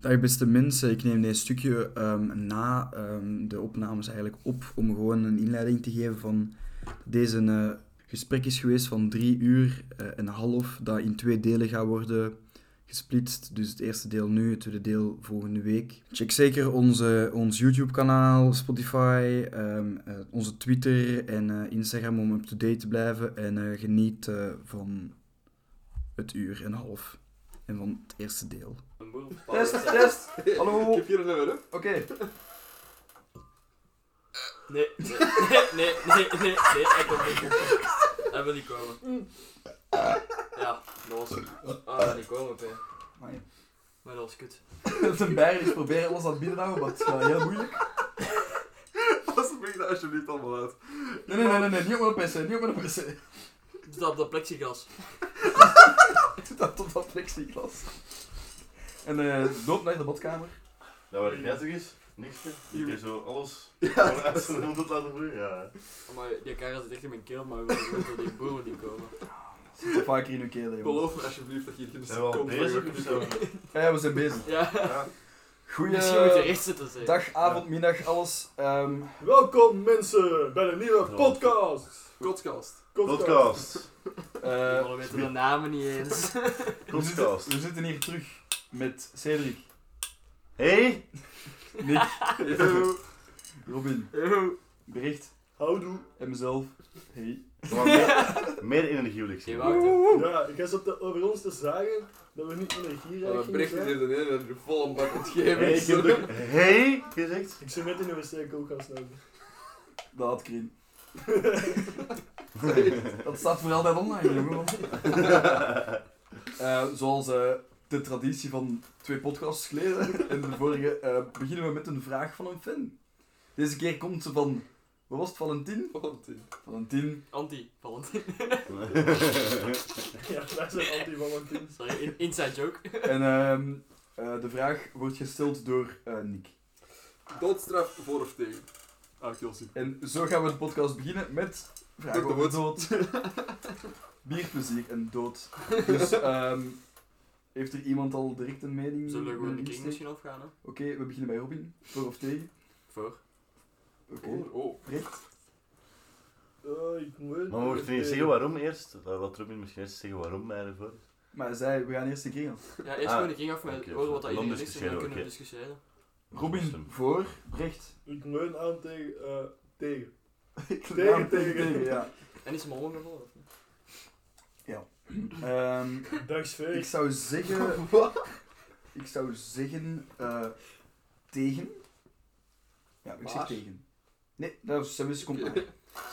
Dag beste mensen, ik neem dit stukje ehm, na ehm, de opnames eigenlijk op om gewoon een inleiding te geven van deze eh, gesprek is geweest van drie uur eh, en een half, dat in twee delen gaat worden gesplitst. Dus het eerste deel nu, het tweede deel volgende week. Check zeker onze, ons YouTube-kanaal, Spotify, ehm, eh, onze Twitter en eh, Instagram om up-to-date te blijven en eh, geniet eh, van het uur en een half en van het eerste deel. Test, test. Hallo. Ik heb hier nog een werf. Oké. Nee, nee, nee, nee, nee, nee, hij komt niet komen. Hij wil niet komen. Ja, dat was... Ah, hij wil niet komen, P. Maar dat was kut. Zijn bijer is proberen alles aan het bieden te houden, maar het is wel heel moeilijk. Alsjeblieft, dat alsjeblieft allemaal uit. Nee, nee, nee, nee, nee, niet op mijn PC, niet op mijn PC. Doe dat op dat plexiglas. Doe dat tot dat plexiglas. En eh loop naar de badkamer. Dat waar jij toch is? Niks meer? Je kunt zo alles Ja, gewoon uit zijn mond laten vloeien? Ja. Maar die kara zit echt in mijn keel, maar we willen gewoon door die boeren niet komen. Zit een paar keer in uw keel, jongen. Beloof me alsjeblieft dat je hier geen Zijn we al seconde bezig van of zo? Ja, Ah ja, we zijn bezig. Ja, Ja. Goeie misschien moet je recht zitten, zeg. dag, avond, middag, alles. Ehm, Welkom mensen bij de nieuwe Ja. podcast. Podcast. Podcast. eh, We weten de namen niet eens. we, zitten, Podcast. we zitten hier terug met Cedric, Hey! Nick, Yo, Robin, Eeuw. Bericht houdoe. en mezelf. Hey. Maar meer, meer energie wil ik Geen zien. Wouter. Ja, ik zat te- over ons te zagen dat we niet energierijk We gingen brengen zijn. hier de ene en de volle bak Hey, ik heb ontgeving. ook hey gezegd. Ik zou net in de wc koelkast lopen. Dat had ik erin. Dat staat voor altijd online, jongen. Eh, zoals eh, de traditie van twee podcasts geleden en de vorige, eh, beginnen we met een vraag van een fan. Deze keer komt ze van, wat was het, Valentin? Valentin, Anti, Valentin. Ja, wij zijn anti-Valentin. Sorry, in- inside joke. En ehm, eh, de vraag wordt gesteld door eh, Nick. Doodstraf voor of tegen? Ah, Kelsey. En zo gaan we de podcast beginnen met vragen Met de over dood. Bierplezier en dood. Dus ehm, heeft er iemand al direct een mening? Zullen we gewoon de een kring insteek? misschien afgaan, hè? Oké, we beginnen bij Robin. Voor of tegen? Voor. Oké. Oh, oh. Recht. Oh, ik moet... Maar mocht je niet zeggen waarom eerst? Dat wil Robin misschien eerst zeggen waarom hij ervoor is. Maar hij zei, we gaan eerst de kring af. Ja, eerst Ah, gewoon de kring af met oké, horen wat dat dan iedereen is en discussiëren dan we, kunnen we oké. discussiëren. Robin voor, recht. Ik leun aan tegen... eh, tegen. Ja, Tegen, tegen. ja. En is Mollen gevallen? of niet? Ehm, Dag ik Sfeer. zou zeggen, ik zou zeggen eh, tegen. Ja, ik zeg Maar? tegen. Nee, dat is Samus, komt maar.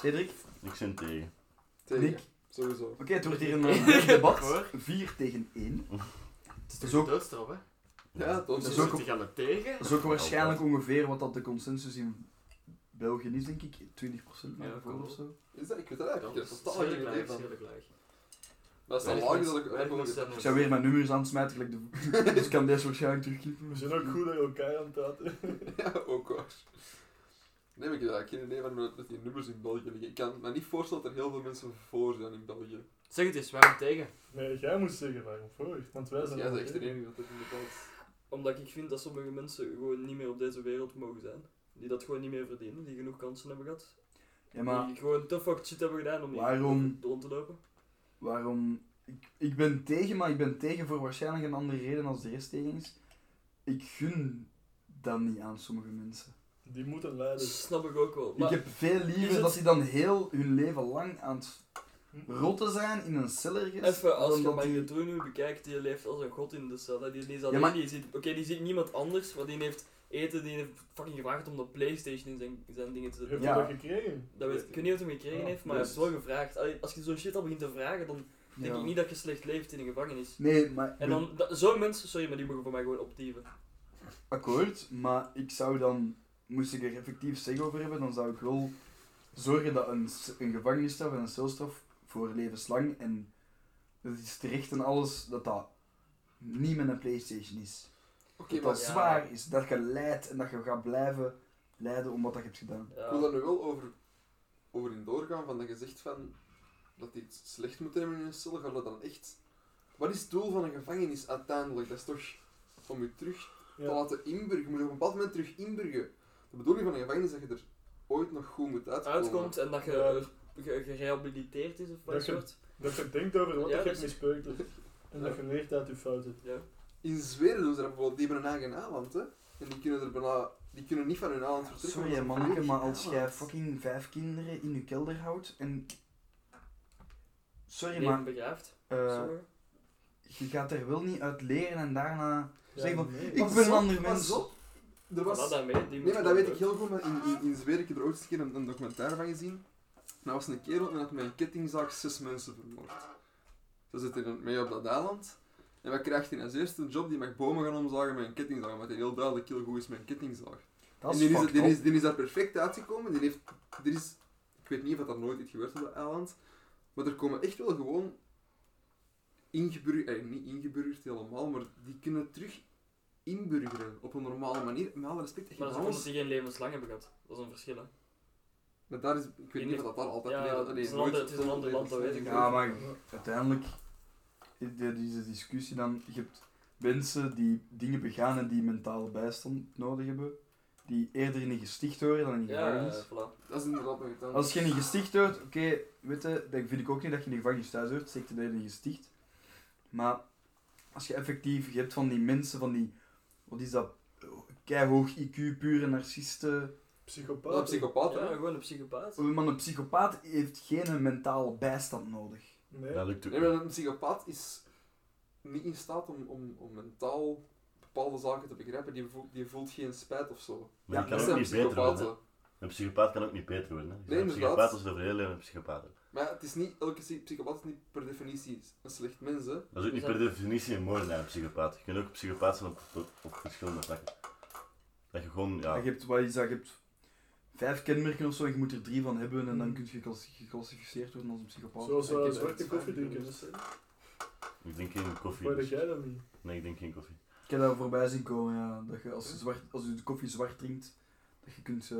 Cedric, Ik ben tegen. Nick. Tegen. Oké, Sowieso. het wordt hier een eh, debat. Voor. 4 tegen 1. Het Dat is toch is ook- de doodstraf, hè? Ja, dat is is Dus ook zitten gaan we tegen? Dat is ook waarschijnlijk ongeveer wat dat de consensus in België is, denk ik. 20% Ja, ja, klopt. of zo. Is dat? Ik weet dat Dat eigenlijk. is niet. Dat is heel eigenlijk niet laag, van. heel laag. Dat is al lang dat ik eigenlijk nog Ik zou weer mijn nummers aansmijten, gelijk de... dus ik kan deze waarschijnlijk terugknippen. We zijn ook goed naar elkaar aan het praten. Ja, ook waar. Nee, maar ik heb eigenlijk geen idee van hoe dat met die nummers in België liggen. Ik kan me niet voorstellen dat er heel veel mensen voor zijn in België. Zeg het eens, waarom tegen? Nee, jij moest zeggen waarom voor. Want wij zijn... Jij bent echt de tegen. enige dat dat inderdaad... Omdat ik vind dat sommige mensen gewoon niet meer op deze wereld mogen zijn. Die dat gewoon niet meer verdienen, die genoeg kansen hebben gehad. Ja, maar Die gewoon te fucked shit hebben gedaan om hier Waarom? rond te lopen. waarom... Ik, ik ben tegen, maar ik ben tegen voor waarschijnlijk een andere reden als de rest tegen is. Ik gun dat niet aan sommige mensen. Die moeten leiden. Dat snap ik ook wel. Maar ik heb veel liever is het- Hm. dat die dan heel hun leven lang aan het rotten zijn in een cel ergens. even, als dan je dat die- Mangetro nu bekijkt, die leeft als een god in de cel. hè. Die, die, is alleen- maar- die ziet, Oké, die ziet niemand anders, want die heeft eten, die heeft fucking gewaagd om de Playstation in zijn, zijn dingen te zetten. Heeft Ja. je dat gekregen? Dat weet, ik ik weet niet of hij hem gekregen Ja, heeft, maar hij heeft dus- wel gevraagd. Allee, Als je zo'n shit al begint te vragen, dan denk Ja. ik niet dat je slecht leeft in een gevangenis. Nee, maar... En dan, dat- zo'n mensen, sorry, maar die mogen voor mij gewoon optieven. akkoord, maar ik zou dan, moest ik er effectief zeg over hebben, dan zou ik wel zorgen dat een, s- een gevangenisstraf en een celstraf voor levenslang en dat is terecht en alles, dat dat niet met een Playstation is. Oké, Dat maar dat ja. zwaar is, dat je lijdt en dat je gaat blijven lijden om wat dat je hebt gedaan. Ja. ik wil daar nu wel over, over in doorgaan, van dat je zegt van... Dat die het slecht moeten hebben in een cel, gaat dat dan echt... Wat is het doel van een gevangenis uiteindelijk? Dat is toch om je terug te laten inburgen. Je moet op een bepaald moment terug inburgen. De bedoeling van een gevangenis is dat je er ooit nog goed moet uitkomen. Uitkomt en dat je ge- gerehabiliteerd is of wat Dat je- soort. Dat je denkt over wat Ja, je dus- hebt mispeukt. hebt. En dat je leert uit je fouten. Ja. In Zweden doen ze dat bijvoorbeeld, die hebben een eigen eiland, hè. En die kunnen er bijna... Die kunnen niet van hun eiland vertrekken. Sorry, hè, want ze manneke, volledig maar als in jij eiland. fucking vijf kinderen in je kelder houdt en... Sorry, Leven maar begraaft. eh, Sorry. je gaat er wel niet uit leren en daarna... Zeg maar, nee. ik Pas ben een op, ander pas mens. op. Er was... Voilà, dat weet- die Nee, moet maar dat weet gewoon ik heel goed, maar in, in, in Zweden, ik heb er ooit eens een keer een, een documentaire van gezien. Dat was een kerel en had met een kettingzaak zes mensen vermoord. Ze zitten in- mee op dat eiland. En wat krijgt hij als eerste? Een job die mag bomen gaan omzagen met een kettingzaag, omdat hij heel duidelijk heel goed is met een kettingzaag. Dat is en die is, fucked die, up. is, die is daar perfect uitgekomen. Die heeft, er is, ik weet niet of dat er nooit iets gebeurt op dat eiland, maar er komen echt wel gewoon ingeburgerd, eh, niet ingeburgerd helemaal, maar die kunnen terug inburgeren op een normale manier. Met alle respect, echt Maar dat is met alles. omdat die geen levenslang hebben gehad. Dat is een verschil, hè. Maar daar is, ik weet In niet de- of dat daar altijd ja, nee, dat- het nee, is een nooit- ander- het is een zonder ander land, dat weet ik Ja, levenslang. maar uiteindelijk, i- de- deze discussie dan, je hebt mensen die dingen begaan en die mentale bijstand nodig hebben, die eerder in een gesticht horen dan in een Ja, gevangenis. eh, voilà. Dat is inderdaad nog iets anders. Als je in een gesticht hoort, oké, weet je, dat vind ik ook niet dat je in een gevangenis thuis hoort, zeker dat je in een gesticht. Maar als je effectief, je hebt van die mensen, van die, wat is dat, keihoog IQ, pure narcisten. Psychopaat. Wel een psychopaat, Ja, hè? gewoon een psychopaat. Maar een psychopaat heeft geen mentale bijstand nodig. Nee. Dat lukt ook Nee, niet. maar een psychopaat is niet in staat om, om, om mentaal bepaalde zaken te begrijpen. Die voelt, die voelt geen spijt of zo. Maar Ja, die dat kan ook zijn niet beter worden. hè. psychopaten. Een psychopaat kan ook niet beter worden. hè. Je Nee, bent een inderdaad. psychopaat als de hele leven een psychopaat. hè. Maar ja, het is niet, elke psy- psychopaat is niet per definitie een slecht mens, hè. Dat is ook niet per definitie een moordenaar, een psychopaat. Je kunt ook psychopaat zijn op, op, op verschillende vlakken. Dat je gewoon, ja... Je hebt, wat is dat, je hebt vijf kenmerken of zo en je moet er drie van hebben en dan kun je geclassi- geclassificeerd worden als een psychopaat. Mm. Zoals Ik eh, heb zwarte het- koffie drinken. Dus, hè. Ik drink geen koffie. Waar dus- dat jij dan niet? Nee, ik drink geen koffie. Ik heb dat voorbij zien komen, ja. Dat je als je, zwart, als je de koffie zwart drinkt, dat je kunt... eh,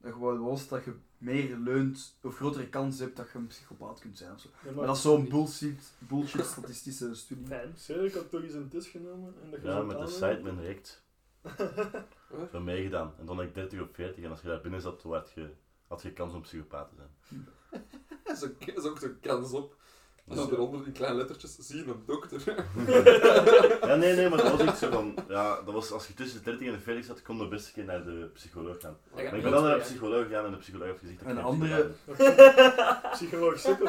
dat je wel was dat je meer leunt, of grotere kans hebt dat je een psychopaat kunt zijn of zo. Ja, Maar dat is zo'n bullshit, bullshit statistische studie. Fijn. Zeg, ik had toch eens een test genomen en dat je Ja, zo'n met de aandacht- Sidemen recht. Voor mij gedaan. En dan had ik 30 of 40 en als je daar binnen zat, toen had je, had je kans om psychopaat te zijn. Dat is ook- dat is ook zo'n kans op. En Dus, dan eronder die kleine lettertjes, zie je een dokter. Ja, nee, nee, maar dat was echt zo van... Ja, dat was als je tussen de 30 en de 40 zat, kon je best een keer naar de psycholoog gaan. Dat gaat Maar ik niet ben dan naar de werken. psycholoog gegaan en de psycholoog heeft gezegd dat ik Een geen andere- psychopaat ben. Psycholoog sukkel.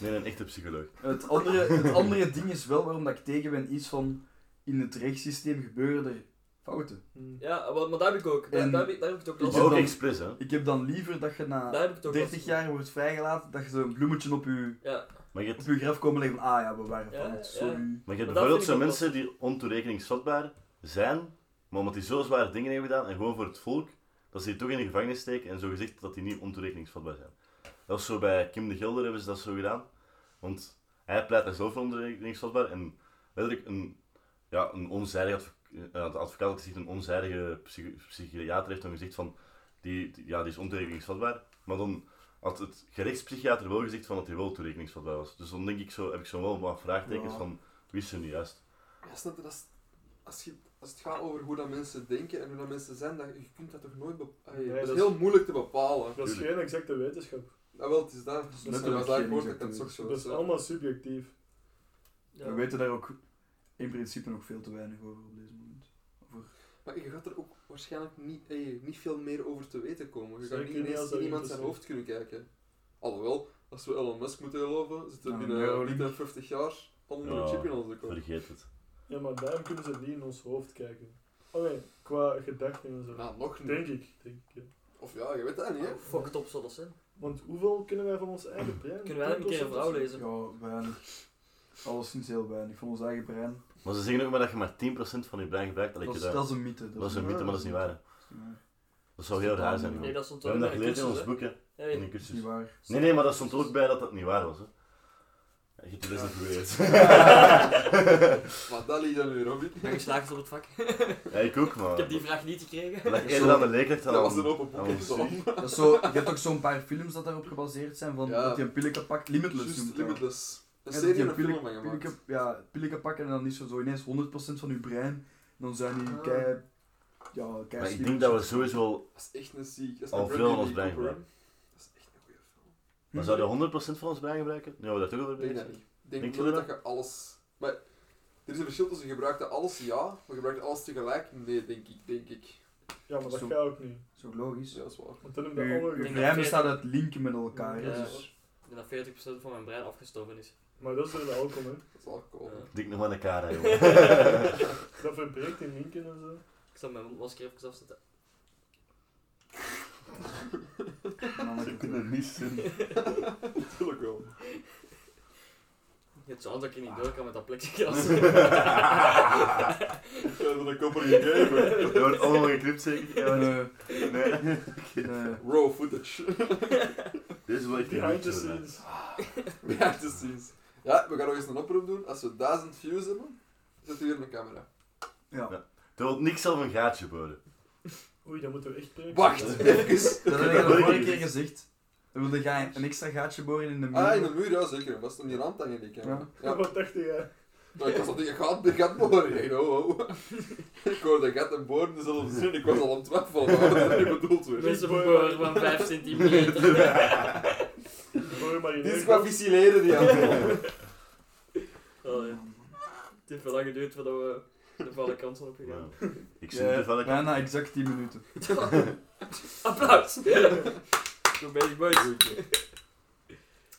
Nee, een echte psycholoog. Het andere, het andere ding is wel waarom dat ik tegen ben, is van... In het rechtssysteem gebeuren er fouten. Hm. Ja, maar, maar dat heb ik ook. Daar, En- daar, heb ik, daar heb ik het Ik ook Maar last ook dan- expres, hè. Ik heb dan liever dat je na Daar heb ik het ook last 30 van. jaar wordt vrijgelaten, dat je zo'n bloemetje op je, Ja, Maar je hebt, op je graf komen leggen van, ah ja, we waren Ja, van het, ja. sorry. maar je hebt Maar dat bijvoorbeeld vind ik zo ook wel- mensen die ontoerekeningsvatbaar zijn, maar omdat die zo zware dingen hebben gedaan en gewoon voor het volk, dat ze die toch in de gevangenis steken en zo gezegd dat die niet ontoerekeningsvatbaar zijn. Dat was zo bij Kim de Gelder hebben ze dat zo gedaan, want hij pleit daar zelf voor ontoerekeningsvatbaar en letterlijk een, ja, een onzijdige advoc- eh, de advocaat had gezegd, een onzijdige psychi- psychiater heeft dan gezegd van, die, die- ja, die is ontoerekeningsvatbaar, maar dan had het gerechtspsychiater wel gezegd van dat hij wel toerekeningsvatbaar was. Dus dan denk ik zo, heb ik zo wel wat vraagtekens Ja. van, wie is er nu juist? Ja, snap je, dat is- als, je, als het gaat over hoe dat mensen denken en hoe dat mensen zijn, dat, je kunt dat toch nooit bepalen. Nee, dat is dat is- heel moeilijk te bepalen. Dat is geen exacte wetenschap. Nou wel, het is daar. Dus dat letterlijk was daar geen woord dat exacte kan het wetenschap. zo Dat is allemaal subjectief. ja. We weten daar ook in principe nog veel te weinig over op deze moment. Over... Maar je gaat er ook waarschijnlijk niet, eh, niet veel meer over te weten komen. Je gaat Zeker niet niet als ineens dat in iemand zijn interesseert. hoofd kunnen kijken. Alhoewel, als we Elon Musk moeten geloven, zitten we Ja, binnen Neuralink. niet aan 50 jaar al onder Ja, een chip in onze kop. Vergeet het. Ja, maar daarom kunnen ze niet in ons hoofd kijken. Allee, qua gedachten en zo. Nou, nog niet. Denk Oh. ik. Denk ik ja. Of ja, je weet dat niet, hè? Fuck top zal dat zijn. Want hoeveel kunnen wij van ons eigen brein? Kunnen wij een keer een vrouw lezen? Ja, weinig. Alleszins heel weinig. Van ons eigen brein. Maar ze zeggen ook maar dat je maar 10% van je brein gebruikt. Dat, ik Dat is, dat, dat is een mythe. dat is een waar. mythe, maar dat is niet waar. hè. dat is niet waar. Dat zou heel raar zijn. Ja. joh. Nee, We dat stond hebben dat in de gelezen in ons cursus, boek, hè, hè. Nee, in een Dat is niet cursus. waar. Nee, nee, maar dat stond er ook bij dat dat niet waar was. Hè. Ja, Je hebt het best niet geleerd. Maar dat liet dan weer op. ik ben geslaagd op het vak. Ja, ik ook, maar... Ik heb die vraag niet gekregen. Dat ik eerder aan de leerkracht dan Dat was aan- een open boek. aan ons. hè, Tom. Dat is zo, je hebt ook zo'n paar films dat daarop gebaseerd zijn. Van, Ja. Dat je een pilletje pakt. Limitless Juist, noemt dat. Limitless. Een Ja, dat serie je en een film pilletje- van gemaakt. pilletje- Ja, pilletje pakken en dan is er zo ineens 100% van je brein. dan zijn die Ah. kei... Ja, kei Maar ik stupid. denk dat we sowieso... Dat is echt een ziek. Dat is Al een veel aan ons brein Bradley Cooper, gebruikt. hè. Dat is echt een goede film. Maar zouden we 100% van ons brein gebruiken? Nu hebben we daar toch over Ik denk dat bezig. niet. Ik denk Denk je nooit dat? dat je alles... Maar er is een verschil tussen gebruikte alles ja, maar gebruikte alles tegelijk nee, denk ik. Denk ik. Ja, maar dat Zo. gaat ook niet. Zo logisch. Ja, dat is waar. Want dan heb Uw- je Uw alle denk gebruikt. brein dat bestaat jij- uit linken met elkaar. hè, Ja. Dus Ik denk dat 40% van mijn brein afgestorven is. Maar dat is door de alcohol, hè. Dat is alcohol. Ja. Dik nog maar een kara, jongen. Dat verbreekt in linken en zo. Ik zal mijn masker even afzetten. Ze kunnen niet zien. Natuurlijk wel. Je hebt zo'n dat ik hier niet door kan met dat plexiglas. Ja, dat een kopper gegeven. Dat wordt allemaal geknipt zeker? Ja, maar- eh, Nee. eh, Raw footage. Dit is wel echt Behind the een scenes. Behind the scenes. Ja, we gaan nog eens een oproep doen. Als we 1000 views hebben, zet u weer een camera. ja. Er wordt niks zelf een gaatje boden. Oei, dat moeten we echt breken. Wacht, even. Dat heb Dat ik al wil de ik vorige niet. keer gezegd. Dan wilde jij een extra gaatje boren in de muur. Ah, in de muur, ja zeker. Was het om die rand hangen, die camera? Ja. Wat dacht jij? Nou, ik was al tegen gat, de gat boren. Ik dacht, oh, oh. Ik hoorde gat en boren dezelfde zin. Ik was al aan het twijfelen. maar Wat er bedoeld werd. Mensen boren van 5 centimeter. Voor maar in Disqualificeren die aan. Oh, ja. Het heeft wel lang geduurd voordat we de valle kant zijn opgegaan. Nou, Ik zie niet wel ik... Bijna exact 10 minuten. Applaus! Goed bezig, boys.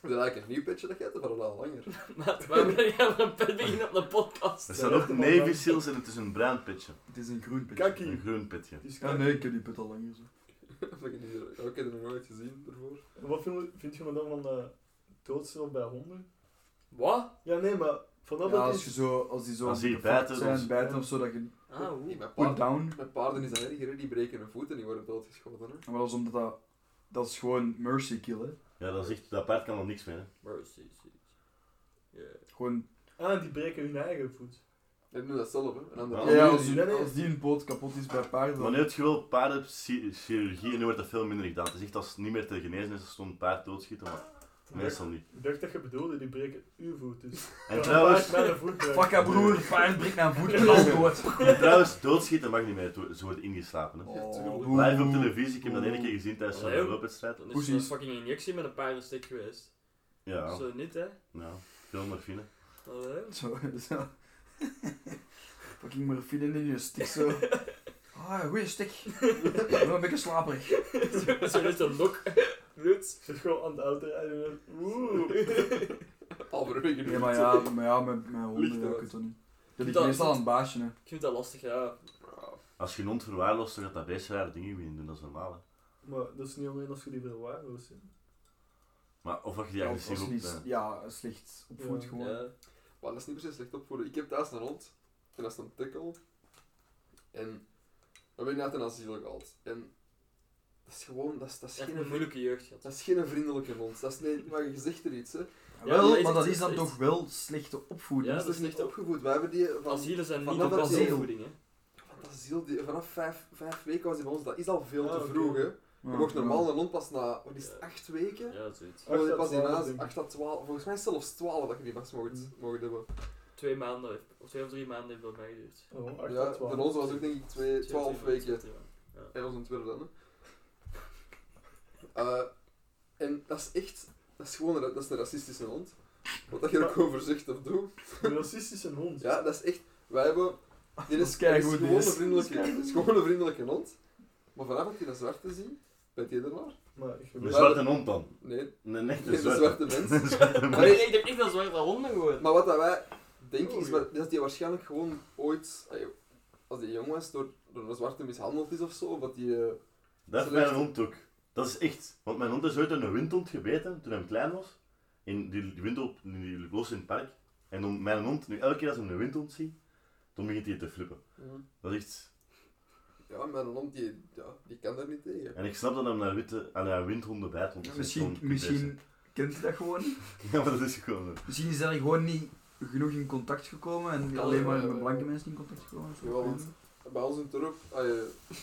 Is dat eigenlijk een nieuw petje dat jij hebt? Of al langer? Maat, waarom ben jij met een pet beginnen op de podcast? Er staan ook Navy Seals en het is een bruin pitje. Het is een groen pitje. Kakkie. Een groen pitje. Dus Ja, nee, ik heb die put al langer zo. Of ik het niet- ja, Ik heb het nog nooit gezien ervoor. En Wat vind, vind je me dan van eh doodstraf bij honden? Wat? Ja, nee, maar vanaf Ja, dat als, is... je zo, als die zo Als die gepakt bijten, zijn, dan- bijten of zo, dat je Ah, Nee, oeh. met put paarden, down. met paarden is dat erger, hè. die breken hun voet en die worden doodgeschoten. Hè. Maar dat is omdat dat... Dat is gewoon mercy kill, hè. Ja, dat, is echt, dat paard kan er niks mee. Hè. Mercy, seat. Yeah. Gewoon... Ah, die breken hun eigen voet. En doen dat zelf, hè. Een andere Ja, Ja, ja, als, die, nee, nee. als die een poot kapot is bij paarden... Maar dan- nu heb je wel paardenchirurgie en nu wordt dat veel minder gedaan. Het is echt als het niet meer te genezen is, als zo'n paard doodschieten, maar meestal niet. Ik dacht dat je bedoelde, die breken uw voet dus. En trouwens, Mijn voet eh. breekt. Fuck ja, broer, paard breekt mijn voet, knal dood. en trouwens, doodschieten mag niet meer, het wo- ze worden ingeslapen. Hè. Oeh. Live op televisie, ik heb dat één keer gezien tijdens Allee, zo'n joh. loopwedstrijd. Dan is Poesies. er een fucking injectie met een paardenstik geweest. Ja, Zo niet, hè? nou, veel morfine. Allee. Zo, zo. Fucking morfine in je stik zo. Ah, goeie stik. Ik ben een beetje slaperig. Zo- Zo net een lok. Bloed. Ik zit gewoon aan het autorijden. en- Oeh. Alverwege Nee, maar ja, maar ja met mijn Licht honden ja, uit. ik het toch niet. Dat ligt Dat- meestal aan het baasje, hè. Ik vind dat lastig, ja. Als je een hond verwaarloost, dan gaat dat best rare dingen beginnen doen, dat is normaal. Hè. Maar dat is niet alleen als je die verwaarloost. hè. Maar of als je die Ja, als agressief op... niet, eh, ja, slecht opvoed Ja. gewoon. Ja. Maar dat is niet precies slecht opvoeden. Ik heb thuis een hond. En dat is een tikkel. En we hebben die uit een asiel gehaald. En dat is gewoon... Dat is, dat is, Echt geen, een moeilijke jeugd gehad. dat is geen vriendelijke hond. Dat is niet... Maar je zegt er iets, hè. maar wel, is maar dat het- is dan is- toch wel slechte opvoeding. Ja, dat is dus dat is niet echt- opgevoed. Wij hebben die... Van, Asielen zijn Van niet dat op dat asiel. opvoeding, hè? van dat asiel, die, vanaf vijf, vijf weken was die bij ons. Dat is al veel Ah, te oké. vroeg, hè. Ja, Je mocht ja. normaal een hond pas na... Wat is Ja. het? Acht weken? Ja, zoiets. Oh, Acht die à pas die 12, naast denk ik. 8 tot 12. Volgens mij is het zelfs 12 dat je die pas mocht, mocht hebben. Twee maanden, heeft- of twee of drie maanden heeft dat mij geduurd. Oh, acht Ja, tot twaalf. bij ons was ook denk ik twee- 12 weken. Ja. En was een Twitter dan, hè. Eh, en dat is echt... Dat is gewoon een, dat is een racistische hond. Wat dat je er ook over zegt of doet. Een racistische hond. Ja, dat is echt... Wij hebben... Dat is Dit is, dit is keigoed, gewoon die een is. vriendelijke, dit is gewoon een vriendelijke hond. Maar vanaf dat je een zwarte ziet, bent je er maar? Maar ik Een geloof... zwarte hond dan. Nee, Een je echte bent een zwarte. zwarte mens. Een zwarte Maar man. nee, nee, ik denk echt dat zwarte honden gewoon. Maar wat dat wij denken Oei. is wa- dat die waarschijnlijk gewoon ooit... ey, Als die jong was, door, door een zwarte mishandeld is of zo, of dat die... eh, Dat heeft mijn hond ook. Dat is echt. Want mijn hond is ooit door een windhond gebeten toen hij klein was. In die windhond die liep los in het park. En dan mijn hond, nu elke keer als ik een windhond zie, dan begint hij te flippen. Mhm. Dat is echt... Ja, mijn hond, die, ja, die kan daar niet tegen. En ik snap dat hem naar, witte, aan naar windhonden bijt. Want dat is Misschien, echt gewoon misschien kent hij dat gewoon. beesten. Ja, maar dat is gewoon... zo. Misschien is hij er gewoon niet genoeg in contact gekomen en Kan alleen wel, maar ja, met ja. blanke mensen in contact gekomen. of zo. Ja, want- Bij ons in Torp, ah, ja,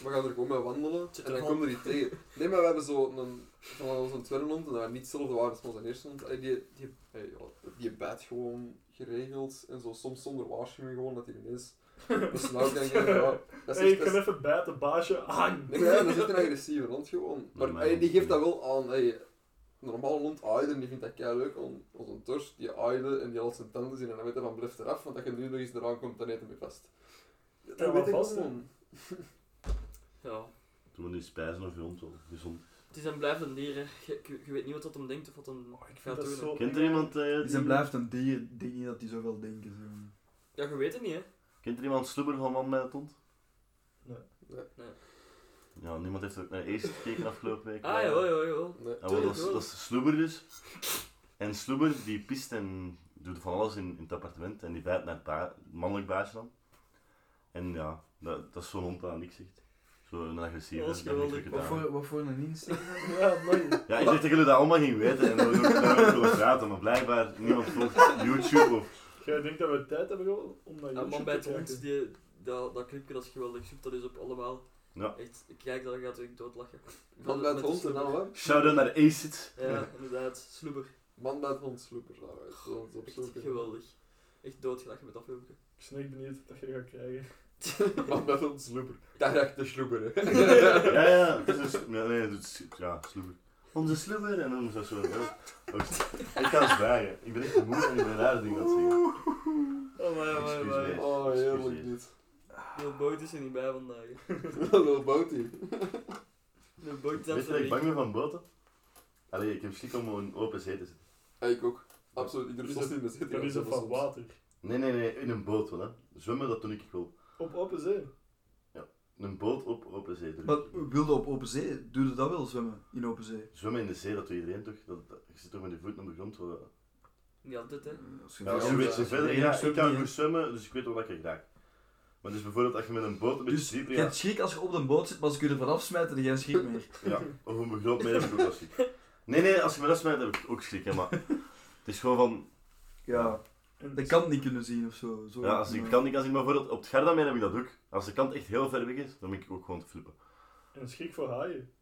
we gaan er gewoon mee wandelen Zit en er dan al- komt er niet tegen. Nee, maar we hebben zo een, van onze tweede hond, en dat niet hetzelfde waren als van onze eerste hond, ah, die, die, ah, ja, die bijt gewoon geregeld en zo, soms zonder waarschuwing gewoon, dat hij ineens Dus nou denk ik, ja, dat is Hey, echt... ik dat ga is- even bijten, baasje. Hang! Nee, ja, dat is echt een agressieve hond gewoon. Maar Normaal. hey, die geeft dat wel aan. Hey, een normale hond aaien, die vindt dat kei leuk. Als een tors, die aaide en die had zijn tanden zien en dan weet hij van blijf eraf, want als je nu nog eens eraan komt, dan eet hij me vast. Dat Ja, weet wat ik vast, gewoon. Ja. Toen we nu spijzen of je hond wel gezond. Het is en blijft een dier, hè. Je, je- je weet niet wat dat hem denkt of wat hem Oh, ik gaat vind dat doen. hè. zo... Kent er iemand, eh, Is en die- Dus blijft een dier, ik denk niet dat die zoveel denken. Zo. Ja, je weet het niet, hè. kent er iemand sloeber van man met het hond? Nee, Ja, niemand heeft ook naar Ace gekeken afgelopen week. Ah, joh, joh, joh. nee. Ja, wel, dat, is, Tuurlijk wel. dat is Sloeber dus. En Sloeber die pist en doet van alles in, in het appartement en die bijt naar het ba- mannelijk baasje dan. En ja, dat, dat is zo'n hond dat niks zegt. Zo'n agressieve. Dat is dat heeft geweldig. niks Wat, gedaan. voor, wat voor een instinct? Ja, man. Ja, ik dacht dat jullie dat allemaal gingen weten en dat we ook daarover willen praten, maar blijkbaar niemand volgt YouTube of... Jij denkt dat we tijd hebben gewoon om naar En YouTube man te bij het kijken. hond, die, dat, dat clipje dat is geweldig. Zoek dat eens op allemaal. Ja. Echt, ik kijk dat, dan gaat ik doodlachen. Man bij het Met hond en sloeber. nou, hè. Shout-out naar Acid. Ja, inderdaad. Sloeber. Man bij het hond, sloeper. Nou, hè. Zo, ons Echt opzoeken. geweldig. Echt doodgelachen met dat filmpje. Ik ben echt benieuwd wat je gaat krijgen. Man bij het hond, sloeper. Daar echt de sloeper, hè. Ja, ja, het is een... Ja, nee, het is, ja, Sloeber. Onze Sloeber en dan zo zo. ja. Ook- Ik ga eens vragen. Ik ben echt moe en ik ben rare dingen aan het zeggen. Oh, maar, maar, Excuseer. maar. Oh, heerlijk dit. De boot is er niet bij vandaag. hè. Lil Bounty. De boot is Weet je dat ik absoluut bang ben van boten? Allee, ik heb schrik om een open zee te zitten. Ja, ik ook. Absoluut, ik durf Dus soms dat- niet meer zitten. Dat is Ja, het van soms. water. Nee, nee, nee, in een boot wel hè. Zwemmen, dat doe ik wel. Op open zee. Een boot op open zee. doe ik Wat wel. wilde op open zee? Doe je dat wel zwemmen in open zee? Zwemmen in de zee, dat doet iedereen toch? Dat, dat- je zit toch met je voeten op de grond? Wel. Niet altijd, hè. Eh, Als Ja, als je ja, een ja. beetje verder Nee, ja, ik ik zwem kan niet, goed zwemmen, dus ik weet wel dat ik raak. Maar dus bijvoorbeeld als je met een boot een beetje Dus dieper je hebt gaat, schrik als je op een boot zit, maar als ik je ervan afsmijt, dan heb je geen schrik meer. ja, of een groot meer heb ik ook wel schrik. Nee, nee, als je me dat smijt heb ik ook schrik, hè, maar het is gewoon van, Ja, En de kant niet kunnen zien of zo. eh, zo ja, als ik kan, ik kan zien, bijvoorbeeld op het Gardameer heb ik dat ook. Als de kant echt heel ver weg is, dan ben ik ook gewoon te flippen. En schrik voor haaien.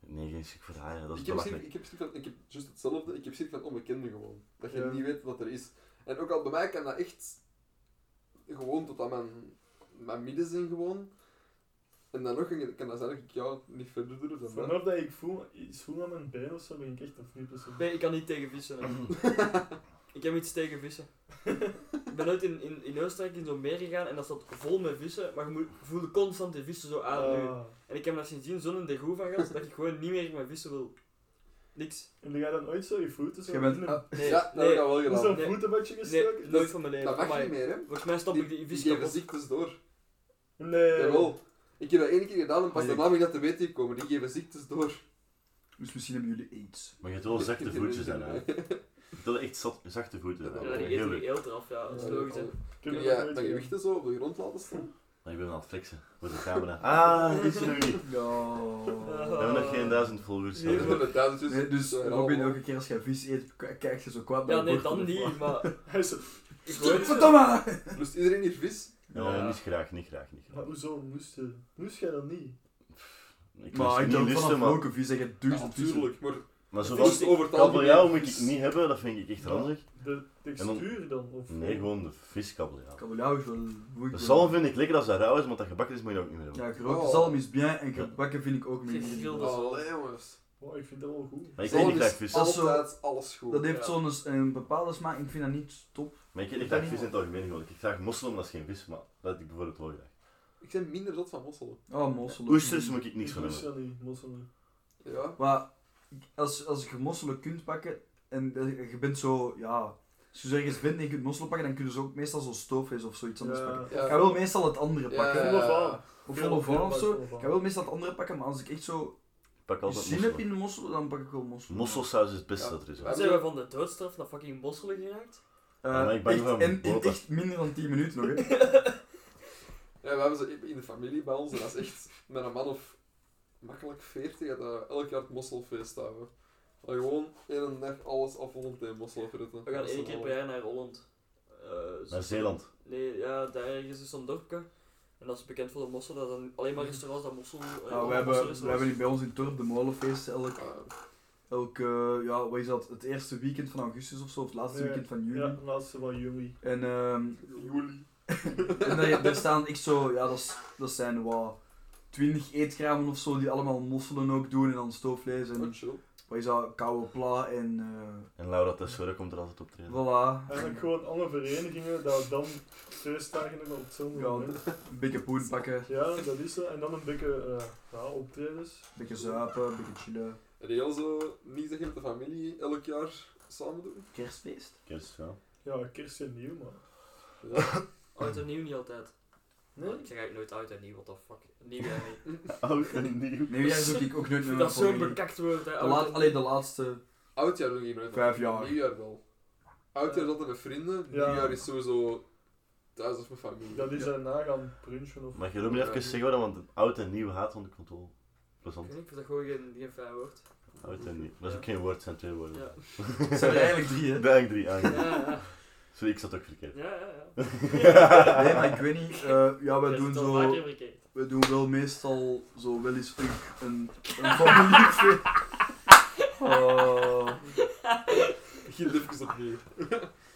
Nee, geen schrik voor haaien, dat is Ik heb, schrik, belachelijk. ik heb schrik van, ik heb juist hetzelfde, ik heb schrik van onbekende gewoon. Dat je Ja. niet weet wat er is. En ook al bij mij kan dat echt gewoon tot aan mijn, mijn midden zijn gewoon. En dan nog kan- kan dat zijn dat ik jou niet verder durf dan dat. Vanaf dat ik voel, iets voel aan mijn been of zo, ben ik echt een flippen. zo. Nee, ik kan niet tegen vissen. hè. ik heb iets tegen vissen. ik ben ooit in, in, in Oostenrijk in zo'n meer gegaan en dat zat vol met vissen, maar je moet, voelde constant die vissen zo aan. nu. Ah. En ik heb daar sindsdien zo'n degoe van gehad dat ik gewoon niet meer met vissen wil. Niks. En dan ga je dan ooit zo je voeten zo Je bent- in een- ah, Nee, ja, nou, dat nee, heb ik al wel in gedaan. zo'n Nee. voetenbadje nee, gestoken? nooit van mijn leven. dat mag Amai. niet meer, hè? Volgens mij stop ik die Die vis geven kapot. ziektes door. Nee. Jawel. Ik heb dat één keer gedaan en pas Ah, daarna ben ik dat te weten gekomen. Die geven ziektes door. Dus misschien hebben jullie aids. Maar je hebt wel zachte voetjes zijn, hè. Je hebt wel echt zat- zachte voeten. Ja, Hè. die Heel eten die leuk. eelt eraf, ja, dat is Ja, logisch. hè. Ik heb Kun dat jij nooit mijn gedaan. gewichten zo op de grond laten staan? Maar ik ben aan het flexen voor de camera. Ah, dit is nog niet. We Ja. hebben nog geen duizend volgers. Nee, Dat is wel een duizendjes. Nee, dus Zo, en Robin, allemaal. elke keer als jij vis eet, k- kijk je zo kwaad naar Ja, je nee, bord dan van de niet, vla- maar Hij is zo, ik weet Godverdomme! Lust iedereen hier vis? Ja, Ja. Eh, niet graag, niet graag, niet graag. maar hoezo moest je? Moest jij dat niet? Ik Maar moest ik niet kan lusten, vanaf maar, welke vis dat je duizend Ja, vissen... tuurlijk, maar maar zo Vis van, over het kabeljauw algemeen moet ik is- niet hebben, dat vind ik echt ranzig. De textuur dan? Of Nee, gewoon de viskabeljauw. Kabeljauw is wel moeilijk. De zalm vind ik lekker als dat rauw is, want dat gebakken is moet je dat ook niet meer hebben. Ja, gerookte Oh. zalm is bien en gebakken vind ik ook Gegrilde minder. zalm. Allee, jongens. Oh, ik vind dat wel goed. Maar ik eet Zalm niet is graag vis. al- Als zo- Altijd dus alles goed. Dat Ja. heeft zo'n eh, een, bepaalde smaak, ik vind dat niet top. Maar ik eet niet graag vis in het algemeen gewoon. Ik eet graag mosselen, maar dat is geen vis, maar dat eet ik bijvoorbeeld wel graag. Ik ben minder zot van Ah, mosselen. Mm. Oh, mosselen. Oesters moet ik niks Ik van moest hebben. dat niet, moest dat niet. Ja. Maar als, als je mosselen kunt pakken en eh, je bent zo, ja... Als je zo ergens bent en je kunt mosselen pakken, dan kun je ze ook meestal zo stoofvlees of zoiets anders pakken. Ja. Ik ga wel meestal het andere Ja, pakken. ja, Vol of ja. aan. Of Veel- vol of veel aan of bij zo. vol of aan. Ik ga wel meestal het andere pakken, maar als ik echt zo Ik pak altijd zin heb mosselen. in mosselen, dan pak ik wel mosselen. Mosselsaus is het beste Ja. dat er is. hè. Ja. Zijn we van de doodstraf naar fucking Bosselen geraakt? Eh, Ja, maar ik ben echt- van en in boter. echt minder dan 10 minuten nog, hè. Ja, we hebben ze in de familie bij ons en dat is echt met een man of makkelijk 40 dat we elk jaar het mosselfeest houden. Maar gewoon in een dag alles afrond in mosselfritten. We gaan één keer per jaar naar Holland. Naar Eh, Zeeland. Nee, ja, daar ergens is zo'n dorpje. En dat is bekend voor de mossel, dat zijn alleen maar restaurants dat mossel... eh, Ja, allemaal we, hebben, we mosselrestaurants. hebben hier bij ons in het dorp de molenfeest elk, elk eh, ja, wat is dat, het eerste weekend van augustus of zo, of het laatste Ja. weekend van juli. Ja, laatste van juli. En ehm Juli. en daar, daar staan echt zo, ja, dat, is- dat zijn wat, 20 eetkramen of zo, die allemaal mosselen ook doen en dan stoofvlees en Oh, chill. wat is dat, koude pla en eh, En Laura Tessora komt er altijd op treden. voilà. Eigenlijk gewoon alle verenigingen dat dan feestdagen hebben op hetzelfde Ja, moment. Een beetje poen pakken, Ja, dat is zo. En dan een beetje eh ja, optredens. een beetje zuipen, een beetje chillen. En die heel zo niet zeggen met de familie elk jaar samen doen? Kerstfeest? Kerst, dus, ja. Ja, kerst en nieuw, man. Ja. Oud en nieuw niet altijd. Nee? Ik zeg eigenlijk nooit oud en nieuw, what the fuck. Nieuw en niet. Oud en nieuw. Nee, jij zoek ik ook nooit meer Dat is zo'n familie. bekakt woord, hè. De oud laat, en alleen de nieuw. laatste. Oudjaar doe ik nooit. Vijf jaar. Nieuwjaar wel. Oudjaar is altijd met vrienden, Ja. nieuwjaar is sowieso thuis of met familie. Dat is daarna gaan brunchen of... Mag Jeroen niet even zeggen waarom? Want oud en nieuw haat onder controle. Ik Plezant. weet niet, ik vind dat gewoon geen, geen fijn woord. Oud en nieuw. Dat is ook geen woord, het zijn twee woorden. Ja. Het zijn er eigenlijk drie, hè. Dank drie aan. Ja, ja, Sorry, ik zat ook verkeerd. ja. ja, ja. Nee, maar ik weet niet. eh, ja, wij Ik heb doen het al vaker zo... verkeerd. We doen wel meestal zo wel eens een, een, een familiefeest. Oh, Begin even opnieuw.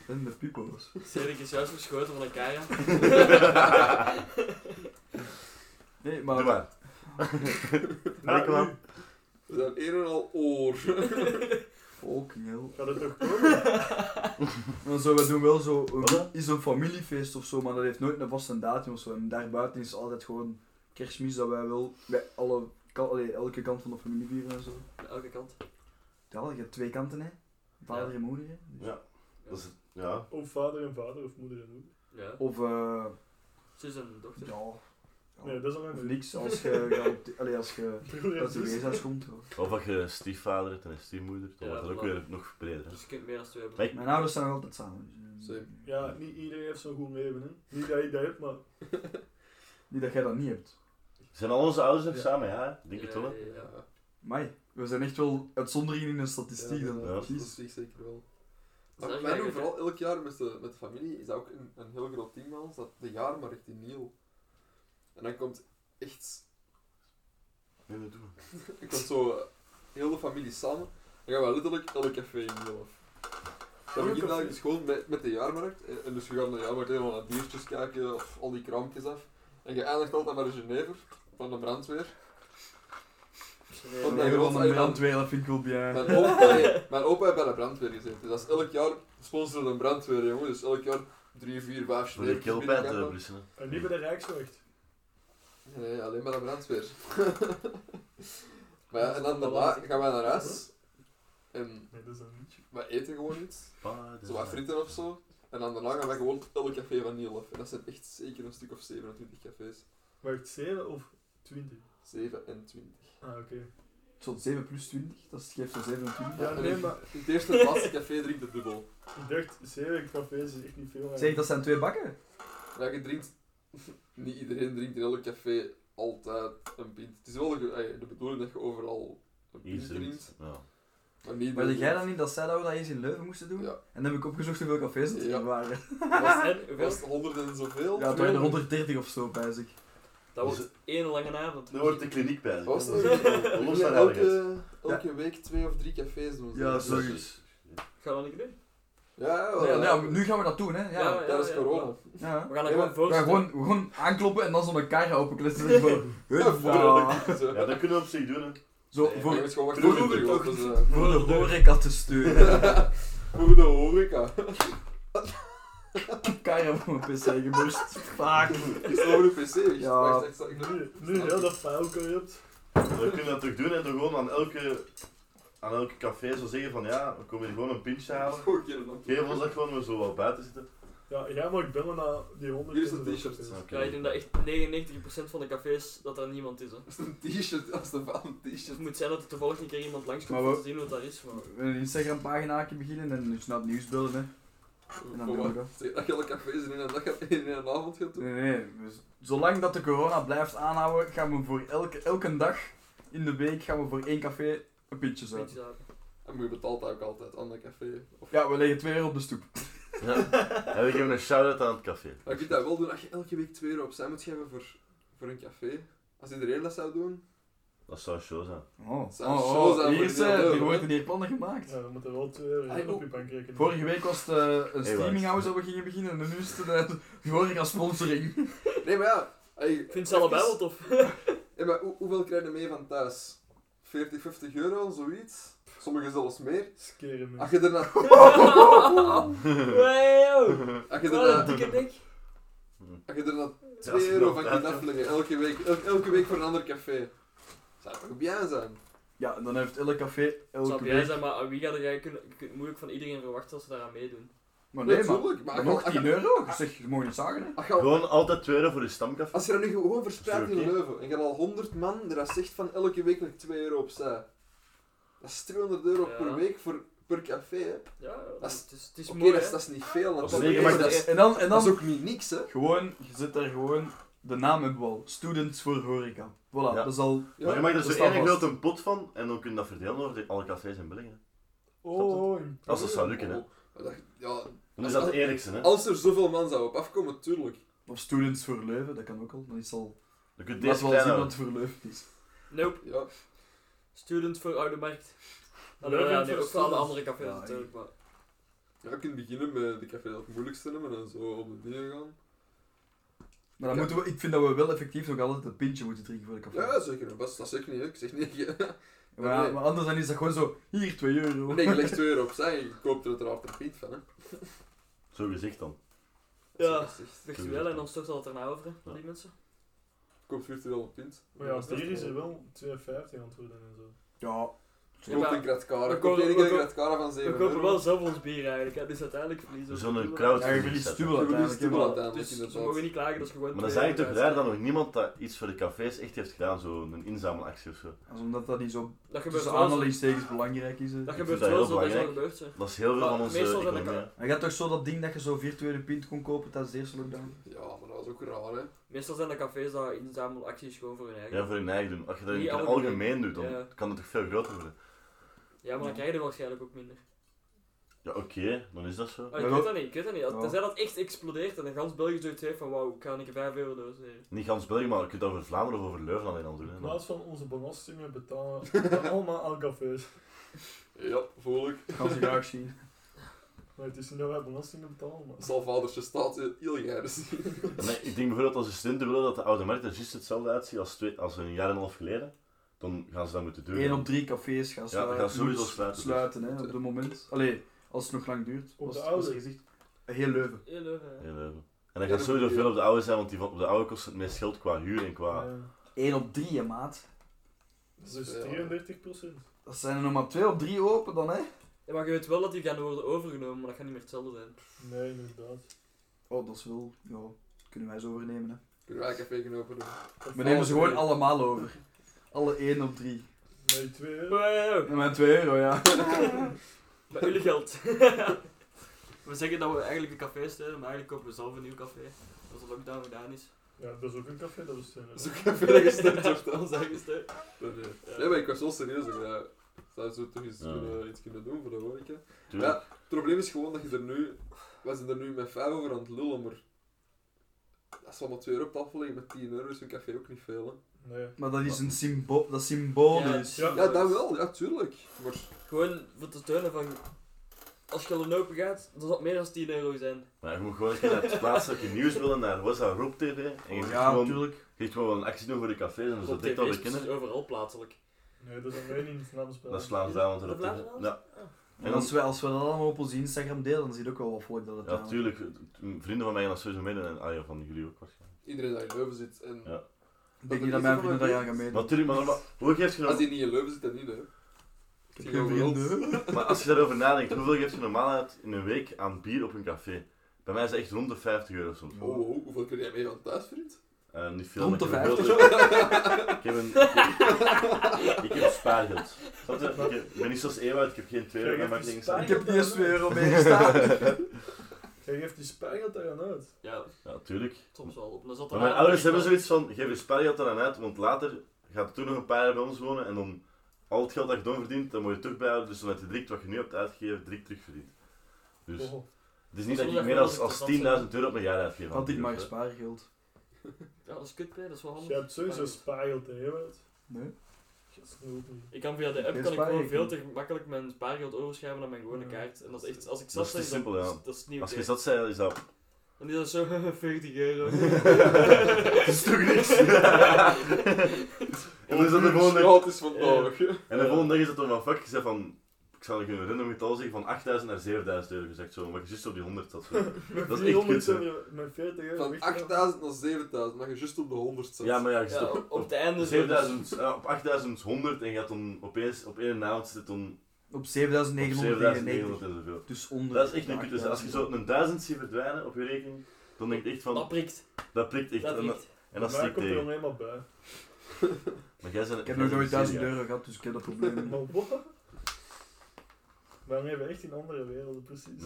en de pipo's. Cedric is juist verschoten van een kaya. Nee, Doe maar... maar. Allee, kom aan. We zijn een en al oor. Fucking hell. Gaat het toch komen? En zo, we doen wel zo... Een, Wat? is een familiefeest of zo, maar dat heeft nooit een vaste datum of zo. En daarbuiten is altijd gewoon kerstmis dat wij wel... Wij alle... Kan, allee, elke kant van de familie vieren en zo. Aan elke kant. Ja, je hebt twee kanten, hè. Vader en moeder, hè. Dus- Ja. Dat is het. Ja. Of vader en vader, of moeder en moeder. Ja. Of, eh... Zus en dochter. Ja. ja. Nee, dat is al Of een niks als je... Ja, allee, als je... Broer en Uit de zus. weeshuis komt, hoor. Of dat je stiefvader hebt en een stiefmoeder. Dan Ja, wordt dat ook voilà. weer nog breder. hè. Dus je kunt meer dan twee hebben. Hey. Mijn ouders zijn nog altijd samen. Dus, eh, Same. Ja, niet iedereen heeft zo'n goed leven, hè. Niet dat je dat hebt, maar... Niet dat jij dat niet hebt. Zijn al onze ouders nog Ja. samen? Ja, ik denk Ja, het wel. hè? ja, ja. Ja. Mai, we zijn echt wel uitzonderingen in de statistiek Ja, dan. ja. Dat Jeez. is ik zeker wel. Dat is Maar echt wij doen eigenlijk, vooral elk jaar met de, met de familie, is dat ook een, een heel groot team bij ons, dat de jaar maar echt in Niel. En dan komt echt, Nee, dat doen we. dan komt zo eh, heel de familie samen, dan gaan we letterlijk elk café in Niel af. Dat Elk begint café? eigenlijk dus gewoon met, met de jaarmarkt, en, en dus we gaan naar de jaarmarkt helemaal naar diertjes kijken, of al die krampjes af. En je eindigt altijd maar de Genever, van de brandweer. Nee, Want Van mijn de grootste- een brandweer, dat vind ik wel Mijn bien. opa, nee, mijn opa heeft bij de brandweer gezeten, dus dat is elk jaar sponsoren de brandweer, jongen. Dus elk jaar drie, vier, vijf Voor de Genevertjes keelpijn binnenkampen. te blussen. eh, hè. En niet bij de Rijkswacht. Nee, nee, alleen maar de brandweer. maar ja, en Dat is dan daarna wel gaan wij naar huis. En Nee, dat is een liedje. wij eten gewoon iets. Paarden. Zo ah, wat frieten of zo. En dan daarna gaan wij gewoon elk café van Niel af. En dat zijn echt zeker een stuk of 27 cafés. Wacht, 7 of 20? 27. Ah, oké. Zo'n 7 plus 20, dat geeft zo'n 27. Ja, en Ah, nee, in- maar- In het eerste en laatste café drink de dubbel. Ik dacht, 7 cafés is echt niet veel. Zeg, dat zijn twee bakken. Ja, je drinkt... Niet iedereen drinkt in elk café altijd een pint. Het is wel de, eh, de bedoeling dat je overal een pint Iets drinkt. drinkt. Ja. Maar Maar niet iedereen dacht jij dan drinkt. niet dat zij dat we dat eens in Leuven moesten doen? Ja. En dan heb ik opgezocht hoeveel cafés dat er Ja. waren. Was, En hoeveel? was het 100 en zoveel? Ja, het waren er 130 of zo, pijs ik. Dat wordt één lange avond. Dan wordt de kliniek bij. Dat was Los het. aan Ja, ergens. elke, elke week twee of drie cafés doen. ze. Ja, Dat is zoiets. dus- Gaan we dat niet doen? Ja, ja, Nee, wel, ja. nou, nu gaan we dat doen, hè. Ja. Ja, dat is corona. ja. We gaan er Ja, gewoon we We voor gaan zitten. gewoon, gewoon aankloppen en dan zo'n kar openkletsen. Zo, Ja, huppa. Zo. Ja, dat kunnen we op zich doen. hè. Zo, Nee, Je voor, moet gewoon wachten Vroeger tot het toch? terug open is, voor de horeca te steunen. eh. Voor de horeca. Kar op mijn pc geburst. Fuck. Is het over de pc? echt? Ja. Wacht, ik sta- ik- Nu, nu heel dat file corrupt. We kunnen dat toch doen en toch gewoon aan elke, aan elke café zo zeggen van ja, we komen hier gewoon een pintje halen. Gewoon een keer dan. Geef ons dat gewoon, we zo wel buiten zitten. Ja, jij mag bellen naar die 100 Hier is een en zo t-shirt. cafés. Oké. Ja, ik denk dat echt 99% van de cafés dat er niemand is. Hè. Dus Dat is een t-shirt, dat is een van Het t-shirt. moet zijn dat er toevallig een keer iemand langskomt Maar we- om te zien wat dat is. Maar... Een Instagram pagina beginnen en dus naar het nieuws bellen, hè. En dan Voor doen we wat? dat. Zeg dat je alle cafés in een dag in een avond gaat doen. Nee, nee, dus zolang dat de corona blijft aanhouden, gaan we voor elke, elke dag in de week gaan we voor één café een pintje Weet zuipen. je dat? En je betaalt ook altijd aan dat café. Of, Ja, we leggen twee euro op de stoep. Ja. En we geven een shout-out aan het café. maar je kunt dat wel doen als je elke week 2 euro opzij moet geven voor, voor een café. Als iedereen dat zou doen, Dat zou show zijn. Oh, Zou oh, show oh. zijn Hier, voor is, die eh, auto, er hè? wordt een hier plannen gemaakt. Ja, we moeten wel twee euro Hey, op je oh. bank rekenen. Vorige week was het eh, een wacht. streaminghouse dat we gingen beginnen en nu is het eh, gewoon als sponsoring. Nee, maar ja. ey, Ik vind ze allebei wel even- tof. ey, maar hoe- hoeveel krijg je mee van thuis? 40, 50 euro, zoiets. Sommigen zelfs meer. Skeren me. Als je erna... Wow! Als je Wat een erna... dikke nek. Als je erna Ja, 2 euro van dat- kunt afleggen, elke week. el- elke week voor een ander café. Zou toch bien zijn? Ja, dan heeft elk café Het zou elke blij week... zijn, maar aan wie gaat er jij kunnen, je kunt moeilijk van iedereen verwachten dat ze daaraan meedoen. Maar Oh, nee, maar, Natuurlijk, maar maar als nog je- 10 euro? Zeg, je mag niet zagen hè. als je- Gewoon altijd 2 euro voor de stamcafé. Als je dat nu gewoon verspreidt in Is dat oké? Leuven en je hebt al 100 man die dat zegt van elke week nog 2 euro opzij. Dat is 200 euro Ja. per week voor, per café. hè. Oké, Ja, dat is, het is, het is dat, mooi. is- hè. dat is niet veel. Dat is natuurlijk, zeker, maar maar dat, dat is, En dan, en dat is dan ook niet niks, hè? gewoon, je zit daar gewoon, de naam hebben we al. Students voor horeca. Voilà, Ja. dat is al... Maar je mag er dat zo staat één vast. grote pot van en dan kun je dat verdelen over de- alle cafés in België. Oh, oh, Als dat zou lukken, hè. Maar dat- ja, Dan is dat het eerlijkste, hè. als er zoveel man zou op afkomen, tuurlijk. Of students voor Leuven, dat kan ook al. Dan is al... Dan kun je Laat deze wel zien kleine dat het houden. voor Leuven is. Nope. Ja. Student voor Oude Markt. Leuven Hallo, ja, voor nee, ook voor students. alle andere cafés Ja, natuurlijk, maar... Ja, je kunt beginnen met de café dat het moeilijkste hebben en dan zo op de dingen gaan. Maar dan Ja. moeten we, ik vind dat we wel effectief nog altijd een pintje moeten drinken voor de café. Ja, zeker. Dat is dat is zeker niet. hè. Ik zeg niet. maar, nee. maar anders dan is dat gewoon zo, hier 2 euro. Nee, je legt 2 euro opzij en je koopt er uiteraard een piet van. Hè. Zo gezegd dan. Ja, Zo gezegd. virtueel en dan stort dat erna over, hè, van die mensen. Je koopt virtueel een pint. Maar ja, als hier is er wel 2,50 aan het worden en zo. Ja, Je koopt een kratkara. We Je koopt kopen- één keer een we kratkara van We 7 euro. kopen wel zelf ons bier eigenlijk, hè, dus uiteindelijk verliezen We we... zullen een ja je verliest dubbel Je verliest uiteindelijk. hè, dubbel maar- uiteindelijk, Dus ze inderdaad. mogen niet klagen eh, dat ze gewoon Maar dan twee zijn je toch euro raar kwijt dat nog niemand dat iets voor de cafés echt heeft gedaan, zo'n inzamelactie of zo. Als omdat dat niet zo zijn. Dat gebeurt tussen wel zo. aanhalingstekens belangrijk is. hè. Dat Ik gebeurt vind dat wel heel zo, dat is al belangrijk. gebeurd, hè. Dat is heel veel Maar van onze meestal zijn dat economie. hè. Maar je had toch zo dat ding dat je zo virtuele pint kon kopen tijdens de eerste lockdown? Ja, maar dat is ook raar, hè. Meestal zijn de cafés dat inzamelacties gewoon voor hun eigen. Ja, voor hun eigen doen. Als je dat in Niet het algemeen. algemeen doet, dan Ja. kan het toch veel groter worden. Ja, maar dan krijg je er waarschijnlijk ook minder. Ja, oké, dan is dat zo. Oh, ik Maar weet wel- dat niet, ik weet dat niet. Als- Ja. Tenzij dat echt explodeert en dan gans België zoiets heeft van wauw, ik ga een keer 5 euro doseren. Niet gans België, maar je kunt dat over Vlaanderen of over Leuven alleen al doen. Hè. In Dan- plaats van onze belastingen betalen we allemaal aan cafés. Ja, voel ik. Dat kan ze graag zien. Maar het is niet dat wij belastingen betalen, maar... Dat zal vadertje staat eh, heel gaar zien. Nee, ik denk bijvoorbeeld als de studenten willen dat de oude markt er juist hetzelfde uitziet als, twee, als een jaar en een half geleden, dan gaan ze dat moeten doen. Eén op drie cafés gaan Ja, we sluiten. gaan sowieso moet sluiten, dus. hè, op dit moment. Allee, als het nog lang duurt. Op was- de was oude. er gezegd. Heel Leuven. Heel leuk, hè. In Leuven. En dat gaat sowieso veel op de oude zijn, want die van, op de oude kost het meest geld qua huur en qua... Ja. Eén op drie, hè, maat. Dat is Ja. dus 33%. Dat zijn er nog maar twee op drie open dan, hè. Ja, maar je weet wel dat die gaan worden overgenomen, maar dat gaat niet meer hetzelfde zijn. Nee, inderdaad. Oh, dat is wel... Ja, kunnen wij ze overnemen, hè. Kunnen wij een café gaan openen? We nemen ze gewoon allemaal over. Alle één op drie. Nee, 2 euro. Wow. En mijn twee euro, ja. Met jullie geld. we zeggen dat we eigenlijk een café steunen, maar eigenlijk kopen we zelf een nieuw café. Als de lockdown gedaan is. Ja, dat is ook een café, dat is 2 euro. Dat is ook een café dat gestart wordt Dat dan. is eigenlijk steun. Nee, nee. Nee, maar ik was wel serieus. Ik eh, zou zo toch eens Ja. kunnen, iets kunnen doen voor de horeca. Tuurlijk. Ja. Het probleem is gewoon dat je er nu... Wij zijn er nu met 5 over aan het lullen, maar... Dat is allemaal 2 euro op tafel liggen met 10 euro is een café ook niet veel, hè. Nee. Maar dat is een symbool. Dat is dus. symbolisch. Ja. Ja, dat wel. Ja, tuurlijk. Maar... Gewoon voor te steunen van. Als je al een open gaat, dan zal het meer dan 10 euro zijn. Maar je moet gewoon een keer naar het plaatselijke nieuws willen, naar wat is dat, Rob TV? En je zegt Oh, Ja, gewoon, natuurlijk. je zegt gewoon een actie doen voor de cafés en dus dat Op denkt tv al is de kinderen. precies overal plaatselijk. Nee, dat is alleen in het Vlaamspel. Dat is Vlaams-Duitsland Is dat Ah. erop tegen. Vlaams-Duitsland? Ja. En als we, als we dat allemaal op onze Instagram delen, dan zie je ook wel wat volk dat het Ja, natuurlijk. Vrienden van mij gaan dat sowieso meedoen en ah, ja, van jullie ook waarschijnlijk. Iedereen dat in Leuven zit. En Ja. Ik denk niet dat mijn vrienden daar aan gaan meedoen. Natuurlijk, maar normaal- hoe geef je als normaal, die niet in Leuven zit, dan niet, hè. Ik heb geen vrienden. maar als je daarover nadenkt, hoeveel geef je normaal uit in een week aan bier op een café? Bij mij is het echt rond de 50 euro soms. Oh, wow, hoeveel kun jij mee van thuis, vriend? Eh, niet veel, Rond maar de ik heb 50 heel veel- Ik heb een... ik- Ik heb spaargeld. Snap je? Ik heb- ik ben niet zoals Ewout, ik heb geen 2 euro, Kijk, maar het mijn is dingen spaar- Ik zijn... heb niet eens 2 euro meegestaan. Jij geeft die spaargeld daar aan uit. Ja, Ja, tuurlijk. soms wel. Maar dat zat Maar er mijn aan. ouders hebben zoiets van, geef je spaargeld eraan uit, want later gaat het toch nog een paar jaar bij ons wonen en dan al het geld dat je dan verdient, dan moet je het terug bijhouden, dus dan heb je direct wat je nu hebt uitgegeven, direct terugverdiend. Dus Oh. het is niet dat Soms ik dat meer je als, wel als 10.000 eens interessant euro op een jaar uitgeef. aan Had ik bier, maar of, hè. spaargeld. Ja, dat is kut, hè. dat is wel handig. Je hebt sowieso spaargeld, hè, Ewout? Nee. Snoep niet. Ik kan via de app Geen kan ik gewoon spaarrekening. veel te makkelijk mijn spaargeld overschrijven naar mijn gewone Ja. kaart. En dat is echt, als ik Dat zat is ben, te simpel, ja. dat is niet Als oké. je zat zei, is dat... En die is zo 40 euro. Het is toch niks? en dan is dat de volgende dag... is vandaag. hè. En de volgende dag is dat dan van fuck, je zei van... Ik zal je een random getal zeggen, van 8000 naar 7000 euro gezegd zo, maar je zit op die 100 dat zo. Met Dat is echt 300 kut, hè. euro, met 40 euro. Van weet je wel. 8000 naar 7000, maar je juist op de 100 zet. Ja, maar ja, je zit Ja, op op het einde zo. dus- 7000, ja, op 8100 en je gaat dan opeens op één naald zit dan Op op 7900 7999. en zoveel. Dus onder. Dat is echt de een kut. Dus als je 8000. zo een duizend ziet verdwijnen op je rekening, dan denk je echt Dat van, prikt. dat prikt echt. Dat En dat, prikt. en dat Maar steekt komt er tegen. alleen maar bij. Maar jij bent, Ik heb nog nooit 1000 euro gehad, dus ik heb dat probleem. niet. Maar wat? We leven echt in andere werelden, precies.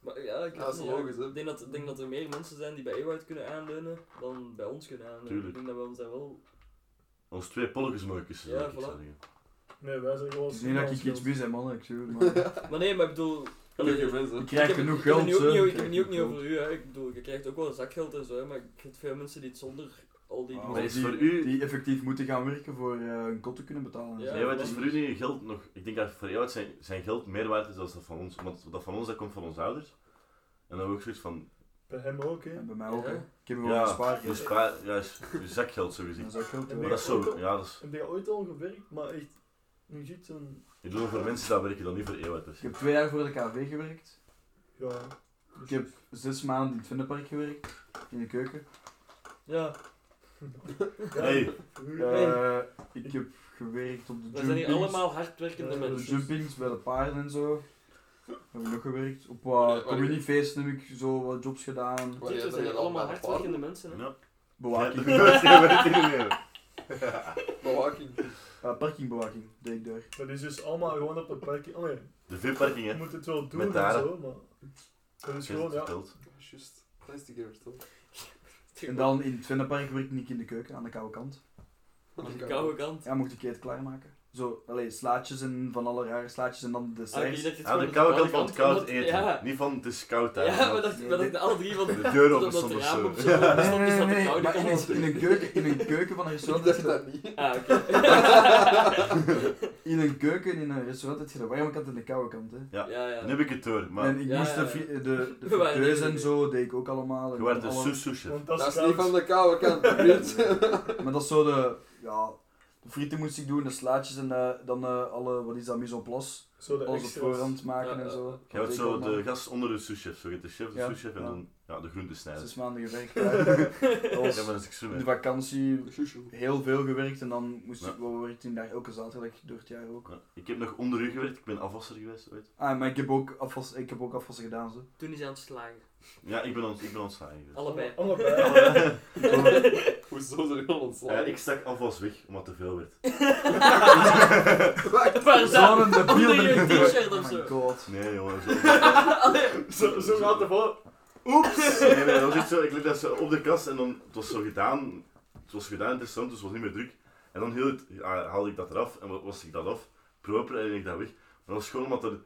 Maar ja, ik Ja, dat is weet niet, logisch, hè. Ik denk dat, ik denk dat er meer mensen zijn die bij Ewout kunnen aanleunen dan bij ons kunnen aanleunen. Tuurlijk. Ik denk dat we ons daar wel... Ons twee polkensmeukjes, Ja, zou ik voilà. zou zeggen. Nee, wij zijn gewoon... Het is niet dat ik iets mis heb, man. Ik zweer het, man. Maar nee, maar ik bedoel... Gelukkige mensen. Ik krijg ik heb- genoeg ik heb het geld. nu hè. ook niet- Ik Ik heb het krijg nu ook niet genoeg over u, hè. Ik bedoel, je krijgt ook wel zakgeld en zo, hè, maar ik vind veel mensen die het zonder al die... geld. Maar is Die- voor u- Die effectief moeten gaan werken voor eh, een kot te kunnen betalen. en Ja, zo. Nee, maar het is voor u niet geld nog. Ik denk dat voor jou het zijn, zijn geld meer waard is dan dat van ons. Want dat van ons dat komt van onze ouders. En dan hebben we ook zoiets van. Bij hem ook, hè. En bij mij ook. hè. Ja. Ik heb gewoon Ja, gespaard. je Dus. spaar, juist, je zakgeld zo gezien. Dat is ook geld. Maar hoor. dat is zo. Ja, dat is. Heb je ooit al gewerkt, maar echt... Nu ziet zo'n... Ik bedoel, voor mensen dat werken dan niet voor dus. eeuwig. per Ik se. heb twee jaar voor de KV gewerkt. Ja... Ik heb zes maanden in het Vindenpark gewerkt. In de keuken. Ja, Hey, Eh, ik heb gewerkt op de we zijn hier jumpings. allemaal hardwerkende Eh, Op de mensen. jumpings bij de paarden en zo. Heb ik nog gewerkt. Op wat Ja, maar ik- communiefeesten heb ik zo wat jobs gedaan. Maar jij We bent zijn hier allemaal bij de hardwerkende mensen, hè. ja. Bewaking. Ja, dat werkt niet meer. paarden. Bewaking. Eh, parkingbewaking deed ik daar. Dat is dus allemaal gewoon op de parking... Oh nee, De VIP-parking, je hè? moet het wel doen Met en daar. zo, maar... Dat is Ik heb het gewoon, ja... verteld. Juist. Dat is die keer verteld. En dan in het Vindenpark werkte ik in de keuken aan de koude kant. Dus Aan de koude kant. Ja, mocht ik het klaarmaken. Zo, allee, slaatjes en van alle rare slaatjes en dan de Ah, ik desserts. dacht dat het Aan de gewoon koude kant van het koud omdat- eten. Ja, Niet van het is koud daar. ja maar dat Nee, maar dat dit- ik alle drie van De deur open dat- dat stond of raam zo. op zo stond, Nee, nee, is nee, dat de nee, koude maar in kant. een, in een keuken, in een keuken van een Ik restaurant heb dacht je de- dat niet. Ah, oké. in een keuken in een restaurant heb je de warme kant en de koude kant. Hè. Ja. Ja, ja. Nu heb ik het door, maar en ik Ja, moest de, ja, ja. fri- de, de We waren friteus niet en mee. zo deed ik ook allemaal. En je werd een alle- sous-souschef. Want dat Dat is is niet van koud. de koude kant, vriend. Maar dat is zo de, ja, de frieten moest ik doen, de slaatjes en eh, dan eh, alle, wat is dat, mise en place. Zo de Alles op extra's. voorhand maken Ja, en ja, zo. ja. Je wordt Dat zo deed ik de allemaal. gast onder de sous-chef. Zo je hebt de chef, de Ja, sous-chef en ja. dan ja, de groentesnijder. Zes maanden gewerkt. Dat was Ja, maar dat is ik zo in de mee. vakantie Shushu. heel veel gewerkt en dan moest Ja. ik wel werken daar elke zaterdag door het jaar ook. Ja. Ik heb nog onder u gewerkt, ik ben afwasser geweest ooit. Ah, maar ik heb ook afwas, ik heb ook afwassen gedaan zo. Toen is hij aan het slagen. Ja, ik ben, ont, ik ben ontslagen geweest. Allebei. Allebei. Hoezo zijn jullie Ja, ontslagen? ik stak afwas weg, omdat het te veel werd. Waar dan? Zo'n debiel Onder ben ik je geworden. t-shirt of Oh zo. my god. Nee jongen, zo. Zo, zo gaat het voor. Nee, nee, dat was echt zo. Ik liet dat zo op de kast en dan, het was zo gedaan. Het was gedaan, interessant, dus het was niet meer druk. En dan heel het, ja, haalde ik dat eraf en wa- was ik dat af, proper en ik dat weg. Maar dat was gewoon omdat er,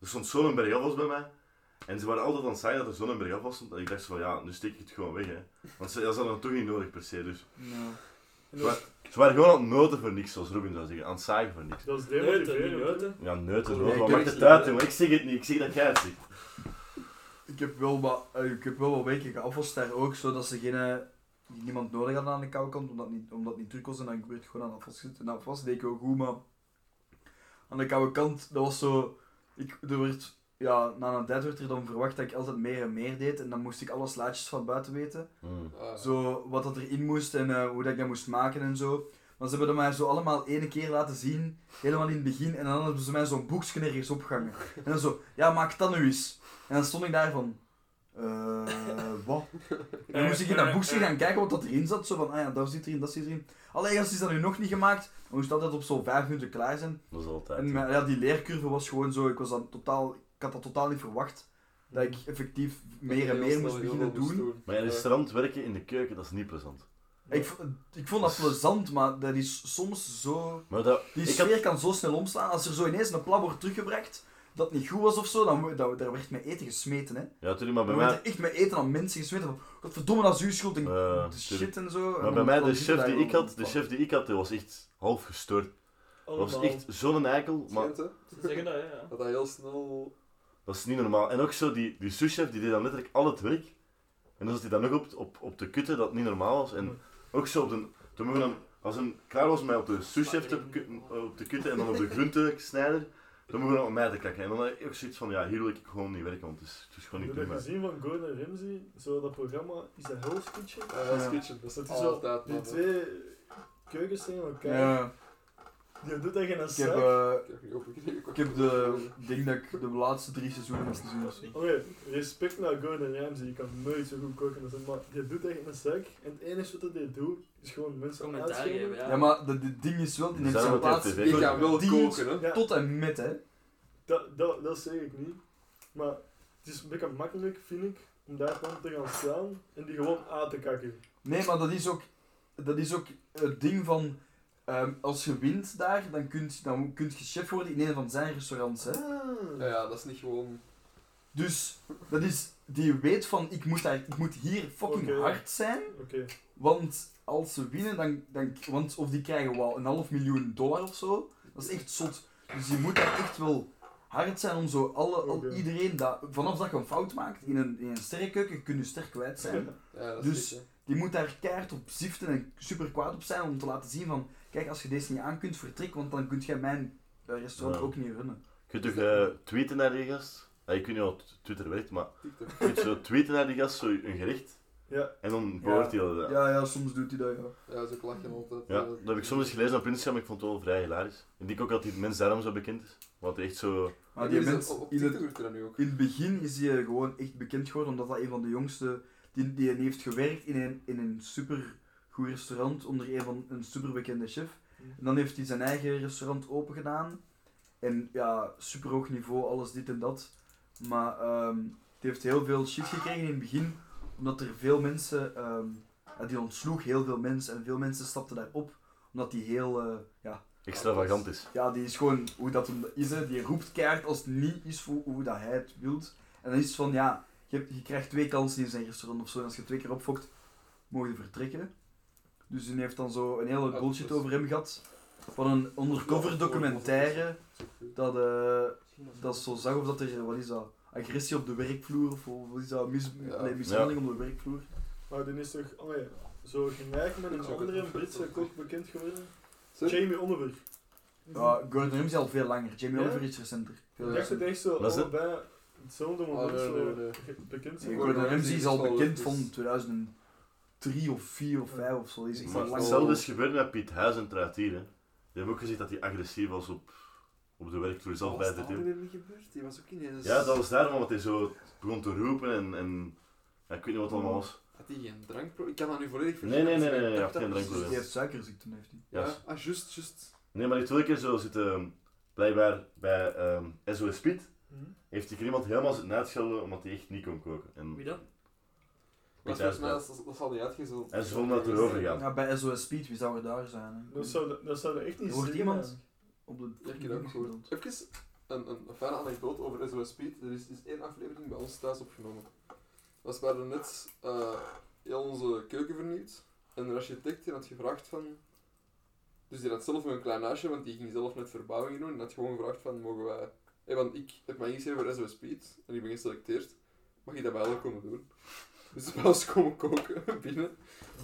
er stond zo'n berg afwas bij mij. En ze waren altijd aan het zeggen dat er zo'n berg afwas stond. En ik dacht zo van ja, nu steek ik het gewoon weg hè. Want ze, dat is dan toch niet nodig per se. Dus Ja. En dat, ze waren gewoon aan het noten voor niks, zoals Robin zou zeggen. Aan het zagen voor niks. dat is Neuten, die demotiverend. hè. neuten. Ja, neuten, Nee, Robin. Wat Oh, ik maakt heb- het uit jongen? Ik zeg het niet, ik zeg dat jij het zegt. Ik heb wel wat, eh, ik heb wel wat weken geafwast daar ook, zodat ze geen, eh, niemand nodig hadden aan de koude kant, omdat niet, omdat het niet druk was en dan werd gewoon aan de afwas gezet. En de afwas deed ik wel goed, maar aan de koude kant, dat was zo, ik, er werd, ja, na een tijd werd er dan verwacht dat ik altijd meer en meer deed en dan moest ik alle slaatjes van buiten weten. Hmm. Ah. Zo, wat dat erin moest en eh, hoe dat ik dat moest maken en zo. Maar ze hebben dat mij zo allemaal ene keer laten zien, helemaal in het begin, en dan hebben ze mij zo'n boekje ergens opgehangen. En dan zo, ja, maak dat nu eens. En dan stond ik daar van, eh, wat? En dan moest ik in dat boekje gaan kijken wat dat erin zat, zo van, ah ja, dat zit erin, dat zit erin. Allee, als is dat nu nog niet gemaakt, dan moest altijd op zo'n vijf minuten klaar zijn. Dat is altijd. En mijn- ja, die leercurve was gewoon zo, ik was dan totaal, ik had dat totaal niet verwacht, dat ik effectief meer en meer moest beginnen doen. Maar in een restaurant werken in de keuken, dat is niet plezant. Ik, vo- ik vond dat plezant, maar dat is soms zo. Maar dat, Die ik sfeer had, kan zo snel omslaan. Als er zo ineens een plab wordt teruggebracht dat niet goed was of zo, dan wo- dat, daar werd met eten gesmeten. Hè. ja, natuurlijk, maar bij Dan mij werd er echt met eten aan mensen gesmeten. Van, Godverdomme, dat is uw schuld. En Ja, de shit en zo. En eh, Maar bij dan- mij, dan de zit chef, daar die gewoon ik had, van, de fuck. chef die ik had, die was echt half gestoord. Dat Allemaal. was echt zo'n eikel, maar Schijnt, hè? Ze zeggen dat, ja, ja. Dat hij heel snel... dat is niet normaal. En ook zo, die, die souschef die deed dan letterlijk al het werk. En dan zat hij dan nog op, op, op de kutten dat het niet normaal was. En ook zo op de... Toen mogen we dan, als een klaar was mij op de souschef te, ku- op de kutten en dan op de groentesnijder, dan mogen we dan op mij te kakken. En dan had ik ook zoiets van, ja, hier wil ik gewoon niet werken, want het is, het is gewoon niet Heb je prima. dat gezien van Gordon Ramsay? Zo dat programma, is dat Hell's Kitchen? Ja, dat is Ja. kitchen. Dat Dat is is zo, eh, altijd, die man. twee keukens tegen elkaar. Ja, Die doet dat in een ik heb, zak. eh, Ik heb niet opgekeken. ik heb de ik denk dat ik de laatste drie seizoenen van het seizoen of zo. Oké, respect naar Gordon Ramsay, die kan nooit zo goed koken als hem, maar die doet echt een zak. En het enige wat hij doet, is gewoon mensen Commentaar uitschelden. geven, ja. Ja, maar dat dit ding is wel, die neemt Zijn zijn we op plaats. TV? Ik ga wel Die koken, hè. Ja, Tot en met, hè. dat, dat, dat zeg ik niet. Maar het is een beetje makkelijk, vind ik, om daar gewoon te gaan staan en die gewoon aan te kakken. Nee, maar dat is ook, dat is ook het ding van... ehm, als je wint daar, dan kun je, dan kun je chef worden in een van zijn restaurants, hè. Ah. Ja, ja, dat is niet gewoon... Dus dat is, die weet van, ik moet, daar, ik moet hier fucking Oké. hard zijn. Oké, Want als ze winnen, dan, dan want, of die krijgen wel een half miljoen dollar of zo. Dat is echt zot. Dus je moet daar echt wel hard zijn om zo alle, al- Oké. iedereen dat, vanaf dat je een fout maakt in een, in een sterrenkeuken, kun je sterk kwijt zijn. Ja, dat Dus- is kitchen. Die moet daar keihard op ziften en super kwaad op zijn om te laten zien van, kijk, als je deze niet aan kunt, vertrek, want dan kun jij mijn eh, restaurant Ja. ook niet runnen. Je kunt toch eh, tweeten naar die gast? Ja, ik weet niet wat Twitter werkt, maar TikTok. je kunt zo tweeten naar die gast, zo een gerecht, ja. en dan beoordelen dat. Ja, ja, soms doet hij dat, ja. Ja, ze lachen altijd. Ja, eh. dat heb ik soms eens gelezen op Instagram, maar ik vond het wel vrij hilarisch. Ik denk ook dat die mens daarom zo bekend is. Want echt zo... Maar die is- mens, Op op in het- TikTok wordt er dat nu ook. In het begin is hij gewoon echt bekend geworden, omdat dat een van de jongste... Die, die heeft gewerkt in een, in een supergoed restaurant onder een van een superbekende chef. En dan heeft hij zijn eigen restaurant opengedaan. En ja, superhoog niveau, alles dit en dat. Maar ehm die heeft heel veel shit gekregen in het begin, omdat er veel mensen... ehm, ja, die ontsloeg heel veel mensen en veel mensen stapten daarop omdat die heel, eh, ja, extravagant is. ja, die is gewoon hoe dat hem is, hè. die roept keihard als het niet is voor hoe dat hij het wilt. En dan is het van, ja, je, hebt- je krijgt twee kansen in zijn restaurant of zo. En als je twee keer opfokt, mogen je vertrekken. Dus die heeft dan zo een hele Ah, bullshit dat is- over hem gehad. Van een undercover documentaire, dat, eh, dat zo zag of dat er, wat is dat, agressie op de werkvloer of wat is dat, mis, Ja. nee, mishandeling op de werkvloer. Maar dan is toch, oh ja, zo gelijk met een Zo andere goed. Britse kok bekend geworden. Zeg, Jamie Oliver. Ja, Gordon Ramsay al veel langer, Jamie Ja? Oliver is recenter. Veel Ja. Ik dacht dat recenter. echt zo Dat is het. allebei hetzelfde moment Ah, nee, zo nee, nee. ge- bekend Nee, Gordon zijn. Gordon Ramsay Ramsay is is al wel- bekend is- van 2003 of 4 of 5 of zo. Die is echt Maar al lang hetzelfde is gebeurd met Piet Huizen trouwens hier. Hè. Die hebben ook gezegd dat hij agressief was op, op de werkvloer zelf bij was de dat team. er niet gebeurd? Die was ook ineens... Ja, dat was daarom, want hij zo begon te roepen en... en ja, ik weet niet wat het allemaal was. Had hij geen drankprobleem? Ik kan dat nu volledig Nee, nee, nee, nee, nee, hij had geen Dat- dat- drankprobleem. Die heeft suikerziekte, heeft hij. Ja. Ja, ah, juist, juist. Nee, maar die twee keer zo zitten, ehm, blijkbaar bij ehm, SOS Piet, Hm? heeft hij iemand helemaal zitten uitschelden omdat hij echt niet kon koken. En, Wie dan? Maar volgens mij, dat, dat zal niet uitgezond. en ze vonden dat erover gaan. Ja, bij SOS Speed, wie zou er daar zijn? hè? Dat zou, dat zou echt niet Er wordt zeggen, iemand- eigenlijk. Op de Ja, ik heb dat ook gehoord. Even een, een, een fijne anekdote over SOS Speed. Er is, is één aflevering bij ons thuis opgenomen. Dat we hadden net eh, heel onze keuken vernieuwd. En de architect die had gevraagd van... Dus die had zelf nog een klein huisje, want die ging zelf net verbouwingen doen. En had gewoon gevraagd van, mogen wij... Hey, want ik heb mij ingeschreven voor SOS Speed. En ik ben geselecteerd. Mag ik dat bij jullie komen doen? Dus bij ons komen koken binnen.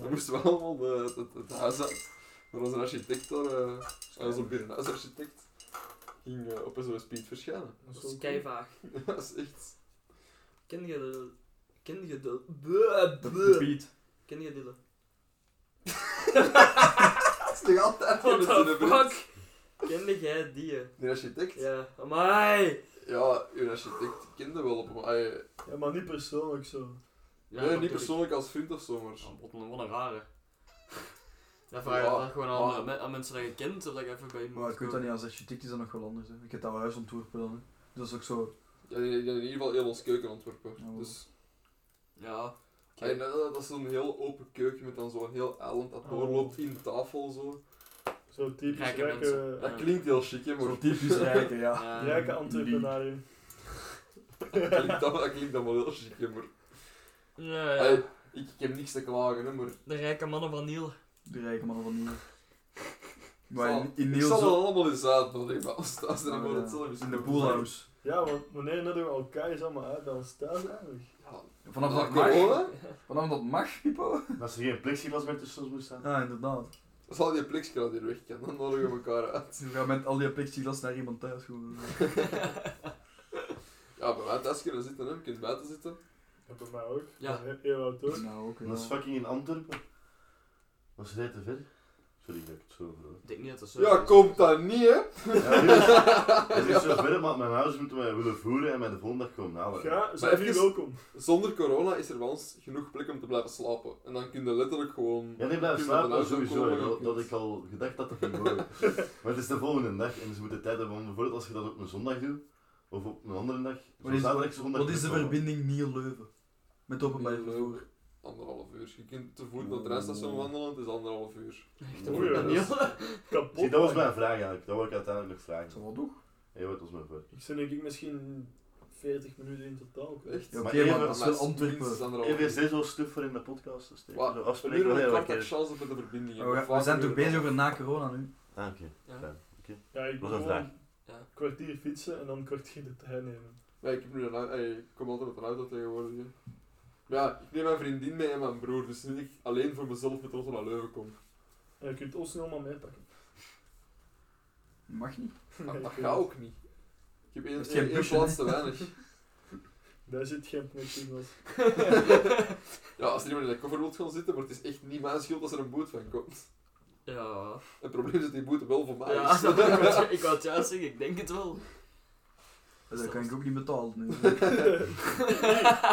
We moesten wel allemaal de, de, het huis uit. Maar onze architect daar, eh, onze binnenhuisarchitect, ging eh, op SOS Speed verschijnen. Dat wel is cool. keivaag. dat is echt... Ken je de... Ken je de... Bleh, De, bleh. Piet. Ken je die? Dat is nog altijd What in het the zinnenbeeld. fuck? Kende jij die? Die architect? Ja. Ja, amai! uw architect kende wel op hem. Ah, eh, Ja, maar niet persoonlijk zo. nee, niet persoonlijk als vriend of zo, maar... Wat een, wat een rare. Dat vraag je Ja, dan gewoon maar- aan, andere me- aan mensen dat je kent, of dat je even bij iemand Maar ik weet komt. dat niet, als architect is dat nog wel anders. Hè. Ik heb dat huis ontworpen dan. Hè. Dus dat is ook zo. Ja, die, die had in ieder geval heel ons keuken ontworpen. Ja, wel. dus... Ja. ah, en dat, dat is zo'n heel open keuken met dan zo'n heel eiland dat Oh. doorloopt in de tafel zo. Zo typisch Rijke rijke, mensen. Dat klinkt heel chic, hè, maar... Zo typisch rijken, ja. Ja. rijke Ehm, entreprenariën. dat, klinkt, dan- dat klinkt dan wel heel chic, hè, maar... Ja, ja. Allee, ik, ik heb niks te klagen, hè, maar De rijke mannen van Niel. De rijke mannen van hier. Maar Zal- in, in Ik Niels... zal het allemaal eens uitnodigen, maar als thuis dan Ah, wordt het ja. zelf eens In de doen. poolhouse. Ja, want wanneer nodigen we elkaar eens allemaal uit bij ons thuis eigenlijk? Vanaf Na dat mag. corona Vanaf dat mag, Pipo? Dat er geen plexiglas meer tussen ons moet staan. Ja, inderdaad. zal die plexiglas hier weg kunnen, dan nodigen we elkaar uit. We gaan met al die plexiglas naar iemand thuis gewoon. Ja, bij mij thuis kunnen zitten, hè. je kunt buiten zitten. En bij mij ook. Ja. Bij Ewout ook. Nou, ook En dat is fucking in Antwerpen. Was jij te ver? Sorry dat ik het zo over Ik denk niet dat dat zo Ja, is. komt dat niet, hè? Ja, dit is- Het is zo ver, maar mijn ouders moeten mij willen voeren en mij de volgende dag komen halen. Ja, zijn jullie even- welkom. Zonder corona is er bij ons genoeg plek om te blijven slapen. En dan kun je letterlijk gewoon... Ja, nee, blijf kun je slapen, vanuit sowieso. komen, hè. Dat, je dat kunt- ik al gedacht dat dat ging worden. maar het is de volgende dag en ze moeten tijd hebben om bijvoorbeeld als je dat op een zondag doet, of op een andere dag. zo Wat is- zaterdag, zondag, Wat is de terugkomen. verbinding Niel-Leuven? Met openbaar vervoer. Anderhalf uur. Je kunt te voet naar het treinstation wandelen, het is anderhalf uur. Echt Oei, een goeie, dat Daniel. is- Kapot. Zie, dat was mijn vraag eigenlijk. Dat wil ik uiteindelijk nog Zo vragen. wat toch? Hé, wat was mijn vraag? Ik zit denk ik misschien 40 minuten in totaal. ik weet Echt? Ja, Maar Oké, even- maar dat is Maar wel Antwerpen. minstens anderhalf uur. EVSD zo'n stuf voor in de podcast. Dus ik Wat? zo We afspreken hebben een wanneer kwart ik dat er- chance op de verbinding. hè. Oh, We, Vaak zijn toch uur. bezig over na corona nu? Ah, oké. Ja. fijn. Ja, ik Dat moet was een vraag. gewoon een kwartier fietsen en dan een kwartier de trein nemen. Ja, ik, heb nu een, au- ey, ik kom altijd met een auto tegenwoordig. hè. Maar ja, ik neem mijn vriendin mee en mijn broer, dus nu dat ik alleen voor mezelf met Otto naar Leuven kom. En je kunt ons snel maar meepakken. Mag niet. Ah, Dat, Nee, dat ik eh, weet gaat het. ook niet. Ik heb één, Dat is één, geen één busje, plaats hè. te weinig. Daar zit geen connectie Ja, als er iemand in de koffer wilt gaan zitten, maar het is echt niet mijn schuld als er een boot van komt. Ja. Het probleem is dat die boete wel voor mij Ja, is. ik wou het- ik wou het juist zeggen, ik denk het wel. Dat kan ik ook niet betalen nu. was.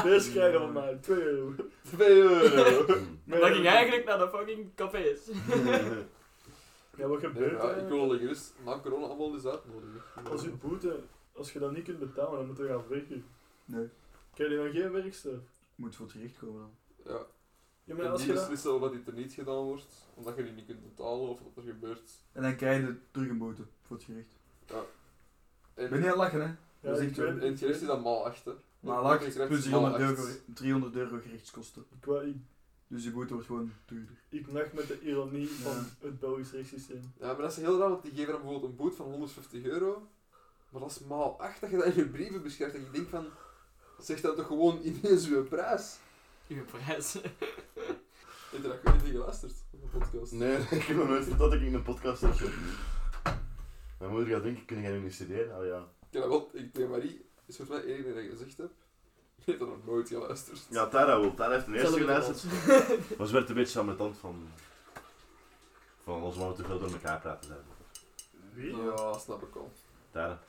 Deze krijgen van mij 2 euro. 2 euro. Hmm. Maar dat ging eigenlijk naar de fucking cafés. Ja, wat Nee, gebeurt ja, er? ik wil alleen gerust na corona allemaal eens uitnodigen. Als je boete, als je dat niet kunt betalen, dan moet je gaan vliegen. Nee, Krijg je dan geen werkster? moet voor terecht komen dan. Ja, Ja, maar en als die je dat... beslissen of dat dit er niet gedaan wordt, omdat je die niet kunt betalen of wat er gebeurt. En dan krijg je terug een boete voor het gerecht. En, Ik ben niet aan het lachen hè? Ja, Dat is ik, echt weet- en het gerust is dan maal 8, hè. Maar Dan lacht, krijg je plus maal 300 acht. euro, 300 euro gerechtskosten. ik, wou- ik, Dus die boete wordt gewoon duurder. ik lach met de ironie Ja. van het Belgisch rechtssysteem. Ja, maar dat is heel raar, want die geven dan bijvoorbeeld een boete van 150 euro. Maar dat is maal 8 dat je dat in je brieven beschrijft. Dat je denkt van, zeg dan toch gewoon ineens uw prijs. Uw prijs. Heb je dat goed niet geluisterd op de podcast? Nee, ik heb nog nooit verteld dat ik in een podcast heb gezeten. Mijn moeder gaat denken, kun jij nu niet studeren? Ah ja. Ik heb dat wel, ik, tegen Marie, is volgens mij één ding dat ik gezegd heb. Ik heb dat nog nooit geluisterd. Ja, Tara wil. Tara heeft een eerste Zelfde geluisterd. Maar ze werd een beetje aan de tand van... Van ons maar te veel door elkaar praten zijn. Wie? Ja, Ah, snap ik al. Tara.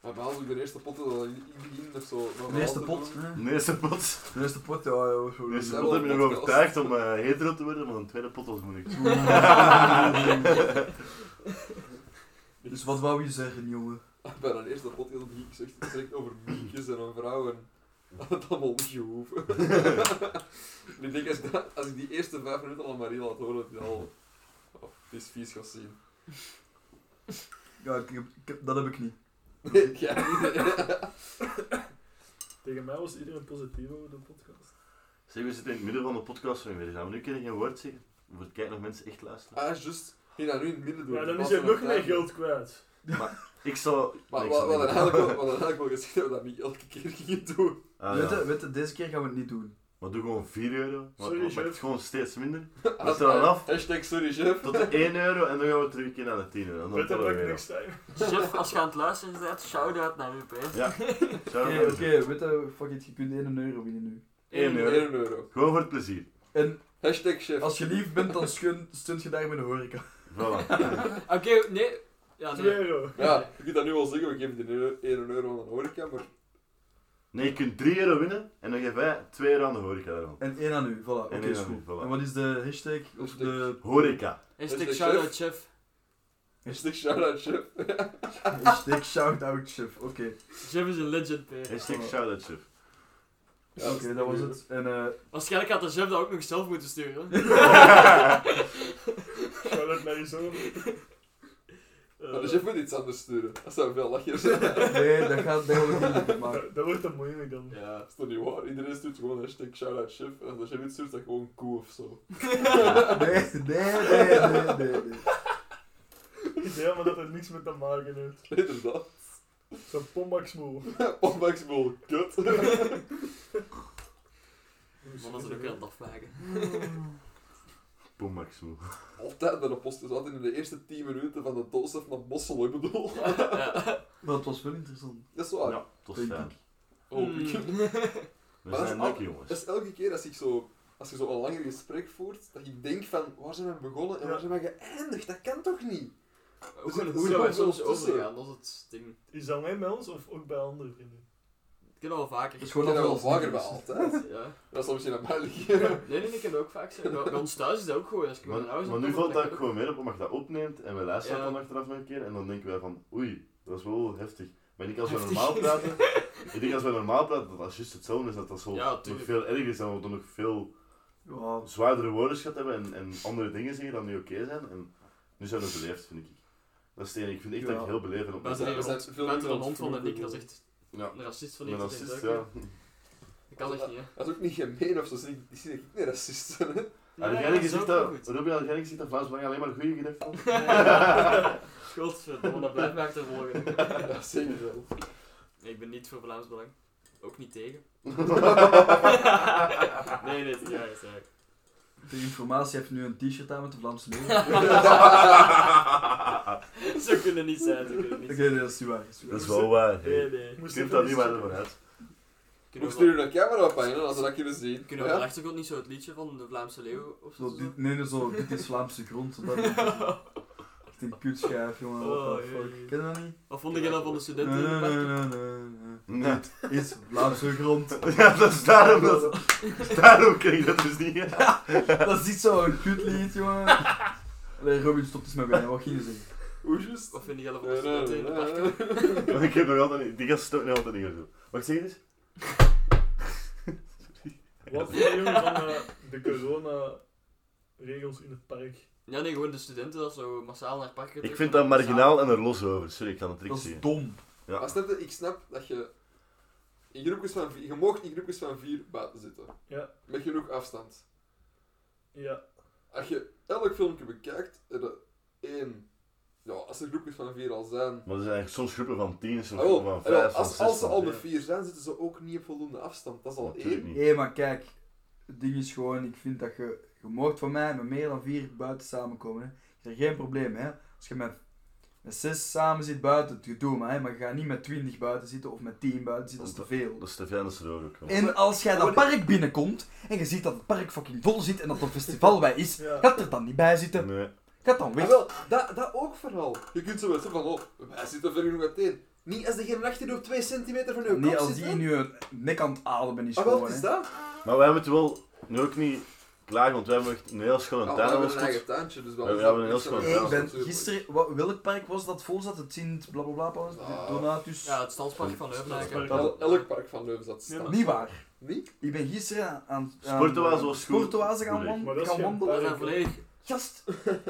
Maar bij ons ook de eerste pot dat ik begin of zo. De eerste pot, hè? De eerste pot. De eerste pot, ja, ja, was De zo. eerste pot heb je nog overtuigd om eh, hetero te worden, maar een tweede pot was moeilijk. Dus wat wou je zeggen, jongen? Bij de eerste pot heel ik gezegd, het direct over miekjes en een vrouw en dat had allemaal niet gehoeven. En ik denk, als, dat- als ik die eerste vijf minuten al aan Marie laat horen, dat hij al... Oh, het is vies gaat zien. Ja, ik heb- ik heb- dat heb ik niet. Nee, ja, niet. Tegen mij was iedereen positief over de podcast. Zeg, we zitten in het midden van de podcast van weer. Gaan we nu kunnen geen woord zeggen? Voor het kijken of mensen echt luisteren. Ah, juist. Ging dat nu in het midden doen. Ja, dan is Pas je aan nog het meer einde. geld kwijt. Ik zal... Maar nee, we ik zal hadden niet. eigenlijk wel- we hadden eigenlijk wel gezegd dat we dat niet elke keer gingen doen. Ah, weet, ja. je, weet je, deze keer gaan we het niet doen. Maar doe gewoon 4 euro. Maar Sorry, maakt chef. het gewoon steeds minder. Als- er dan af? Hashtag sorry chef. Tot de 1 euro en dan gaan we terug een keer naar de 10 euro. En dan Better tellen we luck weer next time. Chef, als je aan het luisteren bent, shout-out naar uw prijs. Ja. af. Zou Oké, dat oké, wel doen? weet je, fuck it, je kunt 1 euro winnen nu. 1 euro. 1 euro. Gewoon voor het plezier. En Hashtag chef. als je lief bent, dan schun- stunt je daar met een horeca. Voilà. Oké, nee. Ah, Ja, 2 nee. euro. Ja, je kunt dat nu wel zeggen, we geven die 1 euro aan de horeca, maar Nee, je kunt 3 euro winnen en dan geef wij 2 euro aan de horeca daarvan. En 1 aan u, voilà. Oké, één is aan u, goed. voilà. En wat is de hashtag? Of Hashtag- de... Horeca. Hashtag Hashtag shout-out chef. hashtag shout-out chef. Hashtag shout-out chef, oké. Chef is een legend, P. Hashtag Voilà. shout-out chef. Oké, dat was het. En eh, Waarschijnlijk had de chef dat ook nog zelf moeten sturen. Shout out naar je zoon. Eh, Maar de chef moet iets anders sturen. Dat zou veel lachen zijn. nee, dat gaat dat gaat ook niet lukken, maar... Dat, dat wordt dan moeilijk dan. Ja, dat is toch niet waar? Iedereen stuurt gewoon hashtag shout-out chef. En als de chef iets stuurt, is dat gewoon koe of zo. Nee, nee, nee, nee, nee. nee. maar dat er niks mee te maken heeft. Inderdaad. Zo'n pombaksmoel. Opmaksbol, kut. Mannen zijn ook weer aan het afmaken. Boom, Maximo. Altijd naar de post. Dus altijd in de eerste 10 minuten van de doosaf naar Bossel, ik bedoel. Ja, ja. Maar het was wel interessant. Dat is waar. Ja, tot Denk fijn. Oh, Hmm. ik- We Maar dat is zijn al- lekker, jongens. Dat is elke keer als ik zo, als je zo een langer gesprek voert, dat ik denk van waar zijn we begonnen en Ja. waar zijn we geëindigd? Dat kan toch niet? Ook zitten gewoon zo hoe dat wij veel soms tussen. overgaan, dat is het ding. Is dat alleen bij ons of ook bij andere vrienden? Ik ken dat wel vaker. Dat is Ik gewoon heb dat wel dat we vaker bij ons niet altijd. Ja. Dat is misschien naar België. Nee, nee, ik ken dat ook vaak. zeggen. Bij, bij ons thuis is dat ook gewoon. Als ik Maar, mijn ouders maar heb, nu dan valt dat kan ik gewoon meer op omdat je dat opneemt en we luisteren Ja. dan achteraf nog een keer en dan denken wij van oei, dat is wel heftig. Maar ik denk als we Heftig. normaal praten, ik denk als we normaal praten dat dat juist hetzelfde is, dat dat zo Ja, nog tuurlijk. veel erger is en we dan nog veel Ja, zwaardere woordenschat hebben en, en andere dingen zeggen dan nu oké zijn. En nu zijn we beleefd, vind ik. Dat is het enige. Ik vind echt dat Ja. ik heel beleefd op Wij zijn mezelf. We hier rond. zijn veel Wij meer zijn dan hond van de vroeger. Nick, dat is echt Ja, een racist van ik ben iets. racist, ja. Dat kan echt niet, hè. Dat is ook niet gemeen of zo. Ze zien- Die zien dat ik niet racist ben. hè. Had jij dat niet is gezegd ook wel dat, goed. Robin, had jij niet gezegd dat Vlaams Belang alleen maar goede gedachten had? Godverdomme, dat blijft mij achtervolgen. Ja, zeker wel. Nee, ik ben niet voor Vlaams Belang. Ook niet tegen. nee, nee, het is raar, het is raar. ter informatie heeft nu een t-shirt aan met de Vlaamse leeuw. Zo kunnen niet zijn, zo kunnen niet Oké, zijn. nee, dat is niet waar. Dat is niet waar. Dat is wel eh, waar. hè. Nee, nee. Ik Ik moest neem even dat niet iets waar checken. voor uit. Hoe Kunnen we, stuur je een camera op aan je, als ze dat kunnen zien? kunnen we Ja. op de achtergrond niet zo het liedje van de Vlaamse Leeuw of zo? Zo, dit, nee, nee, zo, dit is Vlaamse grond. zo, Dat is echt een kutschijf, jongen. What the Oh, jee, jee. fuck. Ken je dat niet? Wat vond je dan van de Nee, studenten in nee, de nee, parken? nee, nee, nee. Nee. Is Vlaamse grond. Ja, dat is daarom dat... dat is Daarom kreeg ik dat dus niet. Dat is niet zo'n kutlied, jongen. Nee, Robin, stop eens met mij. Wat ging je zeggen? Hoe juist? Wat vind jij van de studenten in de parken? Maar ik heb nog altijd niet... Die gast stoot nog altijd niet zo. Wat zeg je dus? Wat vinden jullie van eh, de corona-regels in het park? Ja, nee, gewoon de studenten dat zo massaal naar parken Ik vind dat marginaal en er los over. Sorry, ik kan het Dat trick is zien. dom. Ja. Maar snap je, ik snap dat je in groepjes van vier, je mocht in groepjes van vier buiten zitten. Ja. Met genoeg afstand. Ja, Als je elk filmpje bekijkt, er één. Ja, als er groepjes van vier al zijn. Maar er zijn eigenlijk soms groepen van 10, soms Ah, wel, groepen van ah, wel, 5, van als, 6. als ze al met vier zijn, zitten ze ook niet op voldoende afstand. Dat is al Natuurlijk één. niet. Hé, maar kijk. Het ding is gewoon, ik vind dat je... Je mocht van mij met meer dan vier buiten samenkomen. Hè. Is er geen probleem, hè. Als je met, met zes samen zit buiten, het gedoe maar, hè. Maar je gaat niet met twintig buiten zitten of met tien buiten zitten. Dat is te veel. Dat is te fijn dat ze er ook komen. En als jij dat park binnenkomt en je ziet dat het park fucking vol zit en dat er festival bij is, Ja. gaat er dan niet bij zitten. Nee. Gaat dan Ah, weg. wel, dat, dat ook verhaal. Je kunt zo wel zeggen van, oh, wij zitten ver genoeg uiteen. Niet als degene achter je op twee centimeter van je Nee, kop als zit, die hè. in je nek aan het ademen is Ah, wel, gewoon, het hè. is dat. Maar wij moeten wel... Nu ook niet klagen, want wij hebben echt een heel schone Ah, we tuin aan hebben ons een kot. eigen tuintje, dus wel. We hebben een heel schoon Nee, ik ben Natuurlijk. gisteren, wa- welk park was dat vol zat? Het Sint blablabla Palace, Ah. Donatus. Ja, het stadspark van Leuvenhaken. El- Elk park van Leuven zat Ja, staan. maar- Niet waar. Niet? Ik ben gisteren aan- aan aan- Sportoase was goed. Sportoase gaan, wan- Maar dat is gaan geen wandelen. Dat zijn volledig... Gast,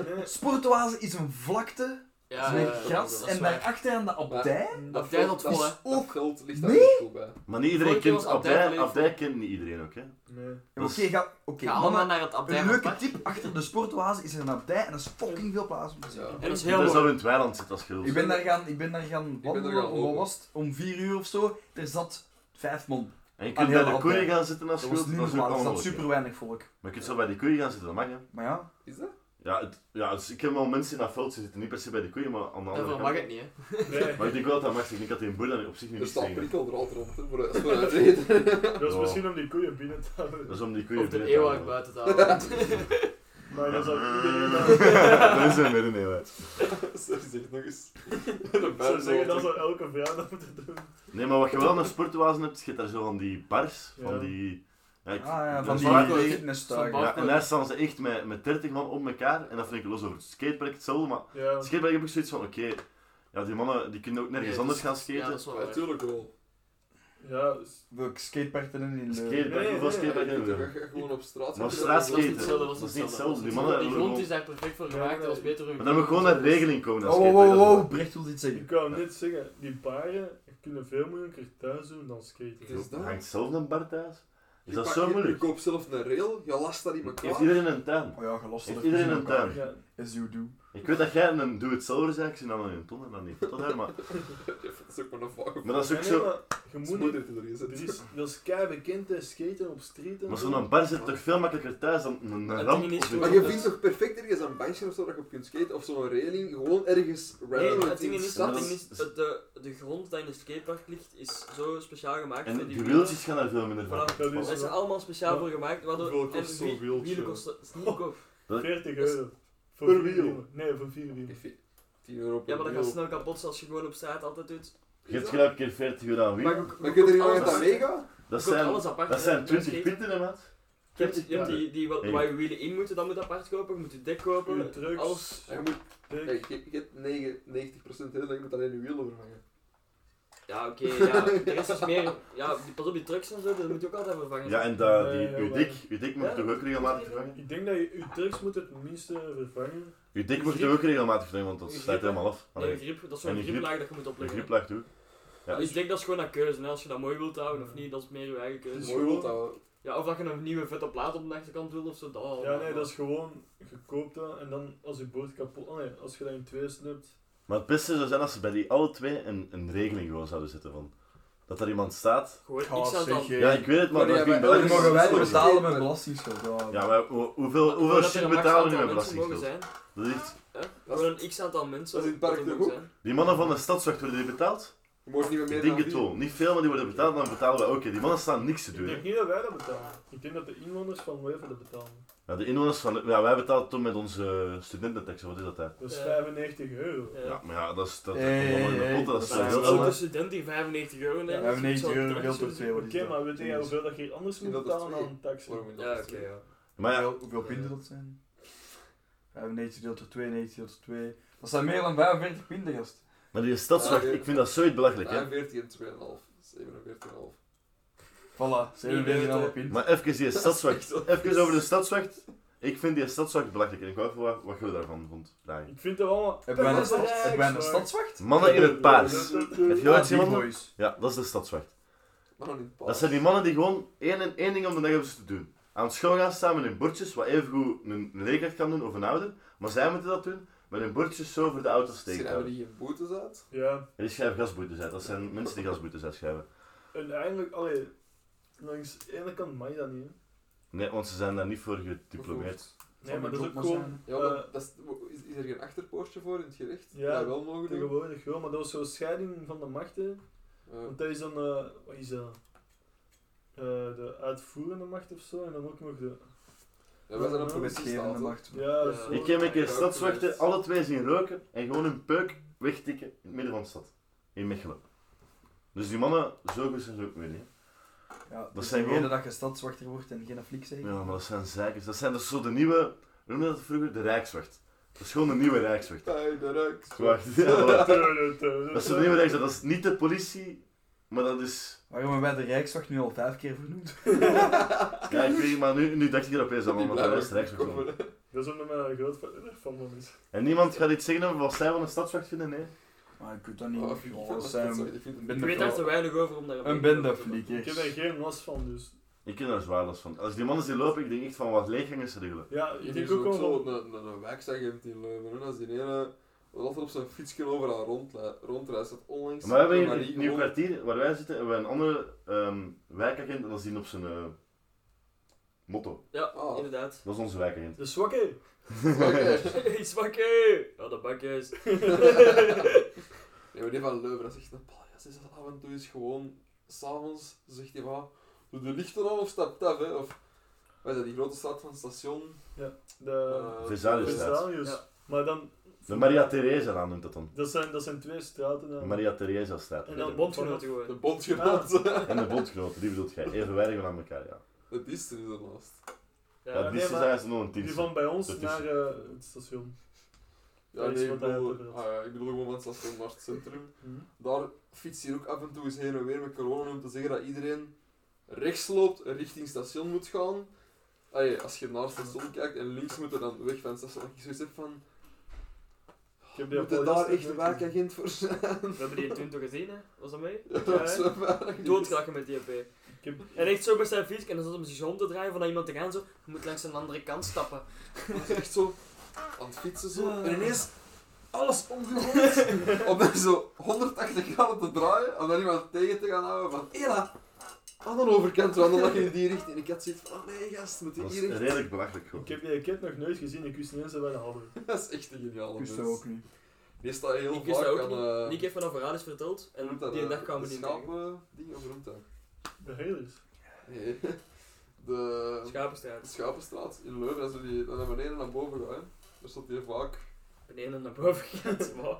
nee. Sportoase is een vlakte Ja, met ja, ja, gras dat is en waar. daarachter aan de abdij. Dat tijd veld- tot vol, hè. dat Ook- veld ligt daar niet goed bij. Maar niet iedereen Vorige keer kent... was Abdij Abdij, volledig Abdij kent niet iedereen ook, hè. Nee. Oké, Dus ga, oké, Ga mannen, allemaal naar het abdij Een van het leuke park. tip, achter de sportoase is er een abdij en dat is fucking veel plaats om te zien. Ja. En dat is Dat heel is al mooi. in het weiland zit als gul. Ik ben daar gaan, ik ben daar gaan daar wandelen, gaan om, lopen. wat was het? om vier uur of zo. Er zat vijf man. En Aan je kunt bij heel de de koeien Alpen. gaan zitten als Dat was gul. niet Dat is ook normaal, er allemaal zat oké. super weinig volk. Maar je kunt zo bij de koeien gaan zitten, dat mag, hè. Maar ja, Is dat? Ja, het, ja dus ik heb wel mensen in dat veld die zitten, niet per se bij de koeien, maar aan de andere Daarvoor kant. mag het niet, hè. nee. Maar ik denk wel dat dat mag, ik denk dat die een boer daar op zich niet Er is staat tegen. prikkel er altijd rond, hè, voor dat is voor een reden. Dat is Ja. misschien om die koeien binnen te houden. Dat is om die koeien Of de binnen te eeuwig houden. buiten te houden. Maar dat zou iedereen Dat is een midden, nee, wat. Sorry, zeg nog eens. Ik zou zeggen dat zou elke vrijdag moeten doen. Nee, maar wat je wel naar sportwazen hebt, is je hebt daar zo van die bars, van Ja. die... Ja, ik- ah, ja dat van is die waar. Marco- fitnesstuigen. Van Ja, en daar staan ze echt met, met 30 man op elkaar, en dat vind ik los over het skatepark hetzelfde, maar Ja. het skatepark heb ik zoiets van, oké, ja, die mannen, die kunnen ook nergens Nee, anders dus- gaan Ja, skaten. dat is wel waar. Natuurlijk wel. Ja, dus- Welk skatepark er in de... Skatepark, Nee, hoeveel nee, skatepark Je hebben we? gaat gewoon op straat Maar op zitten. Dat straat is niet skaten, hetzelfde, dat dat is is niet niet hetzelfde. hetzelfde. Dat Die is mannen Die hebben grond gewoon- is daar perfect voor dus- Ja, gemaakt, dat was nee. beter Maar dan moet je gewoon naar regeling komen, dat Oh, wow, wow, skatepark, dat is waar. wow, Brecht wil iets ik zeggen. wou net zeggen, die paren kunnen veel moeilijker thuis doen dan skaten. Het is dat. Hangt zelf een bar thuis? Is Je dat pakt- zo je- moeilijk? Je koopt zelf een rail, je last dat in Heeft elkaar. iedereen een tuin? Oh ja, gelast Heeft iedereen een tuin? Ja. As you do. Ik weet dat jij een do-it-selfer bent, ik zie dan een ton en dan niet. Tot daar, maar, Dat is ook maar een vage maar dat is ook Nee, zo... maar je moet niet- moeder te erin Dat is, dat is kei bekend, hè, skaten op street en Maar zo. zo'n bar zit toch veel makkelijker thuis dan een- een Het ramp ding is of gewoon- Maar een- je vindt toch perfect ergens een bankje of zo dat je op kunt skaten of zo'n railing, gewoon ergens Nee, random het in ding de is, stad. het ding is dat de, de grond die in het skatepark ligt, is zo speciaal gemaakt voor die En die wielen. wieltjes gaan daar veel minder van. Voilà. Dat is- Daar zijn allemaal speciaal Ja. voor gemaakt, waardoor... Hoeveel en kost zo'n wie- wieltje? Wielen kosten is niet goedkoop. 40 Dat is- euro. Voor Per vier wiel. wielen. Nee, voor vier wielen. 10 euro per Ja, maar dat gaat wiel. snel kapot als je gewoon op straat altijd doet. Je hebt elke keer 40 euro aan Maar wiel. je koopt- Maar kun je koopt er niet aan alles dat apart. mega? Dat Je koopt zijn, alles apart, dat hè, zijn bij 20 skaten. pinten, hè, maat. Je hebt, je hebt Ja. die, die wel- Hey. waar je wielen in moeten, dat moet apart kopen. Je moet je dek kopen. Goeie trucks. Alles. Ja, je, moet, Kijk, ja, je, je hebt 9, 90% heel, je moet alleen je wiel overhangen. Ja, oké. ja. De rest is meer... Ja, die- pas op die trucks en zo, dat moet je ook altijd vervangen. Ja, en dat, die, Nee, heel uw weinig. dik, uw dik wordt Ja. toch ook regelmatig vervangen? Ik denk dat je je trucks moet het minste vervangen. Uw dik wordt Griep. toch ook regelmatig vervangen, want dat Griep, sluit hè? helemaal af. Nee, Allee, een grip, dat is zo'n En een grip- grieplaag dat je moet Een opleggen. hè. grieplaag toe. Ja. Dus ik denk dat is gewoon een keuze. hè. Als je dat mooi wilt houden of niet, dat is meer je eigen Dus keuze. is Mooi gewoon- wilt houden. Ja, of dat je een nieuwe vette plaat op de achterkant wil of zo. Dat, Ja, nee, dat is gewoon gekoopt dat en dan als je boord kapot. Oh nee, als je dat in twee snipt. Maar het beste zou zijn als ze bij die alle twee een, een regeling gewoon zouden zetten van... Dat er iemand staat. Gewoon Ah, niks aan zeg, dan. je. Ja, ik weet het, maar dat Maar ja, vind ik maar Dat belangrijk. elke mogen morgen- wij Sorry. betalen met belastingschuld. Ja. Ja, maar hoe- hoeveel, Gewoon hoeveel dat er shit een max betalen we aantal met mensen mogen belastingschuld? zijn. Dat is echt... hè. Gewoon een x-aantal mensen. dat is in het park er toch mogen ook? zijn. Die mannen van de stadswacht worden die betaald? Je mag niet meer Ik meer denk dan het vier. wel. Niet veel, maar die worden betaald, dan betalen we. Oké, die mannen staan niks te Ik doen. hè. denk niet dat wij dat betalen. Ik denk dat de inwoners van Wever dat betalen. Ja, de inwoners van... Ja, wij betalen toen met onze studententaxen, wat is dat daar? Dat is Ja. 95 euro. Ja, maar ja, dat is... Dat Hey, komt allemaal in de hey, pot, dat is dat toch is heel wel- snel. Elke student die 95 euro neemt. Ja, dat is 95 zo'n euro trucje. deelt door twee, Oké, wat is dat? maar weet jij hoeveel dat je hier anders Ik moet denk dat dat betalen twee. aan taxen? Waarom moet Ja, dat oké, twee? ja. Maar ja, Hoeveel, hoeveel pinten dat zijn? 95 deelt door 2, 90 deelt door 2. Dat zijn meer dan 45 pinten, gast. maar die stadswacht, ik vind dat zoiets belachelijk, hè. 42 en 2,5. 47,5. Voilà, Nee, 47 nee, alle nee. pinten. Maar even die stadswacht. Even over de stadswacht. Ik vind die stadswacht belachelijk en ik wou even wat, wat je daarvan vond. vragen. Ik vind dat allemaal. Hebben wij een Dat is stads- een hebben wij een rijkswacht. stadswacht? Mannen in het paars. Heb je ooit Ah, zien Big mannen? Boys. Ja, dat is de stadswacht. Maar dan in het Dat zijn die mannen die gewoon één, en één ding om de dag hebben ze te doen. Aan school gaan staan met hun bordjes, wat evengoed een leerkracht kan doen of een ouder. Maar zij moeten dat doen, met hun bordjes zo voor de auto steken. te Schrijven houden. die geen boetes uit? Ja, En die schrijven gasboetes uit. Dat zijn mensen die gasboetes uitschrijven. en eigenlijk, allee, langs de ene kant mag je dat niet. Hè. Nee, want ze zijn daar niet voor gediplomeerd. Of- Nee, maar Van dat is de ook job gewoon. zijn. Ja, maar eh, dat is, is, is er geen achterpoortje voor in het gerecht? Ja, Ja, wel mogen doen. Tegenwoordig wel, maar dat was zo'n scheiding van de machten. Ja. Want dat is dan, eh, wat is dat? Eh, de uitvoerende macht of zo, en dan ook nog de. Ja, wij zijn een Ja, politiestaat. Wetgevende hè. macht. Ja, Ja. zo. Ik heb een keer Ja, ook stadswachten, geweest. alle twee zien roken en gewoon hun peuk wegtikken in het midden van de stad. In Mechelen. Dus die mannen, zo goed zijn ze ook weer niet. Ja, dat zijn zijn gewoon... gewoon- dat je stadswachter wordt en geen flik hè. zegt. Ja, maar dat zijn zeikers. Dat zijn dus zo de nieuwe, hoe noemde dat vroeger? De Rijkswacht. Dat is gewoon de nieuwe Rijkswacht. Bij de Rijks. Wacht, ja, Dat voilà. Dat is de nieuwe Rijkswacht. Dat is niet de politie, maar dat is... Waarom hebben wij de Rijkswacht nu al vijf keer vernoemd? Ja, ik weet niet, maar nu, nu dacht ik er opeens aan, Die want dat was de blijven Rijkswacht. komen, hè. Dat is omdat mijn groot van me is. En niemand gaat iets zeggen over wat zij van een stadswacht vinden, nee. Maar ik weet dat niet. Oh, ik vind Ja, dat- dat zijn sorry, ik vind het- ben Ik weet daar te weinig over om daar een mening bende over te hebben. Ik heb er geen last van, dus. Ik ken daar zwaar last van. Als die mannen zien lopen, ik denk echt van wat leeggangers regelen. Ja, Je ik is denk ook ook zo wel. een, een, een wijkagent in Leuven, hè. als die ene altijd op zijn fietsje overal rondla- rondreist. Dat onlangs... Maar we hebben hier Maar in die het nieuw gewoon- kwartier, waar wij zitten, hebben we een andere ehm, wijkagent en dat is die op zijn eh, motto. Ja, Ah. inderdaad. Dat is onze wijkagent. De zwakke! Oké. Iets wakker! Ja, de bakjes. Nee, maar die van Leuven, dat is echt een paljas. Is dat af en toe is gewoon, s'avonds zegt hij van, doe de lichten aan of stapt af, hè. Of, wij zijn die grote stad van het station. De. eh, Vesalius. Vesalius. Vesalius. Ja. Maar dan. De Maria Theresa aan noemt dat dan. Dat zijn, dat zijn twee straten. eh. Ah, De dan. Maria Theresa staat. En De dan- bondgenoten De gewoon. Ah. bondgenoot. En de bondgenoten, die bedoelt jij. Even weinig van aan elkaar, ja. De disten is er naast. Ja, Ja, die nee, is maar- eigenlijk nog een Die tienste. van bij ons Dat is- naar eh, het station. Ja, Dat is nee, ik wat hij bedoel, bedoelt. ah ja, ik bedoel gewoon van het station naar het centrum. Hm. Daar fietst hier ook af en toe eens heen en weer met corona om te zeggen dat iedereen rechts loopt en richting station moet gaan. Allee, als je naar het station kijkt en links moet er dan weg van het station. Ik zoiets heb van, Ik heb die moet er al daar eerst echt gezien. een wijkagent voor zijn? We hebben die toen toch gezien, hè? Was dat mee? Ja, Ja, dat is wel waar. Doodkraken met die EP. Ik heb- En echt zo met zijn fiets en dan zat hem zich om te draaien van naar iemand te gaan zo. Je moet langs een andere kant stappen. Dat is echt zo. aan het fietsen zo. En ineens alles omgegooid. om dan zo 180 graden te draaien. Om dan iemand tegen te gaan houden van Ela, aan de overkant wandelen je in die richting. En ik had zoiets van, oh nee gast, moet je Dat is hier richting. redelijk belachelijk gewoon. Ik heb die ket nog nooit gezien, ik wist niet eens dat wij een hadden. Dat is echt een geniale eh, Ik wist dat mens. ook niet. Die staat heel Ik vaak wist dat ook aan... eh, niet. Nick heeft me dat verhaal eens verteld hoe en noemt dat, die eh, dag kwamen we de niet tegen. schapen ding of hoe noemt dat? De Helers. Nee. De Schapenstraat. Schapenstraat in Leuven, als we die naar beneden en naar boven gaan, daar stond hier vaak Beneden en naar boven gaat. Wow.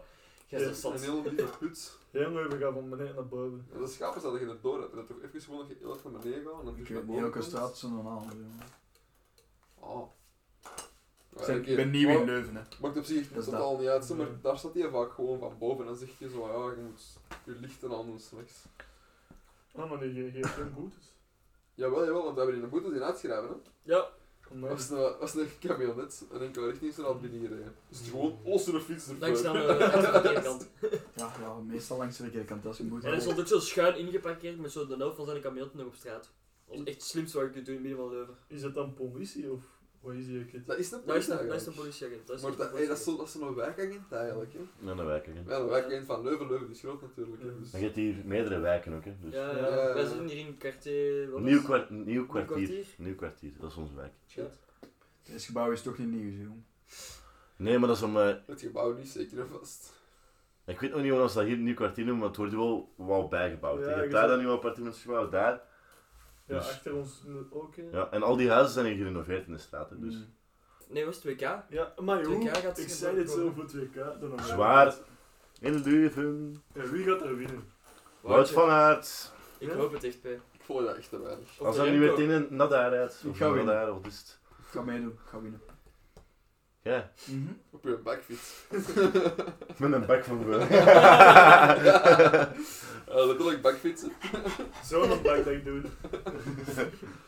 Jij Ja, is een zot. heel lieve put. Heel mooi, we gaan van beneden naar boven. En de schapen zaten je erdoor hebt. En dat toch even gewoon dat je heel erg naar beneden gaat en dan terug Ik naar weet niet boven welke komt. straat ze normaal hebben. Ah. Ja, Zeg, oké. Oh. Ik ben nieuw in Maar- Leuven, hè. Maakt op zich Dat is totaal niet uit, zo, maar Nee. daar staat hij vaak gewoon van boven. En dan zegt hij zo, ja, je moet je lichten aan doen slechts. Ah, maar die geeft geen boetes. Jawel, jawel, want we hebben in de boete die uitschrijven, hè. Ja, Omdat- Dat was een, was een camionet en enkele richtingsstraat binnengereden. Dus het gewoon los door de fiets ervoor. langs dan, eh, langs de parkeerkant. Ja, ja, meestal langs de verkeerkant, dat is een En hij moeite. stond ook zo schuin ingeparkeerd met zo de helft van zijn camion nog op straat. Dat was echt het slimste wat je kunt doen in het midden van Leuven. Is dat dan politie of wat is die kit? Dat is een Dat is politie een, dat is een eigenlijk. politieagent. Dat is Maar echt dat, een hey, dat is politieagent. zo- dat is zo'n wijkagent eigenlijk. Hè. Nee, een wijk, hè. Ja, een wijkagent van Leuven. Leuven is groot natuurlijk. Ja. Hè. Dus, Maar je hebt hier meerdere wijken ook, hè. Dus. Ja, Ja, ja. ja, ja. Wij zitten hier in quartier... wat was Nieuw, het? kwart- nieuw kwartier? kwartier. Nieuw kwartier, dat is onze wijk. Shit. Dit gebouw is toch niet nieuw, zo. Nee, maar dat is om... eh, het gebouw niet zeker en vast. ik weet nog niet waarom ze dat hier nieuw kwartier noemen, maar het wordt hier wel wauw bijgebouwd. Ja, je ik hebt daar zou- dan nieuw appartementsgebouw, daar. Ja, Dus- achter ons ook. hè. Ja, en al die huizen zijn hier gerenoveerd in de straten, dus... Mm. Nee, was het 2K? Ja, maar joh, 2K gaat ik ze zei dit zo komen. voor 2K. Dan nog- Zwaar. In Leuven. Ja, wie gaat er winnen? Wout van Aert. Ik Ja? hoop het echt, P. Ik vond dat echt te weinig. Als dat nu weer in een Nadar uit. Ik Of ga een winnen. Nadar, wat is het? Ik ga meedoen, ik ga winnen. Ja, Op je backfiets. met een bak van wel. Eh, letterlijk backfietsen. Zo'n bak dat ik doe.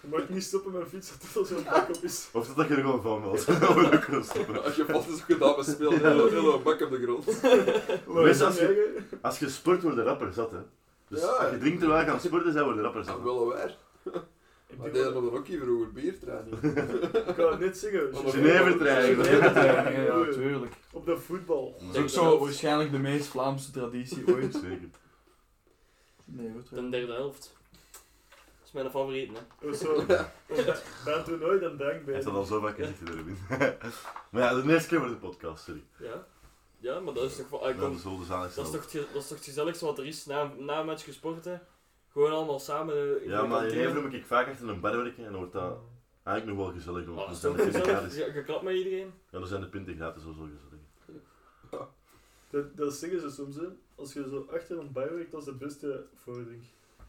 Je mag niet stoppen met fietsen tot er zo'n bak op is. Of dat je er gewoon van wilt. Dat wil ik wel stoppen. Als je valt is ook gedaan met spelen. Hele, hele bak op de grond. Wees dat als je- Als je sport, wordt de rapper zat, hè. Dus Ja. als je drinkt terwijl je aan het sporten bent, wordt de rapper Dat zat. willen wij. Ik Maar denk deden dat- op de Rocky vroeger biertraining. ik wou het net zeggen. Op de Genevertraining. Genevertraining, ja, ja, natuurlijk. Op de voetbal. Dat is ook zo waarschijnlijk de meest Vlaamse traditie ooit. Zeker. Nee hoor, De terug. derde helft. Dat is mijn favoriet, hè. Of zo. Of bij- Bij een toernooi dan dank Hij bij. zat al zo vaak gezegd in de Maar ja, de eerste keer voor de podcast, sorry. Ja. Ja, maar dat is toch... wel- ah, Dat kom, is wel de zaal Dat is, toch, het ge- dat is toch het gezelligste wat er is na, na een match gesporten? Gewoon allemaal samen. eh, in Ja, de maar in kantine. Hever moet ik vaak achter een bar werken en dan wordt dat eigenlijk nog wel gezellig. Ah, Want dat dan is zijn toch de pinten gezellig? gratis. Je, je klapt met iedereen. Ja, dan zijn de pinten gratis, dat is wel gezellig. Dat, dat zeggen ze soms, hè. Als je zo achter een bar werkt, dat is de beste voording.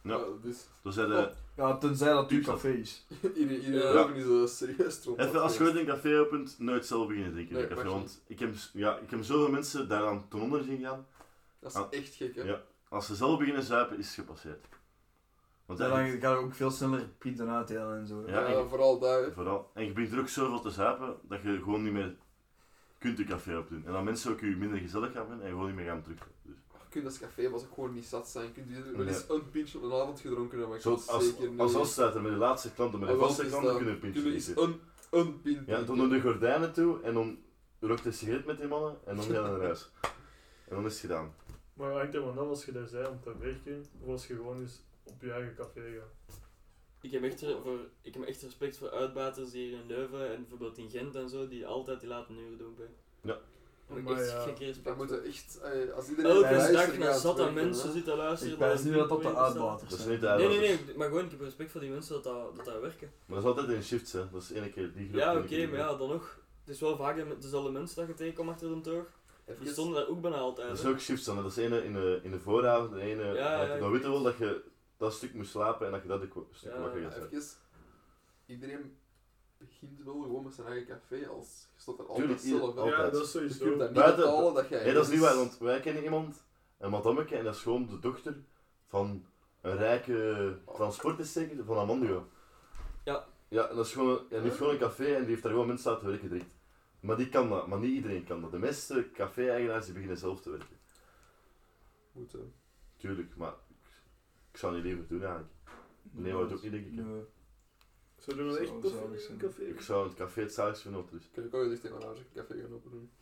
Ja. Eh, dus Dan Oh, zijn de... Ja, tenzij dat nu café is. iedereen Ja. ieder Leuven is eh, serieus trots. Even als je ooit een café opent, nooit zelf beginnen drinken in een Nee, café. mag Want ik heb, ja, ik heb zoveel mensen daaraan ten onder zien gaan. Dat is echt gek, hè. Ah. Ja. Als ze zelf beginnen zuipen, is het gepasseerd. Want Dan eigenlijk, ga je ook veel sneller pieten uitdelen en zo. Ja, Ja, ik- vooral daar. hè. vooral, en je begint er ook zoveel te zuipen dat je gewoon niet meer kunt een café opdoen. En dan mensen ook je minder gezellig gaan vinden en gewoon niet meer gaan terug. Dus, Je kunt als café was ook gewoon niet zat zijn. Je kunt hier wel eens een pintje op een avond gedronken hebben. maar ik zo, kan als, als, zeker niet- afsluiter met de laatste klant en met de Ah, wel, vaste het is klant dan dat. kunnen we een Jullie pintje is eten. een, een pint. Ja, dan doen de gordijnen toe en dan rookt de sigaret met die mannen en dan gaan we naar huis. En dan is het gedaan. Maar hangt er maar af als je daar bent om te werken, of als je gewoon eens op je eigen café gaat. Ik heb, echt, re- voor, ik heb echt respect voor uitbaters hier in Leuven en bijvoorbeeld in Gent en zo, die altijd die late uren doen. Bij. Ja. Daar heb ik Maar echt ja, gekke Dan respect voor. moeten echt, eh, als iedereen Elke luistert, dag gaat naar het zat aan werken, mensen hè. zitten luisteren. Ik ben is niet dat dat de niet interessant. uitbaters Dat is zijn. niet Nee, duidelijk. nee, nee, maar gewoon, ik heb respect voor die mensen dat dat, dat, dat werken. Maar dat is altijd in shifts, hè. Dat is één keer die groep. Ja, één oké, keer die maar groep. ja, dan nog. Het is wel vaak de- dezelfde mensen dat je tegenkomt achter de toog. Die Even- stonden daar ook bijna Dat altijd. is hè. Dus ook shifts dan. hè. Dat is ene in de, in de vooravond, de ene... ja, dat- ik weet dan weet je wel dat je dat stuk moest slapen en dat je dat ook stuk Ja, mag gaan ja, zijn. Even, iedereen begint wel gewoon met zijn eigen café als je staat er Tuurlijk, altijd ieder- zelf wel. altijd. Ja, dat is Je kunt sowieso. dat niet Buiten- betalen dat jij... Nee, dat is niet waar, ergens- want wij kennen iemand, een madammeke, en dat is gewoon de dochter van een rijke transportesteker van Amandio. Ja. Ja, en dat is gewoon, en die heeft gewoon een café en die heeft daar gewoon mensen aan te werken direct. Maar die kan dat, maar niet iedereen kan dat. De meeste café-eigenaars die beginnen zelf te werken. Moet, hè. Tuurlijk, maar ik, ik zou niet liever doen eigenlijk. Nee, dat ook niet, denk ik. hè. Nee. Zullen we Zou echt tof zalig in een zijn. café? Ik zou het café het zaligst vinden op dus. Ik heb ook al gezegd tegen mijn ouders, ik een café gaan open doen.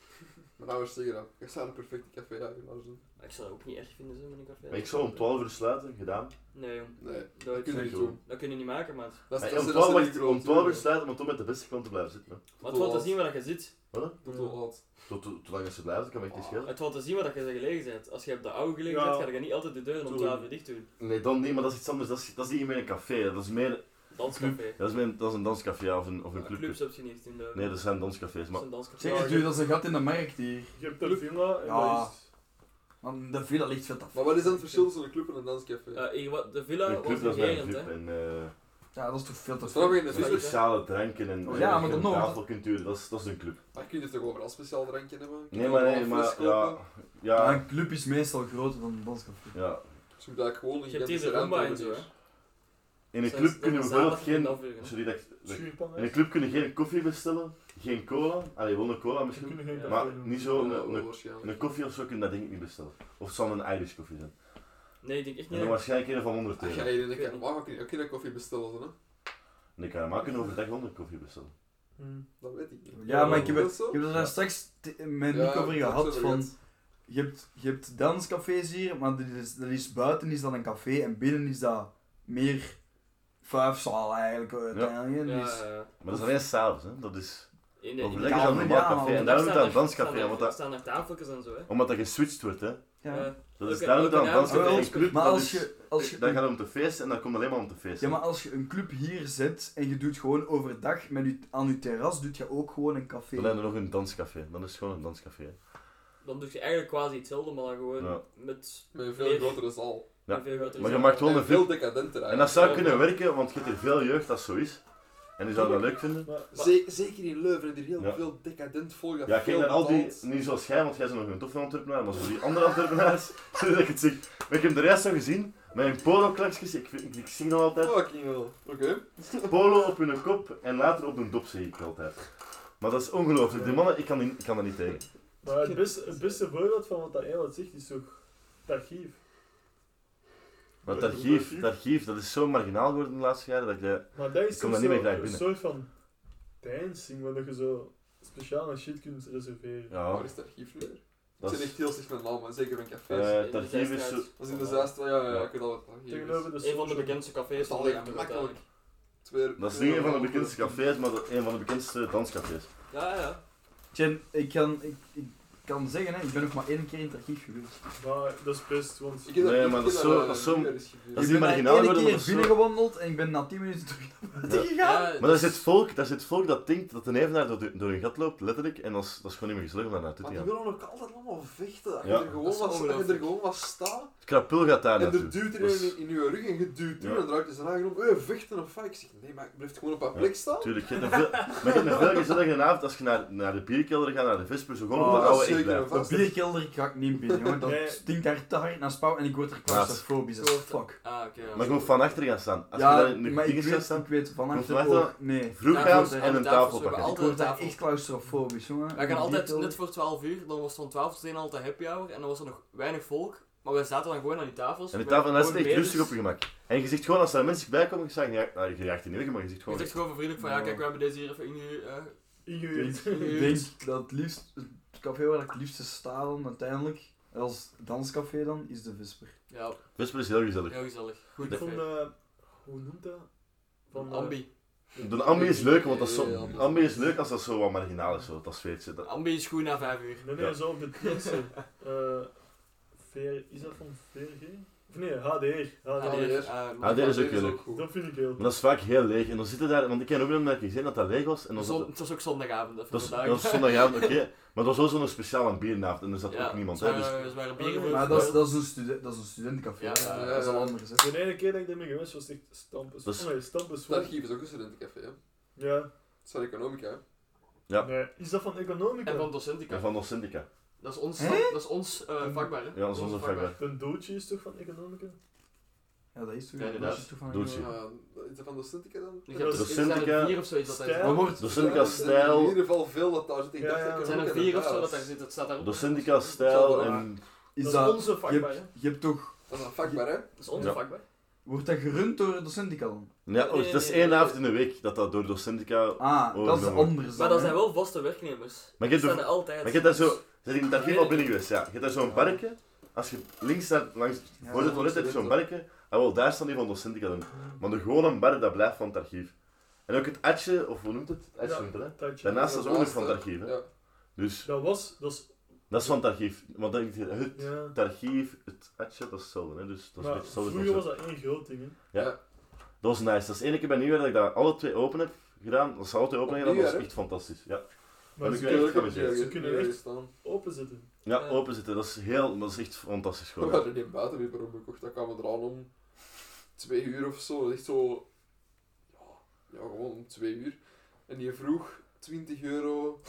Mijn ouders zeggen dat. Ik zou een perfecte café gaan open doen. Maar ik zou dat ook niet erg vinden zo met een café. Maar ik zou om 12 uur sluiten, gedaan. Nee jong, Nee, dat dat, kun je niet Sowieso. doen. dat kun je niet maken maat. Dat Maar is om dat is- 12 dat is wacht, niet om groot, 12 uur hè. sluiten, om toch met de beste kant te blijven zitten. hè. Maar het wil te Tot- zien waar dat je zit. Tot wel laat. Tot tot- Zolang dat ze blijven, kan me Ah. echt niet schelen. Het wil te zien waar dat je gelegen bent. Als je op de oude gelegen Ja. bent, ga je niet altijd de deuren om Doe. 12 uur dicht doen. Nee, dan niet, maar dat is iets anders. Dat is, dat is niet meer een café. Dat is meer Danscafé. dat is meer, dat is een danscafé of een, of een club. Clubs heb je niet in de... Nee, dat zijn danscafés. dat Maar is een danscafé. Zeg het u, dat is een gat in de markt hier. Je hebt de villa en Ja. dat is... Man, de villa ligt veel te Maar wat is dan het verschil tussen een club en een danscafé? Eh, hier, wat- de een villa club was dat is bij een regerend club. hè. En, eh, Ja, dat is toch veel te Snap veel. je? met Dat is Tuurlijk, hè. speciale dranken en, Oh, en- ja, maar en dan nog. tafelcultuur, dat is, dat is een club. Maar kun je er toch overal speciaal drankje hebben? Kun je Nee, maar nee, overal fris maar ja. kopen? Maar Ja, een club is meestal groter dan een danscafé. ja. Zoek daar gewoon een dus. Je hebt hier de gigantische rumba ruimte en zo voor. hè. In een Zelfs- club kunnen we zelfs bijvoorbeeld dat je kunt geen. afvuren, hè. Sorry dat ik- dat ik- Schuurpannen. In een club kunnen geen koffie bestellen, geen cola. Allee, wel een cola We misschien. kunnen geen Ja. café Maar doen. niet zo. Ja, Oh, Een, een, Oh, waarschijnlijk. een koffie of zo kun je dat denk ik niet bestellen. Of het zal een Irish koffie zijn. Nee, ik denk echt En niet. dan dat- waarschijnlijk een van 100 Als euro. jij hier in de Karamau kun Ah, je ook geen koffie bestellen, hè? En ik kan maar kunnen overdag 100 koffie bestellen. Hm. Dat weet ik niet. Ja, maar ik heb, Is ik dat zo? heb er daar straks t- met Nico over gehad. Van, je, hebt, je hebt danscafés hier, maar dit is, dat is, buiten is dat een café en binnen is dat meer vuifzaal eigenlijk. eh, Uiteindelijk. En Ja, dus- ja, ja. Maar dat is alleen s'avonds, hè? Dat is. In de- in de- Overdag is dat een normaal ja, café. En want daarom is dat staan een er- danscafé. staan want er- dat- staan er tafeltjes en zo hè. Omdat dat geswitcht wordt, hè? ja. Eh, Dat is Oké, daarom oké, dat een nou, danscafé. wel, Een club, Maar dat als is- je, als je, Dan gaat het om te feesten en dat komt alleen maar om te feesten. ja, maar als je een club hier zet en je doet gewoon overdag met je, aan je terras, doet je ook gewoon een café. Dan hebben we nog een danscafé. Dan is het gewoon een danscafé. hè. Dan doe je eigenlijk quasi hetzelfde, maar dan gewoon Ja. met Met een veel Weer. grotere zaal. Ja. een veel grotere Maar je zaal. mag wel En een veel veel. decadenter En dat zou Ja, kunnen ja. werken, want je hebt hier veel jeugd als zo is. En die zou dat leuk vinden. Maar, Ze- zeker in Leuven heb je heel Ja. veel decadent volk. dat Ja, kijk veel naar al die, betaalt. niet zoals jij, want jij bent nog een toffe entrepreneur, maar zo die andere entrepreneurs, dat ik het zeg. Maar ik heb de rest al gezien, met een polo-klaksjes, ik, vind- ik, ik zie nog altijd, Fucking hell. Oké. polo op hun kop en later op hun dop zie ik altijd. Maar dat is ongelooflijk, die mannen, ik kan, die- ik kan dat niet tegen. maar het, beste, het beste voorbeeld van wat dat eigenlijk zegt is toch het archief. Maar het archief, het archief, dat is zo marginaal geworden de laatste jaren, dat je... Maar dat is Ik eh, kom toch daar niet meer zo graag een binnen. soort van dancing, waar je zo speciaal een shit kunt reserveren. Ja, Waar is het archief nu weer? dat Ik zit is... echt heel slecht met namen, zeker van cafés. eh, In het de archief is zo... Zijstraat. Als in de zuist, ja, ja, ja, dus ik weet al wat het archief Tegenover is. de Een van de social- bekendste cafés van Dat is al Leuven, gemakkelijk. uiteindelijk. Twee- Dat is twee- niet een van de bekendste cafés, maar dat- een van de bekendste danscafés. Ja, ja. Jen, ik kan, ik, ik kan zeggen, hè, ik ben nog maar één keer in het archief geweest. Maar dat is best, want Ik heb Nee, niet maar dat is gezien, zo- eh, dat is zo- niet meer is gebeurd. Dat is ik niet ben marginaal één geworden, keer maar zo- binnengewandeld en ik ben na 10 minuten terug naar buiten Ja. gegaan. Maar dus- daar zit volk, daar zit volk dat denkt dat een evenaar door, door een gat loopt, letterlijk, en dat is, dat is gewoon niet meer gezellig om daar naartoe Maar te die gaan. willen ook altijd allemaal vechten. Dat je Ja. er gewoon Dat is was- dat je er ongelooflijk. gewoon was staan. Krapul gaat daar En naartoe. Dus er duwt er Dat is- een in je rug en je duwt Ja. er en draait je zijn eigen om. Eh, vechten of fuck. Ik zeg, nee, maar ik blijf gewoon op haar plek staan. Tuurlijk, je hebt een veel, maar je hebt een veel gezelligere avond als je naar, naar de bierkelder gaat, naar de Vesper, zo gewoon Oh, op de dat is oude echt zeker blijft. een Op bierkelder ga ik niet binnen, jongen. Nee. Dat stinkt daar te hard naar spouw en ik word er claustrofobisch als fuck. Ah, oké. ja. Maar gewoon van achter gaan staan. Als je Ja, daar in de maar ik dingen gaat weet, staan, ik weet van Moet achter wachten. ook, nee. vroeg Ja, gaan we zijn en aan een tafel, tafel we hebben pakken. Ik Altijd word daar tafel. echt claustrofobisch, jongen. Wij gaan Op altijd bierkelder. net voor 12 uur, dan was het van 12 tot 1 altijd happy hour en dan was er nog weinig volk. Maar we zaten dan gewoon aan die tafels. En de we tafel en waren daar zit gewoon echt rustig op je bezig. gemak. En je zegt gewoon, als er mensen bij komen, je zegt, ja, nou, je jaagt die niet weg, maar je zegt Je gewoon... zegt gewoon vriendelijk van, ja kijk, we hebben deze hier even ingehuurd. eh. Ik ingehuurd. denk- ik denk dat het liefst, het café waar ik het liefste sta dan uiteindelijk, als danscafé dan, is de Visper. Ja, Vesper is heel gezellig. heel gezellig. Goed Ik vond, café. eh, hoe noemt dat? Van eh, Ambi. De Ambi is leuk, want dat is Ja, zo... ja, ja. Ambi is leuk als dat zo wat marginaal is, zo, dat Zweedse. Dat... Ambi is goed na 5 uur. Nee, nee, Ja. zo op de Twitsen. Eh, VR is dat van VRG? Of nee, HDR. Ah, HDR. nee, HDR. eh, maar- Ah, dit is ook heel leuk. goed. Dat vind ik heel. Maar dat is vaak heel leeg. En dan zitten daar, want ik ken ook iemand dat ik gezien dat dat leeg was. En dan zat- Zon- Het was ook zondagavond, even dat is, vandaag. dat is zondagavond, oké. Maar dat was ook zo'n speciale bierenavond en er zat Ja, eh, ook niemand. ze Hè, dus waren- ze waren bieren voor- Maar dat is, dat is, een, stude- dat is een studentencafé, Ja, hè. ja, dat is al ja. anders. hè. De ene keer dat ik daarmee geweest was, echt stampus. Dat is- Oh nee, stampus Het vol. archief is ook een studentencafé, hè. Ja. Het is van Economica, hè. Ja. Nee, is dat van Economica? En van Docentica. En van ons syndica. Dat is ons, dat is ons eh, vakbaar, hè? Ja, dat is onze vakbaar. Een doodje is toch van Economica? Ja, dat is toch Ja, dat inderdaad. is toch van- Doe het, Ja, eh, is dat van Docentica dan? Ik heb Dat dus- is er zijn er Syndica. vier of zoiets dat daar Stijl. zitten. Maar wordt, De Ja, syndica Er zijn in stijl, ieder geval veel dat daar zit. Ik dacht Ja, ja. dat Er ik zijn ook er in vier een of zo huis. dat daar zit. Dat staat daar ook. de op. syndica stijl Ja, en is dat is dat, onze je vakbij. hebt, je hebt toch, Dat is een vakbaar, hè. Dat is onze Ja. vakbaar. Wordt dat gerund door de Syndica dan? Ja, oh, dat is Nee, nee, één nee. avond in de week dat dat door docentica... Ah, Oh, dat is no. anders Maar dan, dat hè. zijn wel vaste werknemers. Maar je Die hebt staan de- er altijd. Dus Maar je hebt daar zo... Zit ik in het archief al binnen geweest, ja. Je hebt daar zo'n parkje. Als je links naar, langs... Ja, Voor het toilet heb je zo'n barretje. Ah wel, daar staan die van docentica dan. Maar de gewone bar, dat blijft van het archief. En ook het atje, of hoe noemt het? Het atje Ja. noemt het, hè? Tijdje. Daarnaast is ook nog Daarnaast, van het hè. archief, hè? Ja. Dus, Dat was, dat is, dat is van het archief. Want dat is het, het ja. archief, het atje, dat is hetzelfde, hè? Dus dat is een Maar beetje hetzelfde vroeger was concept. dat één groot ding, hè. Dat was nice. Dat is de ene keer bij Nieuwjaar dat ik dat alle twee open heb gedaan. Dat ze alle twee open hebben gedaan, dat was Nieuwjaar, echt fantastisch. Ja, Maar Dat ze heb ik kunnen wel ook Ze kunnen echt staan. openzitten. ja Ja. open zitten, dat is heel, dat is echt fantastisch We gewoon. ja. hadden die buiten weer omgekocht. Dat kwam er aan om twee uur of zo. Dat is echt zo. Ja, ja, gewoon om twee uur. En die vroeg 20 euro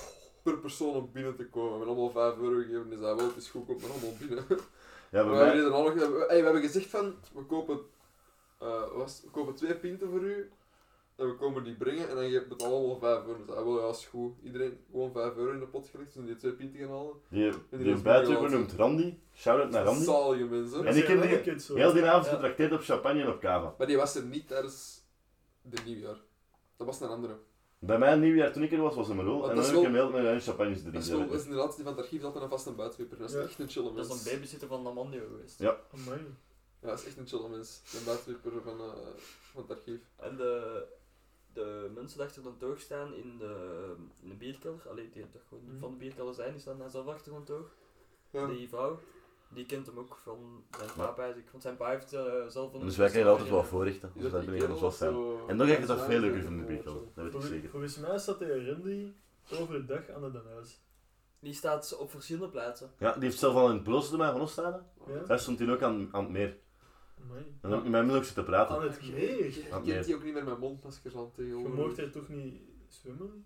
per persoon om binnen te komen. We hebben allemaal 5 euro gegeven. Dus hij wel, het is goed, komt maar allemaal binnen. Ja, we, bij mij... hebben er al nog, hey, we hebben gezegd van, we kopen, eh, was, we kopen twee pinten voor u. En we komen die brengen en dan geeft het allemaal 5 euro. Dus hij wil, ja, is goed. Iedereen gewoon 5 euro in de pot gelegd, dus die twee pinten gaan halen. Die, die die was buiten briljant. noemt Randy. Shout-out naar Randy. Zalige mensen. En ik heb die Heel die avond getrakteerd op champagne en op cava. Maar die was er niet tijdens de nieuwjaar. Dat was een andere. Bij mijn nieuwjaar toen ik er was, was hem Maar rol. En dat dan is heb ik wel- hem heel met een champagne te Dat is, wel, dat drinken. is inderdaad die van het archief dat een vast een buitenwipper. Dat is Ja. echt een chille mens. Dat is een babysitter van Namandeo geweest. Ja. Amai. Ja, dat is echt een chille mens. Een buitenwipper van, eh, van het archief. En de, de mensen die achter de toog staan in de, in de bierkelder, alleen die dat gewoon Mhm. niet van de bierkelder zijn, die staan daar zelf achter de toog. Ja. Die vrouw, die kent hem ook van zijn Ja. pa, bij zich. Want zijn pa heeft eh, zelf een. Dus wij krijgen altijd wel voorrichten. Die Dus daar die ben ik kerel ons wel was fan. zo- En dan ga ik het ook Ja, veel ja, leuker ja, vinden, ja, de zo. al. Dat weet ik Volgens, zeker. volgens mij staat de Randy overdag aan het Den huis. Die staat op verschillende plaatsen. Ja, die heeft zelf al in het blos bij mij van ons staan. Ja? Daar stond hij ook aan, aan het meer. Amai. En dan heb ik met mij ook zitten praten. Aan het meer? Ik Ah, ken nee. die ook niet meer met mondmaskers aan Je tegenwoordig. mocht hij toch niet zwemmen?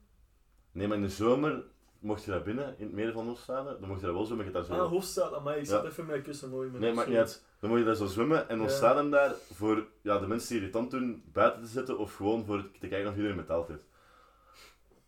Nee, maar in de zomer mocht je daar binnen, in het meer van ons staan. Dan mocht je daar wel zwemmen, je daar Ah, zo... Hofstad, amai, ik Ja. zat even met kussen mooi met Nee, maakt niet uit. Dan moet je daar zo zwemmen en dan Ja. staat hem daar voor ja, de mensen die irritant doen buiten te zetten of gewoon voor te kijken of iedereen betaald heeft.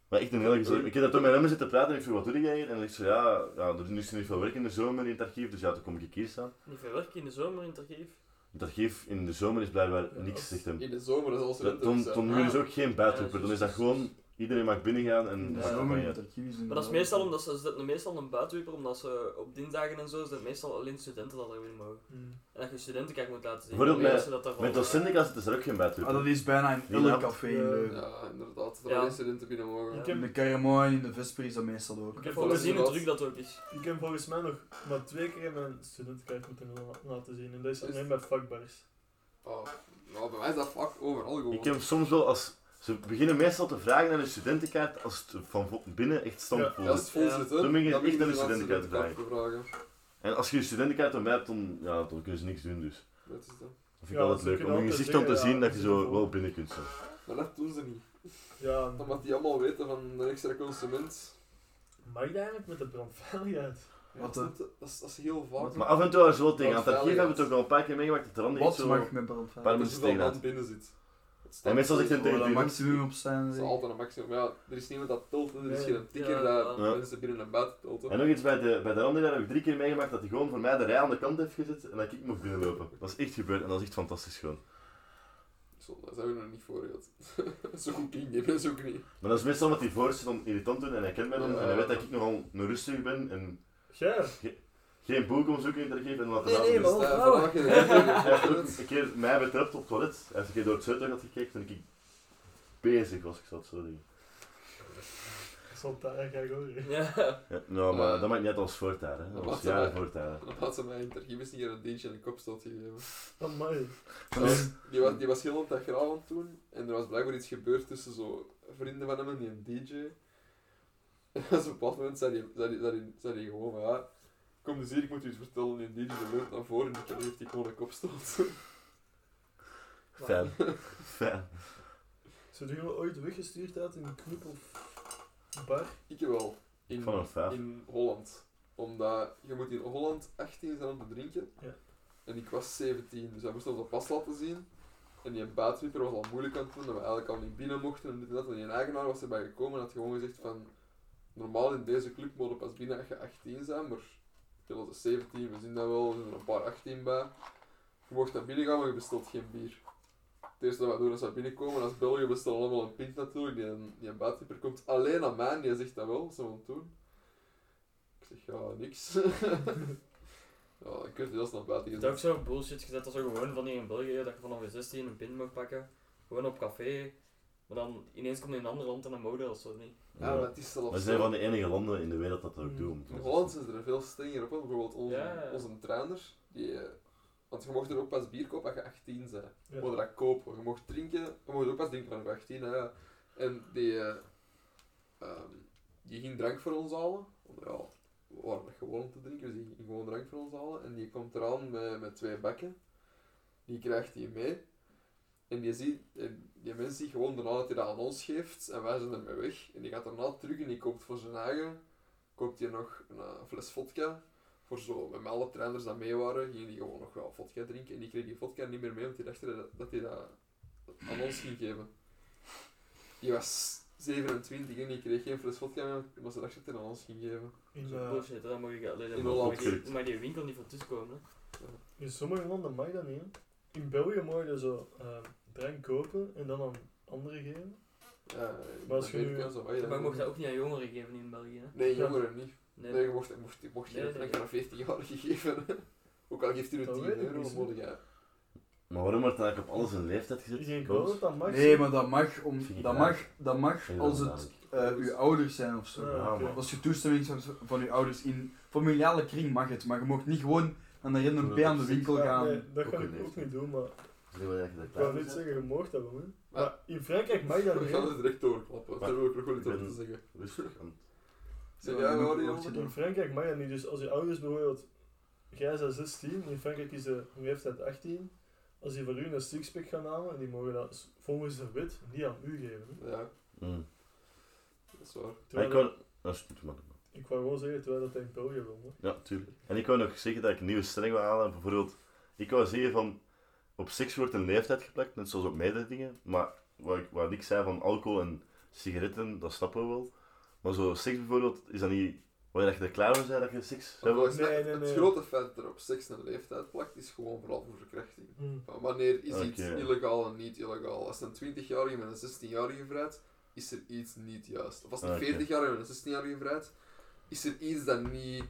Maar echt een hele gezellig. Ik heb daar toen met hem zitten praten en ik vroeg wat doe jij hier? En hij zei ja, ja, er is niet veel werk in de zomer in het archief, dus ja, toen kom ik hier staan. Niet veel werk in de zomer in het archief. Het archief in de zomer is blijkbaar Ja, niks, als- zegt hem. In de zomer, dat is als Ja, Toen, toen Ah. nu is ook geen buitenhoeper, Ja, dan is dat juist. gewoon iedereen mag binnengaan en Ja, maakt dat maar maar je niet uit. moet er kiezen. Maar dat is meestal omdat ze, ze zetten meestal een buitenwieper, omdat ze op dinsdagen en zo, ze zetten meestal alleen studenten dat er weer mogen. Hmm. En dat je studentenkaart moet laten zien. Bijvoorbeeld dan met- weten ze dat dat Met wel- dat syndicaat zit er ook geen Ah, dat buitenhoeper. is bijna in Ja. elk café in Ja. Leuven. Ja, inderdaad. Dat Ja. ja. incidenten binnen mogen. Ja. Ik In de heb, Caramoy, in de Vesper is dat meestal ook. ik, heb Ik heb al dat volgens, is gezien hoe inderdaad- druk dat ook is. ik heb volgens mij nog maar twee keer mijn studentenkaart moeten la- laten zien. En dat is Is- alleen bij vakbars. Ah, ja, bij mij is dat vak overal gewoon. Ik heb soms wel als... Ze beginnen meestal te vragen naar een studentenkaart als het van vo- binnen echt Ja, stampvol als zit. het vol Ja. zit, hè. Dan ben je dan echt aan de inderdaad studentenkaart vragen. En als je je studentenkaart dan bij hebt, dan, ja, dan kunnen ze niks doen dus. Dat is dat. Dat vind ik Ja, altijd ze leuk. Om kunnen altijd je gezicht dan te zeggen, zien ja, dat je ze zo zitten wel vol. binnen kunt staan. Maar dat doen ze niet. Ja, Omdat die allemaal weten van de extra consument. mag je eigenlijk met de brandveiligheid? Ja, Wat, dat, hè? is- dat is, dat is heel vaak. Maar af en toe als je wel tegen aan Wat het archief hebben we veiligheid. toch wel een paar keer meegemaakt dat er anders Wat zo... mag met brandveiligheid? Paar dat er minuten zoveel tegenaan. man binnen zit. Het staat En meestal zegt sowieso. een Gewoon een tegen maximum op zijn. Dat is zeg. altijd een maximum. Maar ja, er is niemand dat tilt. hè. Er is Nee. geen tikker Ja, dat ja. mensen binnen en buiten tilt. hè. En nog iets bij de, bij de Randy, daar heb ik drie keer meegemaakt dat hij gewoon voor mij de rij aan de kant heeft gezet en dat ik mocht binnenlopen. Dat is echt gebeurd en dat is echt fantastisch gewoon. Zo, daar zijn we nog niet voor gehad. zo goed ging die mensen ook niet. Maar dat is meestal wat die voorste dan irritant doen en hij kent mij dan en hij weet dat ik nogal een rustig ben en Jij? geen boel kom zoeken in het archief en wat Nee, nee, dus. maar- Oh, daar vrouwen. vraag je Hij heeft ook de- een keer mij betrapt op het toilet. Hij heeft een keer door het zuiddag had gekeken toen ik bezig was, ik zal het zo zeggen. Dat zal daar ga ik horen. Ja. Ja, nou, maar Eh, dat maakt niet uit als voortaar, hè. Dat dat was maakt jaren wel- voortaar. hè. Dan had ze mij in het archief eens een keer een dingetje in de kop stoot gegeven. Amai. Dat was- die, was, die was heel ontdagravend toen. En er was blijkbaar iets gebeurd tussen zo vrienden van hem en die een DJ. En op een bepaald moment zei hij zei die, zei die, zei die gewoon van ja, kom dus hier, ik moet u iets vertellen. En die DJ loopt naar voren en die heeft die gewoon een kopstoot. Fijn. Fijn. Zouden jullie ooit weggestuurd uit in een club of bar? ik wel. In, Van een vijf. in Holland. Omdat je moet in Holland 18 zijn om te drinken. Ja. En ik was 17, dus wij moesten onze pas laten zien. En die baatwieper was al moeilijk aan het doen, dat we eigenlijk al niet binnen mochten en dit en dat. En die eigenaar was erbij gekomen en had gewoon gezegd van... Normaal in deze club mogen pas binnen als je 18 zijn, maar... Ik was 17, we zien dat wel, er zijn er een paar 18 bij. Je mocht naar binnen gaan, maar je bestelt geen bier. Het eerste wat we doen als we binnenkomen, als België bestellen we allemaal een pint natuurlijk. Die, die een buitenper komt alleen aan mij en die zegt dat wel, zo aan het doen. Ik zeg, ja, niks. ja, ik kunt heel snel buiten Je hebt ook zo bullshit gezet als zo gewoon van hier in België, dat je vanaf je 16 een pin mag pakken. Gewoon op café. Maar dan ineens komt in een ander land en een mode of zo niet. Ja, Mm, maar het is zelfs... We zijn van de enige landen in de wereld dat dat ook doen. dus- In Holland zijn ze er veel strenger op. hè. Bijvoorbeeld onze, Ja. onze trainer. Die, eh, want je mocht er ook pas bier kopen als je 18 bent. Je Ja. mocht dat kopen. Je mocht drinken. Je mocht ook pas drinken vanaf je 18. Hè. ja. En die, eh, ehm, die ging drank voor ons halen. Want ja, we waren nog gewoon om te drinken. Dus die ging gewoon drank voor ons halen. En die komt eraan met, met twee bakken. Die krijgt die mee. En die, ziet, en die mens ziet gewoon daarna dat hij dat aan ons geeft. En wij zijn ermee weg. En die gaat daarna terug en die koopt voor zijn eigen koopt je nog een eh, fles vodka. Voor zo, met alle trainers die mee waren, gingen die gewoon nog wel vodka drinken. En die kreeg die vodka niet meer mee, want die dachten dat- dat hij dat aan ons ging geven. Die was 27 en die kreeg geen fles vodka meer, maar ze dachten dat hij aan ons ging geven. In, Dat is eh, bullshit, hè. dan mag je alleen In maar- Holland. mag je- mag je winkel niet van tussenkomen. hè. in sommige landen mag dat niet. hè. In België mag je zo eh, drank kopen en dan aan anderen geven. Ja, Maar als je nu- Maar je mocht dat ook niet aan jongeren geven in België. hè. oh Nee, Ja. jongeren niet. Nee, Nee, je mocht, je mocht, je mocht Nee, geen nee, drank nee. aan een 14-jarige geven. Ook al geeft hij nu Dat 10 weet ik euro, niet, dan moet je... Maar waarom wordt dan eigenlijk op alles een leeftijd gezet? Ik denk wel Boos. dat dat mag. Nee, maar dat mag, Vind om, dat ik raar. mag, dat mag Vind ik als wel het raar. eh, uw ouders zijn of zo. Ja, Ah, oké. man. Als je toestemming hebt van uw ouders in familiale kring mag het, maar je mag niet gewoon aan de random P aan de winkel Ja, gaan. nee, dat Ook kan een ik ook leeftijd. niet doen, maar Zie je wel dat je ik dat wou klaar niet bent? zeggen, je mocht dat wel. hè. Maar- Maar in Frankrijk mag dat We niet. gaan hè. er direct doorklappen, Maar- daar wil ik nog wel iets ik over ben- te zeggen. Rustig. want Zeg jij wel, Ja, Johan? In Frankrijk mag dat niet. Dus als je ouders bijvoorbeeld, jij bent 16, in Frankrijk is de leeftijd 18. Als die voor u een sixpack gaan halen, die mogen dat s- volgens de wet niet aan u geven. hè. Ja, Mm. dat is waar. Maar Terwijl ik wou... Ah, Dat is goed, man. Ik wou gewoon zeggen, terwijl dat hij in België wil. hè. Ja, tuurlijk. En ik wou nog zeggen dat ik een nieuwe stelling wil halen. Bijvoorbeeld, ik wou zeggen van... Op seks wordt een leeftijd geplakt, net zoals op meerdere dingen. Maar wat ik, wat ik zei van alcohol en sigaretten, dat snappen we wel. Maar zo seks bijvoorbeeld, is dat niet... Waar je er klaar voor bent dat je seks zou willen? Volgens mij, Nee, nee, nee. Het grote feit dat er op seks en leeftijd plakt, is gewoon vooral voor verkrachting. Van wanneer is iets Oké. illegaal en niet illegaal? Als een 20-jarige met een 16-jarige vrijt, is er iets niet juist. Of als een Oké. 40-jarige met een 16-jarige vrijt, is er iets dat niet...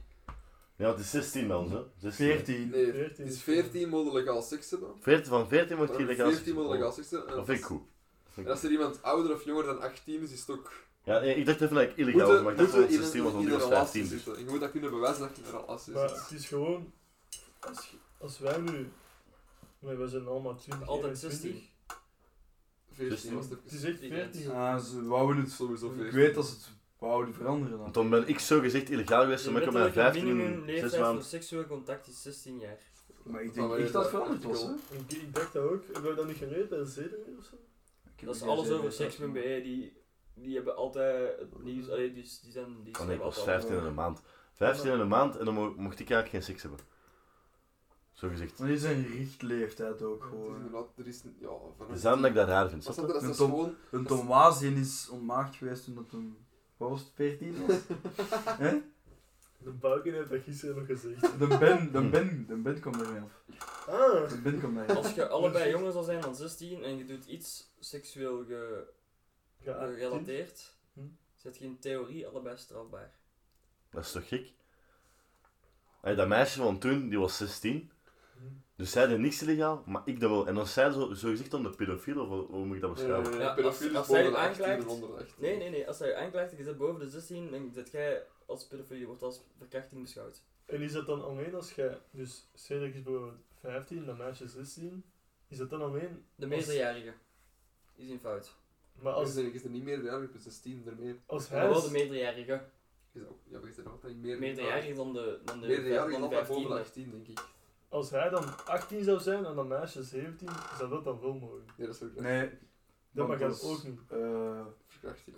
Ja, het is 16 dan, hè? 16. 14. Nee, het 14 is 14 moet legaal seks hebben. 14 van 14 maar wordt je legaal seks. 14 moet legaal seks hebben. En Dat als- vind ik goed. Dat vind En ik als er iemand ouder of jonger dan 18 is, is het ook... Ja, nee, ik dacht even dat ik illegaal was, Moeten- maar ik dacht moeten dat het in een- systeem was, want in ik een was relatie 15 dus. zitten. Je moet dat kunnen bewijzen dat je in een relatie Maar zit. het is gewoon, als, je- als wij nu, nee, wij zijn allemaal 20, Altijd 21. 16. 14 was Het is echt 14. Ja. Ah, ze wouden het. Sowieso Ik 14. weet dat ze het wouden veranderen Want dan. dan ben ik zo gezegd illegaal geweest, De maar ik op mijn wettelijke 15 minimum en 6 leeftijd voor maanden... seksueel contact is 16 jaar. Maar ik Maar denk wij- echt dat het veranderd was, hè? Ik, ik dacht dat ook. Hebben we dat niet geleerd bij de zedenweer of zo? Dat is alles over seksmen die, die hebben altijd het nieuws. Allee, dus die zijn die Oh nee, ik schrijven was altijd 15 in een maand. 15 in een maand en dan mo- mocht ik eigenlijk geen seks hebben. Zo gezegd. Maar dit is een richtleeftijd ook Het is gewoon. inderdaad, er is... een- Ja, van Het is daarom dat ik dat raar vind. Maar snap snap je? je, dat is Tom- gewoon... Een Tom Waas die is ontmaagd geweest toen dat hem. Wat was het, 14 was? De Balken heeft dat gisteren nog gezegd. De Ben, de Ben, de Ben komt daarmee af. Ah! De Ben komt daarmee af. Als je allebei jonger zou zijn dan 16 en je doet iets seksueel ge- Ja, gerelateerd, Hm? zet je in theorie allebei strafbaar. Dat is toch gek? Hey, dat meisje van toen, die was 16. Hmm. Dus zij deed niks illegaal, maar ik dat wel. En als zij zo, zo gezegd dan de pedofiel, of hoe- hoe moet ik dat Nee, nee, beschouwen? nee, Ja, pedofiel als- is als boven zij de 18 en aanklaagt- onder de 18. Nee, nee, nee. Als je aanklaagt en je zit boven de 16, dan zit jij als pedofiel, je wordt als verkrachting beschouwd. En is dat dan alleen als jij, dus Cedric is bijvoorbeeld 15, dat meisje 16, is dat dan alleen, De meerderjarige is in fout. maar Als als, er is er niet meer jarig, dus 16 ermee. als Maar hij wel de is, meerderjarige. Is dat ook, ja, maar is er nog altijd meer Meerderjarige dan de, dan de, Meer jarig dan dan de altijd boven de 15. 18, denk ik. als hij dan 18 zou zijn en dat meisje 17, zou dat dan wel mogen. Nee, dat is ook nee. Nee. Dat mag want dat is, ook niet. eh, verkrachting.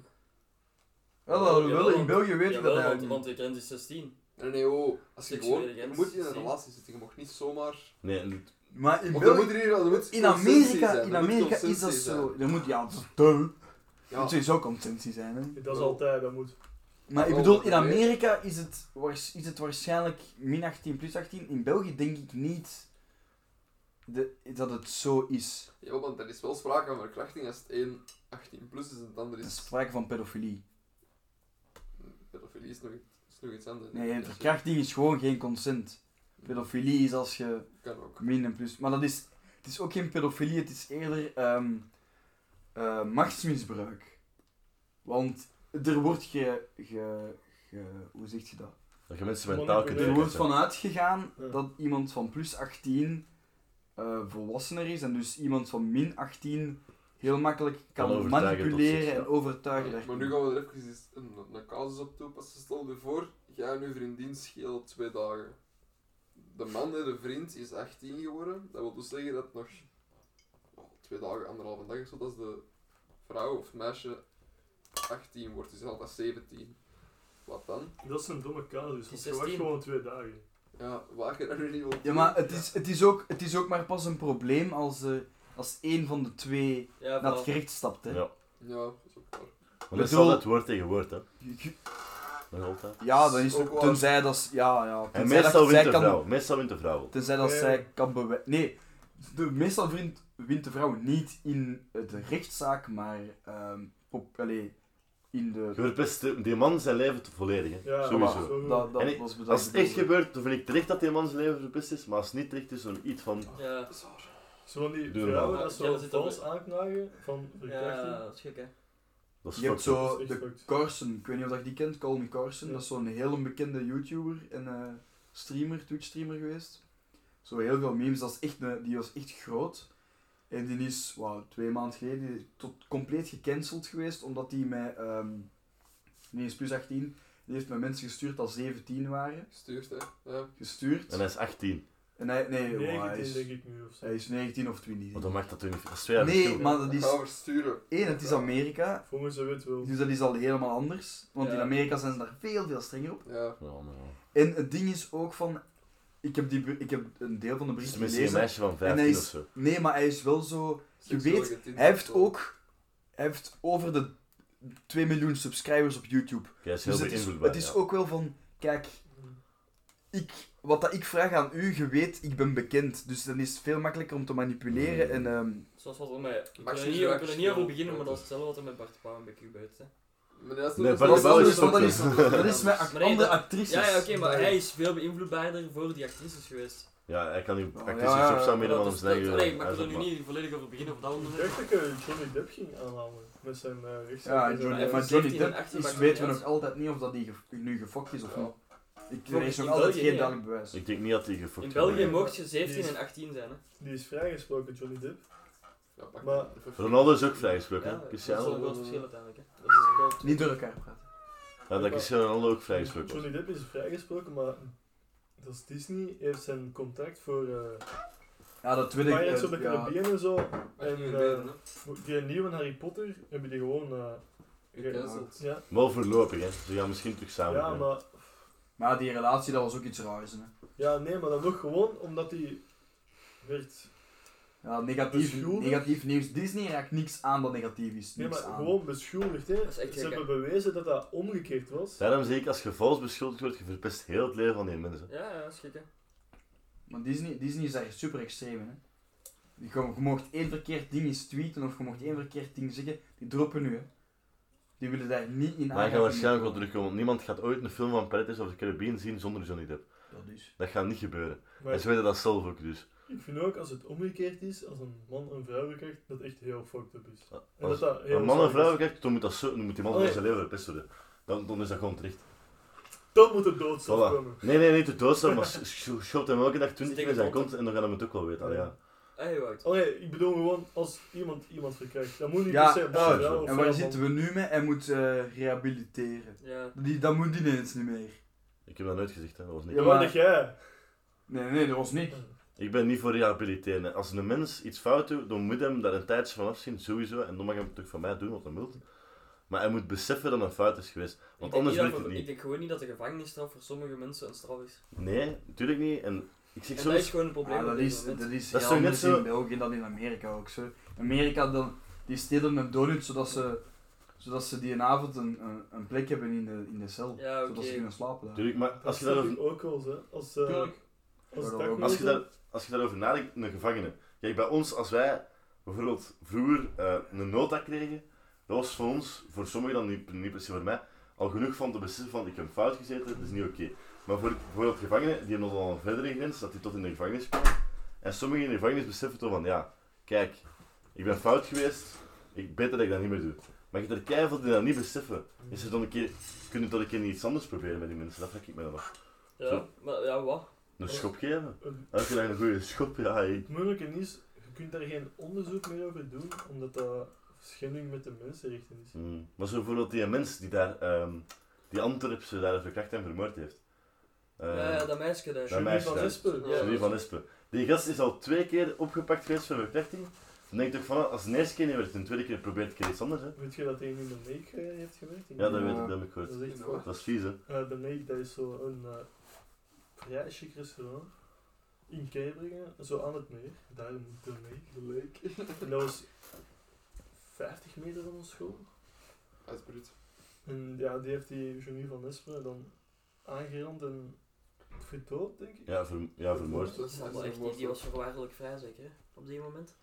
Wel, alhoewel, Jawel, in België weet ik Jawel, dat want- eigenlijk want niet. de grens is 16. Nee, nee, oh. Als je Seksuele gewoon... Je grens, moet in een 16. relatie zitten, je mag niet zomaar... Nee, en- Maar in Of er moet België... er hier... er moet In consensus Amerika, zijn, er in moet Amerika is consensus dat zijn. zo. Er moet, ja, dat is duh. Er Ja, moet sowieso consensie zijn, hè. Dat is Wel. altijd, dat moet. Maar ik Oh, bedoel, in oké. Amerika is het, waars- is het waarschijnlijk min 18 plus 18. In België denk ik niet. de, dat het zo is. Ja, want er is wel sprake van verkrachting als het een 18 plus is en het andere Er is is... sprake van pedofilie. Pedofilie is nog, is nog iets anders. Nee, Ja, dus verkrachting is gewoon geen consent. Pedofilie is als je Kan ook. min en plus. Maar dat is, het is ook geen pedofilie, het is eerder ehm, eh, machtsmisbruik. Want er wordt ge, ge, ge- Hoe zeg je dat? Dat je mensen mentaal kunt Nee, Er ik wordt verkrachten. van uitgegaan Ja. dat iemand van plus 18 eh, volwassener is en dus iemand van min 18 heel makkelijk kan, Kan overtuigen tot manipuleren zich, en overtuigen. Maar daarin. nu gaan we er even eens een, een casus op toepassen. Stel je voor, jij en je vriendin schelen twee dagen. De man, hè, de vriend, is 18 geworden. Dat wil dus zeggen dat nog oh, twee dagen, anderhalve dag is, zodat de vrouw of meisje 18 wordt. Dus altijd 17. Wat dan? Dat is een domme casus, Die want je wacht 16. gewoon twee dagen. Ja, waar je dat nu niet wil Ja, doen. maar het is, het, is ook, het is ook maar pas een probleem als, er als één van de twee Ja, naar het voilà. gerecht stapt. Hè. Ja. Ja, dat is ook waar. Maar dat is bedoel- altijd woord tegen woord, hè. Nog altijd. Ja, dan is Ook wel. tenzij dat s- ja, ja, En tenzij meestal dat zij wint de kan, vrouw. Meestal wint de vrouw wel. tenzij dat Ja, ja. zij kan bewijzen. Nee, de, meestal wint, wint de vrouw niet in de rechtszaak, maar ehm, op, allee, in Je de. verpest de- die man zijn leven te volledig, hè. Ja, Sowieso. voilà. Dat, dat En ik- was bedoeld. Dus Als het echt gebeurt, dan vind ik terecht dat die man zijn leven verpest is. Maar als het niet terecht is, dan iets van... Ja. Dat is waar. Zo van die Doe vrouwen normaal. dat Ja, zo dat zit vals erbij. aanklagen van verkrachting. Ja, dat is gek, hè. Dat is Je hebt fucked up. Dat zo is echt de fucked. Carson, ik weet niet of dat je die kent, Colin Carson, Ja. dat is zo'n heel bekende YouTuber en eh, streamer, Twitch-streamer geweest. Zo heel veel memes, dat is echt een, die was echt groot. En die is, wauw, twee maanden geleden tot compleet gecanceld geweest, omdat die met, ehm nee, is plus 18, die heeft met mensen gestuurd dat 17 waren, Gestuurd, hè. Ja. gestuurd. En hij is 18. En hij, nee, wauw, hij, 19 denk is, ik nu of zo. hij is 19 of Want 20. dan maakt dat toch niet... Dat is twee jaar Nee, verschil. maar dat Ik is, Ga versturen. één, het is Amerika, Volgens de wet wel. dus dat is al helemaal anders. Want Ja. in Amerika zijn ze daar veel, veel strenger op. Ja. Ja, maar ja. En het ding is ook van. Ik heb, die, br- ik heb een deel van de Het is brief misschien een gelezen. meisje van En 15 hij of is, zo. nee, maar hij is wel zo. Je Seksueel weet, getint Hij heeft of zo. ook. Hij heeft over de 2 miljoen subscribers op YouTube. Oké, hij is heel Dus het is, beïnvloedbaar. het is ja. ook wel van. Kijk, ik, wat dat ik vraag aan u, je weet, ik ben bekend. Dus dan is het veel makkelijker om te manipuleren. Hmm. En, ehm, Zoals wat er met... We Max kunnen is niet, we wel kunnen niet over verschil. beginnen, maar dat is hetzelfde wat er met Bart Pauwenbeek gebeurt, hè. Maar dat is Nee, nog- Bart dat de Pauw nog- is dat fucked nog- up. dat is met Maar act- nee, andere dat- actrices. Ja, ja, oké, maar hij is veel beïnvloedbaarder voor die actrices geweest. Ja, hij kan die Oh, actrice ja, ja, shop ja, staan midden Maar van dat hem is- zijn eigen dat- Nee, maar ik wil er uitroep, nu maar- niet volledig over beginnen of dat Ik onderwerp. dacht dat ik Johnny Depp ging aanhalen met zijn uh, Ja, rechtszaak. Johnny, hij maar is Johnny 17 en Depp 18 is, maakt weten niet we nog uit. altijd niet of dat die ge- nu gefokt is of Ja. niet. Ik, er Volgens is nog in altijd België geen niet, hè? duidelijk bewijs. Ik denk niet dat hij gefokt In wordt. België Ja. mocht je 17 Die is- en 18 zijn, hè. Die is vrijgesproken, Johnny Depp. Ja, pak Maar- even. Ronaldo is ook vrijgesproken, Ja, hè? dat is wel Cristiano. een groot verschil uiteindelijk, hè. Dat is wel- Niet door elkaar praten. Ja, dat Cristiano Ronaldo ook vrijgesproken was. Johnny Depp is vrijgesproken, maar dat is Disney heeft zijn contract voor eh Ja, dat wil ik. Pirates eh, of the ja. Caribbean en zo. Mag je En niet meer eh, leren, hè. die nieuwe Harry Potter hebben die gewoon. eh, ge- Gecanceld. ja. Wel voorlopig, hè? Ze gaan misschien terug samen. ja, hè. maar Maar die relatie, dat was ook iets raars. Hè. Ja, nee, maar dan nog gewoon omdat hij werd. Ja, negatief, Beschuldigd? negatief nieuws. Disney raakt niks aan dat negatief is. Nee, Niks maar aan. gewoon beschuldigd, hè? is echt Ze gek, hebben bewezen dat dat omgekeerd was. Daarom zeg ik, als je vals beschuldigd wordt, je verpest heel het leven van die mensen. Ja, ja, dat is gek, hè. Maar Disney, Disney is daar super extreem in, hè. Je, je mocht één verkeerd ding eens tweeten of je mocht één verkeerd ding zeggen, die droppen nu, hè. Die willen daar niet in Maar je gaat aanraking waarschijnlijk wel komen. terugkomen, want niemand gaat ooit een film van Pirates of the Caribbean zien zonder Johnny Depp. Dat is. Dat gaat niet gebeuren. Maar En ze weten dat zelf ook, dus. ik vind ook als het omgekeerd is, als een man een vrouw krijgt, dat echt heel fucked up is. En dat Als dat heel een man en zalig vrouw is. kijkt, dan moet, dat zo, dan moet die man Oh, van ja. zijn leven verpest worden. Dan, dan is dat gewoon terecht. Dan moet de doodstraf Voilà. komen. Nee, nee, niet de doodstraf, maar sch- sch- schopt hem elke dag 20 keer in Steek zijn het kont en dan gaan we het ook wel weten. Allee, ja. Hey, wacht. Allee, ik bedoel gewoon als iemand iemand verkrijgt. Dat moet dus niet Ja, per se een ja, vrouw of En waar een zitten we nu mee? Hij moet eh, rehabiliteren. Ja. Die, dat moet ineens niet meer. Ik heb dat nooit gezegd, hè. dat was niet. Ja, Ja, maar- maar dat jij. Nee, nee, dat was niet. Ik ben niet voor rehabiliteren. hè. Als een mens iets fout doet, dan moet hem daar een tijdje van afzien, sowieso. En dan mag hij het ook van mij doen, wat hij wil. Maar hij moet beseffen dat een fout is geweest. Ik Want denk, anders niet dat werkt voor- het ik niet. denk gewoon niet dat de gevangenisstraf voor sommige mensen een straf is. Nee, natuurlijk niet. En ik zeg En zo dat is eens, gewoon een probleem. Ja, op Ah, dat dit is, moment. dat is Dat is heel toch net anders zo- in België dan in Amerika ook zo. Amerika, dan, die stelen een donut zodat ze, zodat ze die avond een, een, een plek hebben in de, in de cel. Ja, oké. Zodat ze kunnen slapen daar. natuurlijk, maar Als als je daarover... ook wel, hè? Als, eh, Tuurlijk. Als het Waarom? dak Als je, wil daar, als je daarover nadenkt, een gevangene. Kijk, bij ons, als wij bijvoorbeeld vroeger eh, een nota kregen, dat was voor ons, voor sommigen dan niet, niet per se voor mij, al genoeg van te beseffen van ik heb fout gezeten, dat is niet oké. Maar voor bijvoorbeeld gevangenen, die hebben al een verdere grens, dat die tot in de gevangenis komen. En sommigen in de gevangenis beseffen toch van, ja, kijk, ik ben fout geweest, ik, beter dat ik dat niet meer doe. Maar je hebt er keihard die dat niet beseffen. Is het dan een keer, kunnen we toch een keer iets anders proberen met die mensen? Dat vraag ik me dan af. Ja, maar ja, wat? Een schop geven. een- Elke dag een goede schop, ja, hey. Het moeilijke is, je kunt daar geen onderzoek meer over doen, omdat dat schending met de mensenrechten is. Mm. Maar zo bijvoorbeeld die mens die daar, ehm die Antwerpse daar verkracht en vermoord heeft. Eh, ja, ja, dat meisje daar. dat Julie meisje van daar. Espen. Ja. Julie van Espen. Die gast is al twee keer opgepakt geweest voor verkrachting. Dan denk ik toch van, als de eerste keer niet werd, de tweede keer probeert ik iets anders. Hè. Weet je dat hij nu de Make eh, heeft gewerkt? Ja, Ja. dat, Weet ik, dat heb ik Dat gehoord. is echt goed. Dat is vies, hè. Eh, de Make, dat is zo een eh, vrij chic restaurant in Keibrugge, zo aan het meer. Daar moet de Make. De Lake. En dat was 50 meter van ons school. Uitbrut. En ja, die heeft die Julie van Espen dan aangerand en verdood, denk ik. Ja, ver- ja, vermoord. Dat is Maar een echt, die, die was voorwaardelijk vrij zeker, hè, op die moment.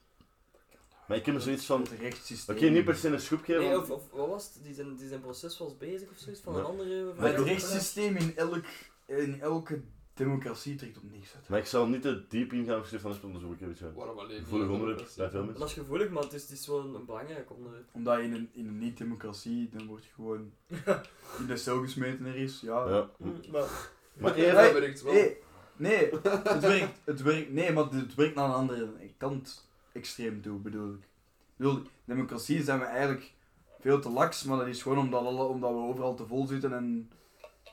Maar ik heb er zoiets van, Het oké, rechtssysteem. niet per se een schop geven. Nee, of, want- of wat was het? Die zijn, die zijn proces was bezig of zoiets van Maar- een andere... maar Maar het dat- rechtssysteem in, elk, in elke democratie trekt op niks uit. Maar ik zal niet te diep ingaan op Stefan Espen, dat is ook een beetje Waarom alleen? gevoelig onderwerp bij veel mensen. Dat is gevoelig, maar het is, het is wel een, een belangrijk onderwerp. Omdat je in een, in een niet-democratie, dan word je gewoon in de cel gesmeten er is. Ja. Ja. Hm, Maar Maar Ja, even, dat werkt wel. Nee, nee, het werkt, het werkt, nee, maar het werkt naar een andere kant extreem toe, bedoel ik. Ik bedoel, democratie zijn we eigenlijk veel te laks, maar dat is gewoon omdat, alle, omdat we overal te vol zitten en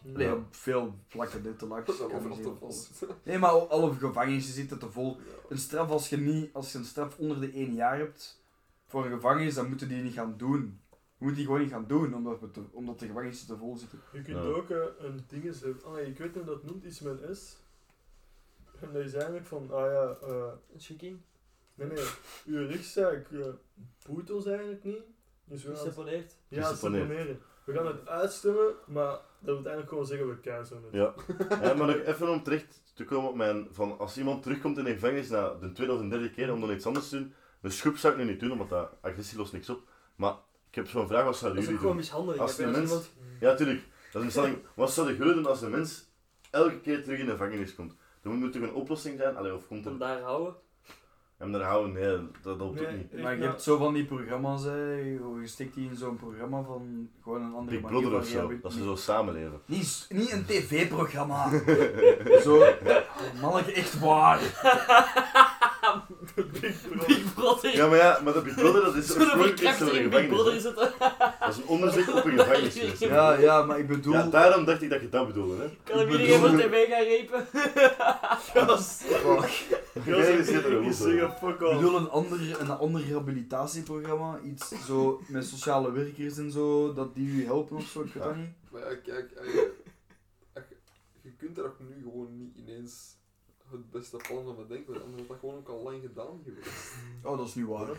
nee, op veel vlakken dit te Dat is laks. wel kan overal niet te heel- vol. Nee, maar alle gevangenissen zitten te vol. Een straf, als je, niet, als je een straf onder de 1 jaar hebt voor een gevangenis, dan moeten die niet gaan doen. Je moet die gewoon niet gaan doen, omdat, we te- omdat de gevangenissen te vol zitten. Je kunt Ja. ook eh, een dinges hebben. Ah, ik weet niet hoe dat noemt, iets met een S. En dat is eigenlijk van, ah ja, eh, Een chickie, nee nee, uw rechtszaak eh, boeit ons eigenlijk niet. Dus we gaan het, geseponeerd. ja, Geseponeerd. seponeren. We gaan het uitstemmen, maar dat wil eigenlijk gewoon zeggen we cancelen het. Ja. Ja, maar nog even om terecht te komen op mijn... Van als iemand terugkomt in de gevangenis na de tweede of de derde keer om dan iets anders te doen, een schroep zou ik nu niet doen, omdat dat agressie lost niks op. Maar ik heb zo'n vraag, wat Dat zouden is ook jullie gewoon doen? mishandeling. Als hè, die mens- iemand- Ja, tuurlijk. Dat is een stelling. Wat zouden jullie doen als een mens elke keer terug in de gevangenis komt? Dan moet er een oplossing zijn? Allee, of komt er... Om daar houden. Hem daar houden? Nee, dat, dat helpt ook niet. echt, Maar je nou, hebt zo van die programma's, hè. je stikt die in zo'n programma van gewoon een andere Big Brother van of zo, rehabil- dat ze zo samenleven. Niet, s- niet een tv-programma. zo, oh, manneke, echt waar. Big Brother. Ja, maar ja, maar dat Big Brother, dat is Zo'n een voorkeur verkrachting voor een in Big Brother gevangenis. is het. hè. Dat is een onderzoek op een gevangenis. Ja, ja, maar ik bedoel... Ja, daarom dacht ik dat je dat bedoelde, hè. Kan hem Ik iedereen van bedoel- tv gaan repen? Gast. Ja, dat is er Ik zeg fuck Ik off. bedoel een ander, een ander rehabilitatieprogramma, iets zo met sociale werkers en zo, dat die u helpen of zo, ik weet dat niet. Maar ja, kijk, eh, eh, je kunt daar ook nu gewoon niet ineens het beste plan van bedenken, want anders had dat gewoon ook al lang gedaan geweest. Oh, dat is niet waar. Dat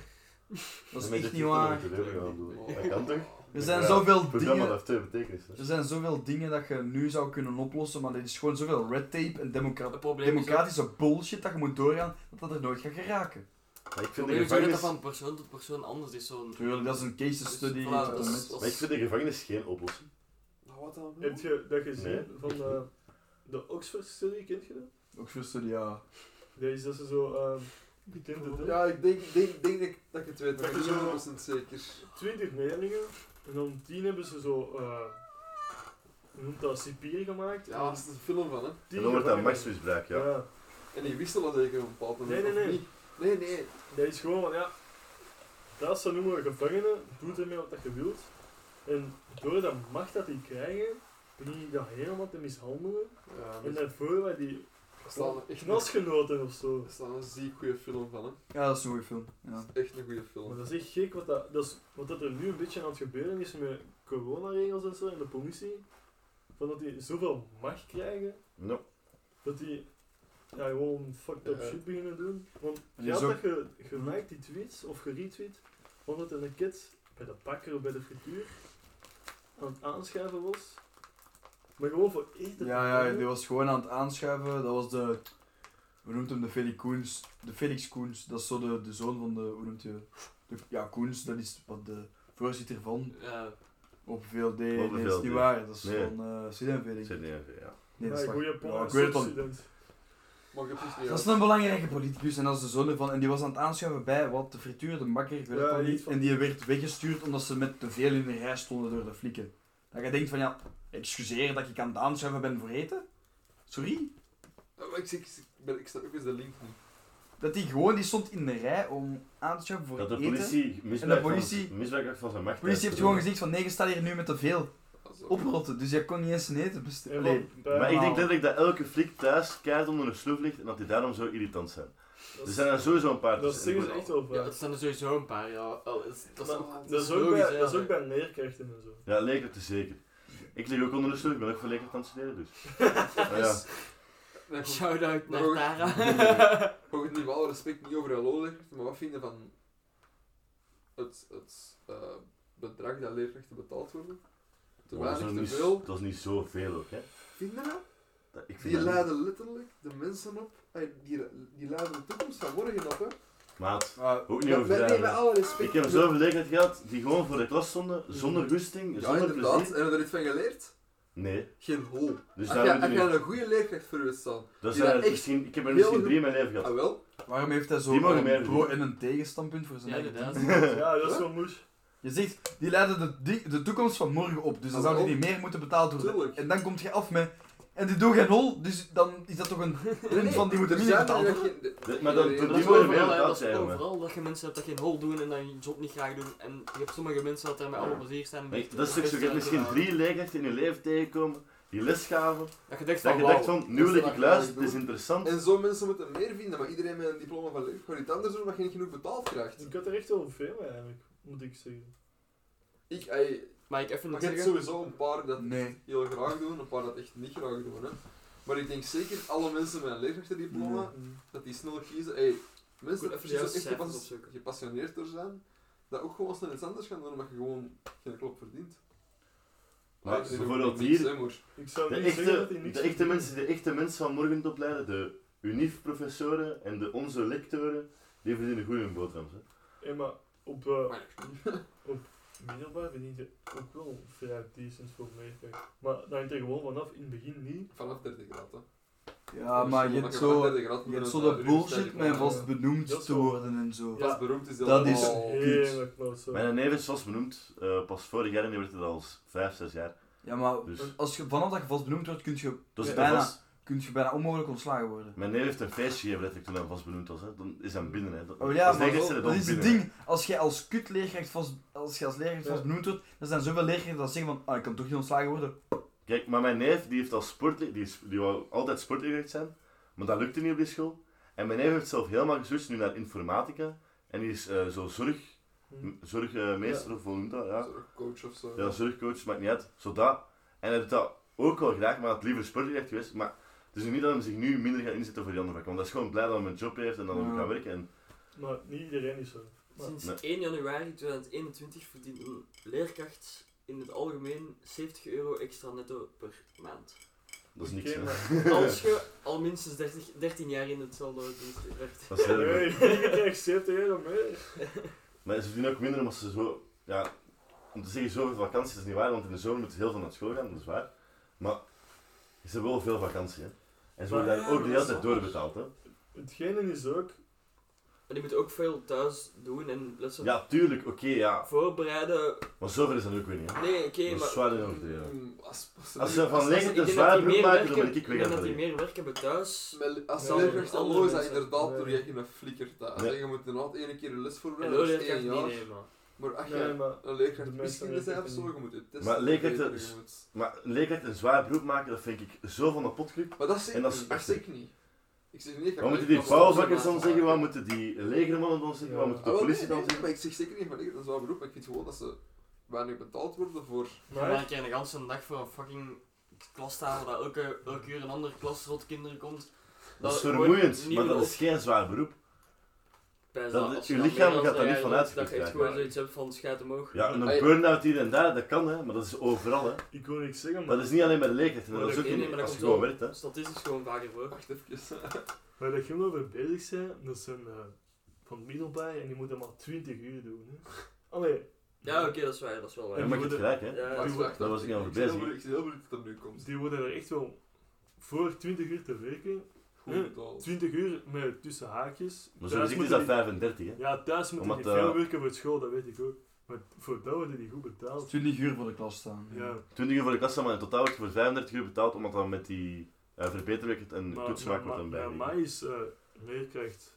is Maar echt dit niet heeft waar. toch met het leven gedaan, bedoel. Dat kan toch? Er zijn Ja, zoveel Het programma dingen... heeft twee betekenissen. Er zijn zoveel dingen dat je nu zou kunnen oplossen, maar dit is gewoon zoveel red tape en democra- Het probleem is ook- democratische bullshit dat je moet doorgaan, dat dat er nooit gaat geraken. Maar ik het vind de probleem is ook dat dat gevangenis... van persoon tot persoon anders is. Zo'n... Tuurlijk, dat is een case Dus, study. voilà, dat dat is- is- dat Maar ik is- vind de gevangenis geen oplossing. Nou, wat dan? wel? Heb je dat gezien Nee. van eh, de Oxford Study, kent je dat? Ook voor studie, ja. Dat is dat ze zo, ehm je kent het hè? Ja, ik denk, denk, denk dat, ik- dat ik het weet, maar Dat ik je zo- ben niet 100% zeker. 20 leerlingen en dan 10 hebben ze zo, eh hoe noemt dat, cipier gemaakt. Ja, daar is een film van, hè. En dan wordt dat maximaal. machtsmisbruik, Ja. ja. En die wisselen zeker op een bepaald moment, Nee, nee, of nee. niet? Nee, nee. dat is gewoon, van, ja, dat ze noemen gevangenen, doe ermee wat dat je wilt. En door dat macht dat die krijgen, begin je dat helemaal te mishandelen. Ja, En eh, maar daarvoor waren die er staan er echt nog- knasgenoten of zo. er staan een ziek goede film van, hè. Ja, dat is een goede film. Ja. Dat is echt een goede film. Maar dat is echt gek wat, dat, dat is, wat dat er nu een beetje aan het gebeuren is met coronaregels en zo en de politie. Van dat die zoveel macht krijgen No. Dat die ja, gewoon fucked up Ja. shit beginnen doen. Want En je die is had ook- dat ge, ge liked die tweets of geretweet, omdat er een kid bij de bakker of bij de frituur aan het aanschuiven was. Maar gewoon voor eten. te Ja, ja, betalen. die was gewoon aan het aanschuiven. Dat was de hoe noemt hem de Felix Koens? De Felix Koens, dat is zo de, de zoon van de, hoe noemt je? De, ja, Koens, dat is wat de voorzitter van Ja, op VLD. Op nee, dat is VLD. niet waar, dat is Nee. van eh Sidem Felix. CD&V, ja. Nee, dat is Nee, waar. goeie Ja, plaats. ik weet het al niet. student. Maar je precies niet Dat is uit. een belangrijke politicus en dat is de zoon ervan. En die was aan het aanschuiven bij wat de frituur, de makker, ik weet het Ja, al niet. iets van- En die werd weggestuurd omdat ze met te veel in de rij stonden door de flikken. Dat je denkt van ja, excuseer dat ik aan het aanschuiven ben voor eten. Sorry. Ja, Ah, maar ik, ik, ik, ben, ik snap ook eens de link niet. Dat die gewoon, die stond in de rij om aan te schuiven voor Dat de eten. politie En de misbruik, politie- van, misbruik maakt van zijn macht. De politie heeft gewoon gezegd van nee, je staat hier nu met te veel. Also, Oprotten, dus jij kon niet eens een eten bestellen. Helemaal Allee, bij- Maar ik denk Normaal. letterlijk dat elke flik thuis keihard onder een sloef ligt en dat die daarom zo irritant zijn. dat Dus Er is- zijn er sowieso een paar Dat tussen. zeggen ze echt wel ja vaak. het zijn er sowieso een paar, ja. Oh, dat is, dat is Maar ook, dat Dat is ook logisch, bij- ja. dat is ook bij leerkrachten en zo. Ja, lekker te zeker. Ik lig ook onder de sloef, ik ben ook voor lekker aan het studeren dus. Maar ja, nee, goed. Shout-out naar Maar ook- Tara. Ook het niveau respect niet over LO legt, maar wat vind je van het, het eh, bedrag dat leerkrachten betaald worden? Te maar dat, weinig, is nog niet, te veel. dat is niet zoveel ook hè. Vind je dat? Dat- ik vind Die dat niet- leiden letterlijk de mensen op, eh, die, die leiden de toekomst van morgen op. Hè. Maat, maar ook niet Met, met, nee, overdrijven. met hè. alle respect. Dus- Ik heb zoveel leerkrachten gehad die gewoon voor de klas stonden, zonder goesting, Ja, zonder inderdaad. plezier. En hebben er iets van geleerd? Nee, Geen hol. dus Als daar jij moet als je jij niet. een goede leerkracht voor je staan, Dat die zijn dat er echt misschien, ik heb er heel misschien goed- drie in mijn leven ah gehad. wel, waarom heeft hij Die zo mogen meer een doen. pro- en een tegenstandpunt voor zijn Ja, eigen inderdaad. Ja, dat is wel moes. Je zegt, die leiden de, di- de toekomst van morgen op, dus dan zouden die meer moeten betaald worden. tuurlijk. En dan komt je af met, en die doen geen hol, dus dan is dat toch een punt van die moeten Er minder zijn betaald er worden. dus geen- de- De- maar dan- nee, dan- Dat die nee, is nee. worden meer overal, hè. betaald, dat is zeggen we. overal dat je mensen hebt dat geen hol doen en dat je job niet graag doen. En je hebt sommige mensen dat daar met alle plezier staan. en Ik- echt Dat is toch zo, je hebt best, eh, misschien drie leerkrachten in je leven tegenkomen, die les gaven, Dat je denkt dat van, je dacht wauw. van, nu wil Ah, dat ik is luisteren, het wat ik is doe. interessant. En zo mensen moeten meer vinden, maar iedereen met een diploma van leerkracht gaat iets anders doen omdat je niet genoeg betaald krijgt. Ik had er echt wel veel mee eigenlijk, moet ik zeggen. Ik, ey, Maar ik even Maar nog je hebt zeggen. sowieso een paar dat Nee. heel graag doen, een paar dat echt niet graag doen. Hè. Maar ik denk zeker alle mensen met een leerkrachtendiploma, dat die snel kiezen. Hey, mensen Goed, dat even juist precies echt cijfers gepas- opzoeken. gepassioneerd door zijn, dat ook gewoon snel iets anders gaan doen omdat je gewoon geen klop verdient. Maar Ah, ik zeg ook bijvoorbeeld niks, hier, hè, maar- Ik zou De niet zeggen dat hij echte, niks de echte verdient. mensen die de echte mensen van morgen opleiden, de UNIF-professoren en de onze lectoren, die verdienen goed hun boterhams. Hè. Hé, maar op eh, maar- middelbaar verdient je ook wel vrij decent voor leerkracht. Maar dat hangt er gewoon vanaf, in het begin niet. Vanaf 30 graden. hè. Ja, maar je hebt zo, je hebt zo dat bullshit met vast Dat benoemd is te wel- worden en zo. Ja. Vast beroemd is dat. Dat is- allemaal. Oh, Heerlijk, maar zo. Mijn neef is zoals benoemd, eh, pas vorig jaar en die werd het al 5, 6 jaar. Ja, maar Dus als je, vanaf dat je vast benoemd wordt, kun je, dat is bijna. vast. kun je bijna onmogelijk ontslagen worden. Mijn neef heeft een feestje gegeven letterlijk toen hij vast benoemd was. Hè. Dan is hij binnen. Hè. Dat, Oh ja, als maar leerkracht dat, zijn er dat dan is het binnen, hè. ding. Als je als kutleerkracht vast, als je als leerkracht Ja. vast benoemd wordt, dan zijn zoveel leerkrachten dat zeggen van, ah, ik kan toch niet ontslagen worden. Kijk, maar mijn neef die heeft als sportleer, die, is- die wou altijd sportleerkracht zijn, maar dat lukte niet op die school. En mijn neef heeft zelf helemaal geswitcht nu naar informatica. En die is eh, zo zorg, Hm. zorgmeester of hoe noemt dat? Ja. Zo'n coach of zo. ja, zorgcoach, maakt niet uit. Zo dat. En hij doet dat ook wel graag, maar hij had liever sportleerkracht geweest. Maar het is nu niet dat hij zich nu minder gaat inzetten voor die andere vakken. Want hij is gewoon blij dat hij een job heeft en dat hij Ja. moet gaan werken. En Maar niet iedereen is zo. Sinds Nee. 1 januari 2021 verdient een leerkracht in het algemeen 70 euro extra netto per maand. dat is niks. Oké, hè. maar- Als je al minstens 30, 13 jaar in hetzelfde dienst werkt. Dat is heel Nee, goed. je krijgt 70 euro meer. Maar ze verdienen ook minder omdat ze zo. Ja, om te zeggen zoveel vakantie dat is niet waar, want in de zomer moeten ze heel veel naar school gaan, dat is waar. Maar ze hebben wel veel vakantie, hè. En ze worden Maar- daar ook de hele tijd doorbetaald, hè. Hetgene is ook, En je moet ook veel thuis doen en lessen Ja, tuurlijk, oké, ja. voorbereiden. Maar zoveel is dat ook weer niet, hè. Nee, oké, Dat is maar... zwaar in overdreven. Mm, Als, als, Als ze van ik lekker denk een dat zwaar die meer broek maken, dan werken- ben ik Ik weg denk aan dat het die werken. meer werk hebben thuis. Met- Als Ja, leerkracht andere al is dat mensen. inderdaad door Nee. je geen flikker thuis. Nee. hè. Je moet inderdaad één keer je les En voorbereiden, de dat is één leerkracht jaar. niet nemen. Maar als je nee, maar een de leerkracht meeste misschien zijn of leerkrachten zo, niet. je moet je testen. Maar leerkrachten- verbeteren, je moet- Maar een leerkracht een zwaar beroep maken, dat vind ik zo van de potkuk. Maar dat zeg En ik dat is niet, dat echt zeg ik niet. Ik zeg niet, Wat moeten die vouwvakkers dan zeggen, wat moeten die legermannen dan zeggen, wat Ja. Ah, moet de Oh, politie dan zeggen? Maar ik zeg zeker niet van leerkracht, dat is wel beroep, maar ik vind gewoon dat ze weinig betaald worden voor... Maar maar dan krijg je de hele dag voor een fucking klastafel dat elke, elke uur een andere klas rot kinderen komt. Dat is wordt vermoeiend, niet maar dat meer is geen zwaar beroep. op- pijs Dat- als je dat lichaam meer gaat dan daar niet jij van loopt, Dat uitgeput je echt raken, gewoon maar- zoiets hebt van schijt omhoog. Ja, en een Hey. burn-out hier en daar, dat kan hè, maar dat is overal hè. Ik wil niks zeggen, maar Dat is niet alleen bij de leegheid, maar dat is ook Oké, nee, in, maar dat als je komt gewoon wel. werkt hè. Statistisch gewoon vaker voor. Wacht even. waar dat jullie over bezig zijn, dat zijn eh, van middelbaar en die moeten maar 20 uur doen. Hè. Allee, Ja, oké, dat is waar, dat is wel waar. Ja, maar je hebt gelijk hè. Ja, Wacht, wacht, Daar was wacht. ik niet over ben heel bezig. benieuwd- Ik ben heel benieuwd dat dat nu komt. die worden er echt wel voor 20 uur te werken. Goed Hm. betaald. 20 uur met tussen haakjes. Maar Thuis zo gezien is moeten dat die- 35 hè. Ja, thuis moeten Omdat, die veel eh, werken voor school, dat weet ik ook. Maar voor dat worden die goed betaald. 20 uur voor de klas staan. Ja, 20 uur voor de kassa, maar in totaal wordt je voor 35 uur betaald, omdat dan met die eh verbeterwerk en maar toetsmaak wordt dan bij bij. mij is eh, leerkracht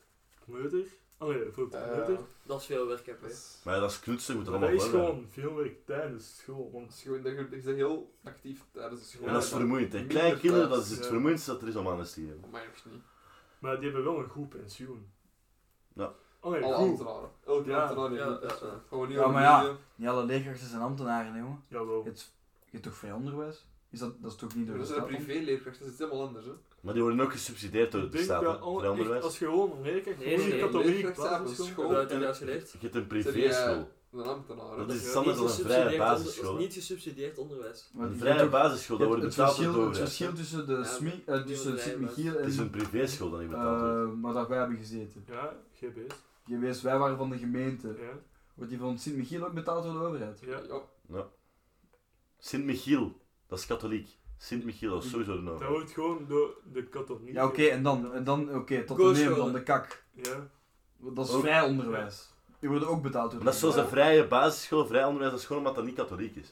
meuter. Allee, voor Ja, meuter. Dat is veel werk, heb dat je. is- Maar ja, dat is knutsen, moet dat Maar dat allemaal is wel hebben. gewoon veel werk tijdens school. dat Want is gewoon dat je dat je heel actief tijdens de school En dat is Ja, vermoeiend hè. minder Kleine kinderen, dat thuis, is het ja. vermoeiendste dat er is om aan de te geven. Maar nog niet. Maar die hebben wel een goed pensioen. Ja. Allee, Alle goed. ambtenaren. Elke Ja, ambtenaar heeft ja, een ja, persoon. ja. Gaan we niet Dus Ja, over maar ja. media. Niet alle leerkrachten zijn ambtenaren, hè, jongen. Jawel. Je hebt, je hebt toch vrij onderwijs? Is dat, dat is toch niet door de Dat zijn staat? dan? privéleerkrachten, dat is iets helemaal anders. Hè. Maar die worden ook gesubsidieerd door Ik de denk staat hè, dat voor alle- echt, onderwijs. als je gewoon een leerkracht Nee, nee, voor nee, een katholiek leerkracht zijn op basisschool... school. Heb je dat geleerd? Je hebt een Zijn die, eh, privéschool. Een ambtenaar. hè. Dat is Ja, standaard als een vrije gesubsidieerd onder- basisschool. hè. Niet gesubsidieerd onderwijs. Maar Een je vrije hebt toch- basisschool, dat je hebt wordt betaald door de verschil, Het verschil overheid. hè. tussen de Ja, SMI, eh, maar- tussen Nee, Sint maar- Michiel en Het is een privéschool dat niet betaald wordt. eh, maar dat wij hebben gezeten. Ja, GB's. Geweest, wij waren van de gemeente. Ja, Wordt die van Sint Michiel ook betaald door de overheid? ja. Ja, Sint-Michiel, dat is katholiek. Sint-Michiel, dat is sowieso de Dat norm. wordt gewoon door de katholiek. Ja, oké, en dan, en dan, oké, tot de Koosscholen. neem dan de kak. Ja. Want Dat is Ook. vrij onderwijs. Die worden ook betaald door Maar de dat is zoals een overheid. vrije basisschool, vrij onderwijs, dat is gewoon omdat dat niet katholiek is.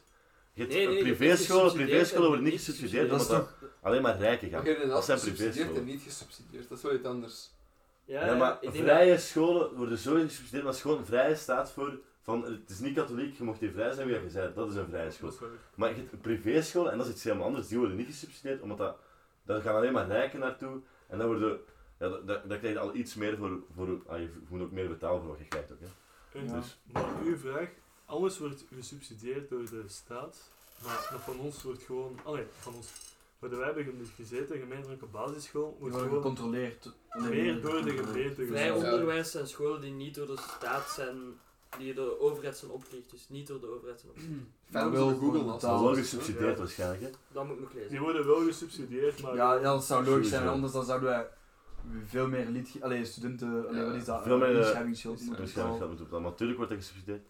Je hebt Nee, nee, een je hebt privéschool, gesubsidieerd privéscholen en worden niet niet gesubsidieerd, Dat is omdat dat alleen maar rijken maar gaan. je Dat hebt inderdaad zijn gesubsidieerd en privéscholen. niet gesubsidieerd. Dat is wel iets anders. Ja, maar ik denk vrije scholen worden zo gesubsidieerd, maar het is gewoon vrije staat voor van het is niet katholiek, je mag hier vrij zijn wie je bent. Dat is een vrije school. Dat is waar. Maar je hebt een privéschool en dat is iets helemaal anders. Die worden niet gesubsidieerd, omdat dat, daar gaan alleen maar rijken naartoe. En dan worden, ja, da- da- daar, krijg je al iets meer voor, voor ah, je moet ook meer betalen voor wat je krijgt ook. Hè. En Ja. Dus, Maar uw vraag, alles wordt gesubsidieerd door de staat, maar dat van ons wordt gewoon... Allee, van ons... Waar wij hebben gem- gezeten, gemeentelijke basisschool, Die wordt worden gewoon gecontroleerd. meer door de gemeente Vrij Ja. gezet. onderwijs zijn scholen die niet door de staat zijn, die door de overheid zijn opgericht, dus niet door de overheid zijn opgericht. Maar Fijn wel wel Google voor als dat is wel betaald. gesubsidieerd Ja. waarschijnlijk. Hè. Dat moet ik nog Die lezen. worden wel gesubsidieerd, maar... Ja, ja, dat zou logisch zijn, Sowieso. anders dan zouden wij veel meer lied... Allee, studenten... Allee, Ja. wat is dat? Veel meer, eh, Inschrijvingsgeld moeten Waarschijnlijk betalen. gaat het betalen. Maar natuurlijk wordt dat gesubsidieerd.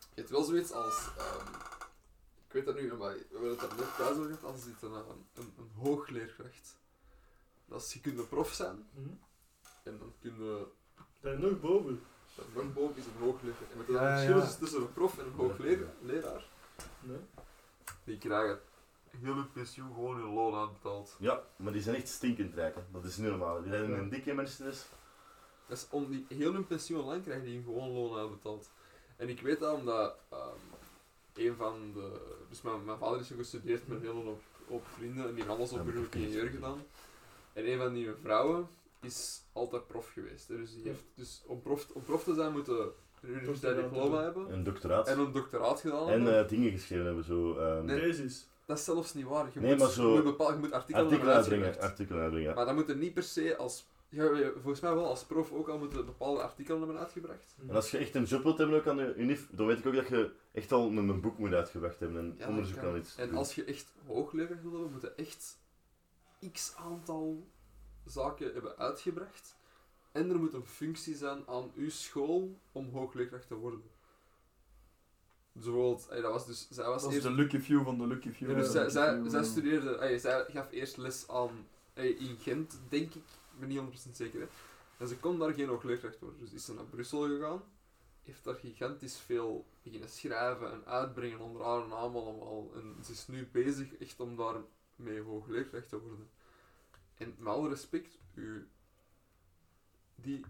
Je hebt wel zoiets als. ehm, ik weet dat nu, maar we hebben het daar net thuis over gehad. Als iets een, een, een, een hoogleerkracht. Dat is, je kunt een prof zijn Hm? en dan kun je. Daar nog boven. Dat nog boven is een hoogleerkracht. En met dat Ja, ja, verschil ja. is tussen een prof en een hoogleraar. Nee? Die krijgen heel hun pensioen gewoon hun loon aanbetaald. Ja, maar die zijn echt stinkend rijk. Hè. Dat is niet normaal. Die rijden in een dikke dus. Mercedes. Dat is om die heel hun pensioen lang krijgen die hun gewoon loon aanbetaald. En ik weet dat omdat ehm, een van de. Dus mijn, mijn vader is zo gestudeerd met heel een hoop, hoop vrienden en die hebben alles Ja, op maar beroep dat ingenieur is- gedaan. En een van die vrouwen is altijd prof geweest. hè. Dus, die heeft, dus om, prof, om prof te zijn moeten een universitair Doctoraat diploma en hebben Een doctoraat. en En, een doctoraat gedaan hebben. eh, dingen geschreven hebben. Zo, ehm, Nee, Deze is. dat is zelfs niet waar. Je Nee, moet, maar zo- je moet, bepaal- je moet artikelen artikelen hebben uitbrengen. uitgewerkt. Artikelen uitbrengen. ja. Maar dan moet je niet per se als... ja, je- volgens mij wel als prof ook al moeten bepaalde artikelen hebben uitgebracht. En als je echt een job wilt hebben ook aan de UNIF, dan weet ik ook dat je echt al een, een boek moet uitgebracht hebben en dat onderzoek kan. aan iets En doen. als je echt hoogleraar wil hebben, moet je echt x aantal zaken hebben uitgebracht. En er moet een functie zijn aan uw school om hoogleraar te worden. Dus bijvoorbeeld, ey, dat was dus, zij was Dat is eerst... de lucky few van de lucky few. eh, Ja, dus zij, zij, Lucky few, zij ja. studeerde, ey, zij gaf eerst les aan ey, in Gent, denk ik. Ik ben niet 100% zeker. Hè. En ze kon daar geen hoogleraar worden. Dus is ze naar Brussel gegaan. Heeft daar gigantisch veel beginnen schrijven en uitbrengen onder haar naam allemaal. En ze is nu bezig echt om daar mee hoogleraar te worden. En met alle respect, u, die,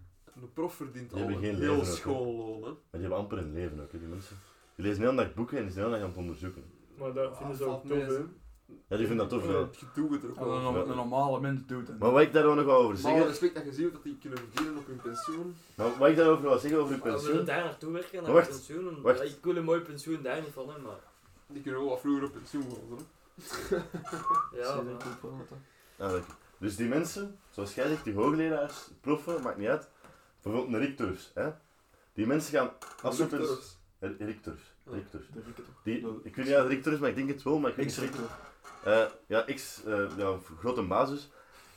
een prof verdient Die al hebben een geen heel leven ook, hè. schoolloon. hè. Maar die hebben amper een leven ook, hè, die mensen. Die lezen heel hele dag boeken en die zijn heel hele dag aan het onderzoeken. Maar dat vinden ze Ah, ook valt mee, tof, hè? hè. Ja, die vinden dat tof, ja. Het gedoe wordt er ook Wat wel een, Ja. no- een normale mens doet. hè. Maar wat ik daar wel nog wel over Maar alle zeggen, respect dat je ziet dat die kunnen verdienen op hun pensioen. maar wat ik daarover wil zeggen over uw Maar we willen pensioen, daar naartoe werken, naar Maar wacht, een pensioen. en- wacht. Ja, Ik wil een mooi pensioen daar niet van, hè, maar... Die kunnen wel wat vroeger op pensioen worden. hè. Ja, Zie je maar- dat ook wel, wat dat- Ah, leuk. dus die mensen, zoals jij zegt, die hoogleraars, proffen, maakt niet uit, Bijvoorbeeld een Rictors, hè? Die mensen gaan afzoeken. Luchtdorfs. Rictors. Ah. Rictors. De Rikke toch? Die, ik weet niet of Rictors, maar ik denk het wel, maar ik weet Ik niet schrik zeker. toch? Eh, ja, X, eh, ja, v- grote basis.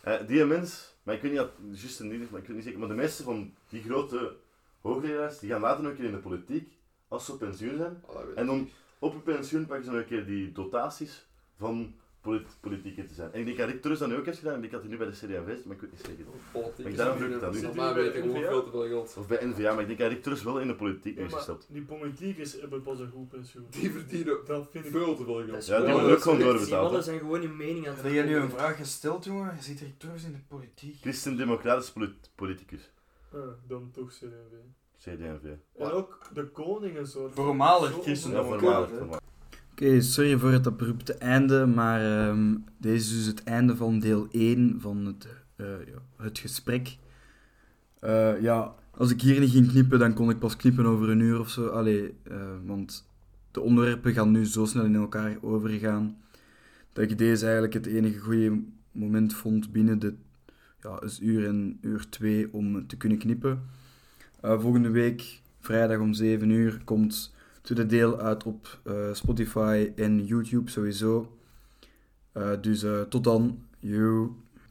Eh die mens, maar ik weet niet of het juist en niet is, maar ik weet niet zeker. Maar de meeste van die grote hoogleraars, die gaan later nog een keer in de politiek, als ze op pensioen zijn. Ah, dat weet ik En dan- niet. Op hun pensioen pakken ze nog een keer die dotaties van polit politieken te zijn. En ik denk dat Rick Terus dat nu ook heeft gedaan, en ik had hij nu bij de CDAV, maar ik weet niet zeker. Politiek Maar is daarom een- lukt dat niet. Volgens mij weet ik gewoon veel te veel geld. Of bij NVA, maar ik denk dat Rick Terus wel in de politiek Ja, nu is maar gestapt. Die politiekers hebben pas een goed pensioen. Die verdienen Dat vind ik... veel te veel geld. Ja, die Ja, worden dat ook gewoon is- Die doorbetaald. mannen hè. zijn gewoon hun mening aan het Heb jij nu een verkondigen. vraag gesteld, jongen? Zit Rick Turfs in de politiek? Christendemocratisch polit- politicus, Eh, dan toch CNV. CDNV. En ook de koning en zo. Voormalig Zo Ja, christendemocraat, voormalig. hè. voormalig. Oké, sorry voor het abrupte einde, maar ehm, dit is dus het einde van deel 1 van het, eh, ja, het gesprek. Eh, ja, als ik hier niet ging knippen, dan kon ik pas knippen over een uur of zo. Allee, eh, want de onderwerpen gaan nu zo snel in elkaar overgaan, dat ik deze eigenlijk het enige goede moment vond binnen de ja, dus uur en uur 2 om te kunnen knippen. Eh, volgende week, vrijdag om 7 uur, komt tweede deel uit op eh, Spotify en YouTube sowieso. Eh, dus eh, tot dan. Joe.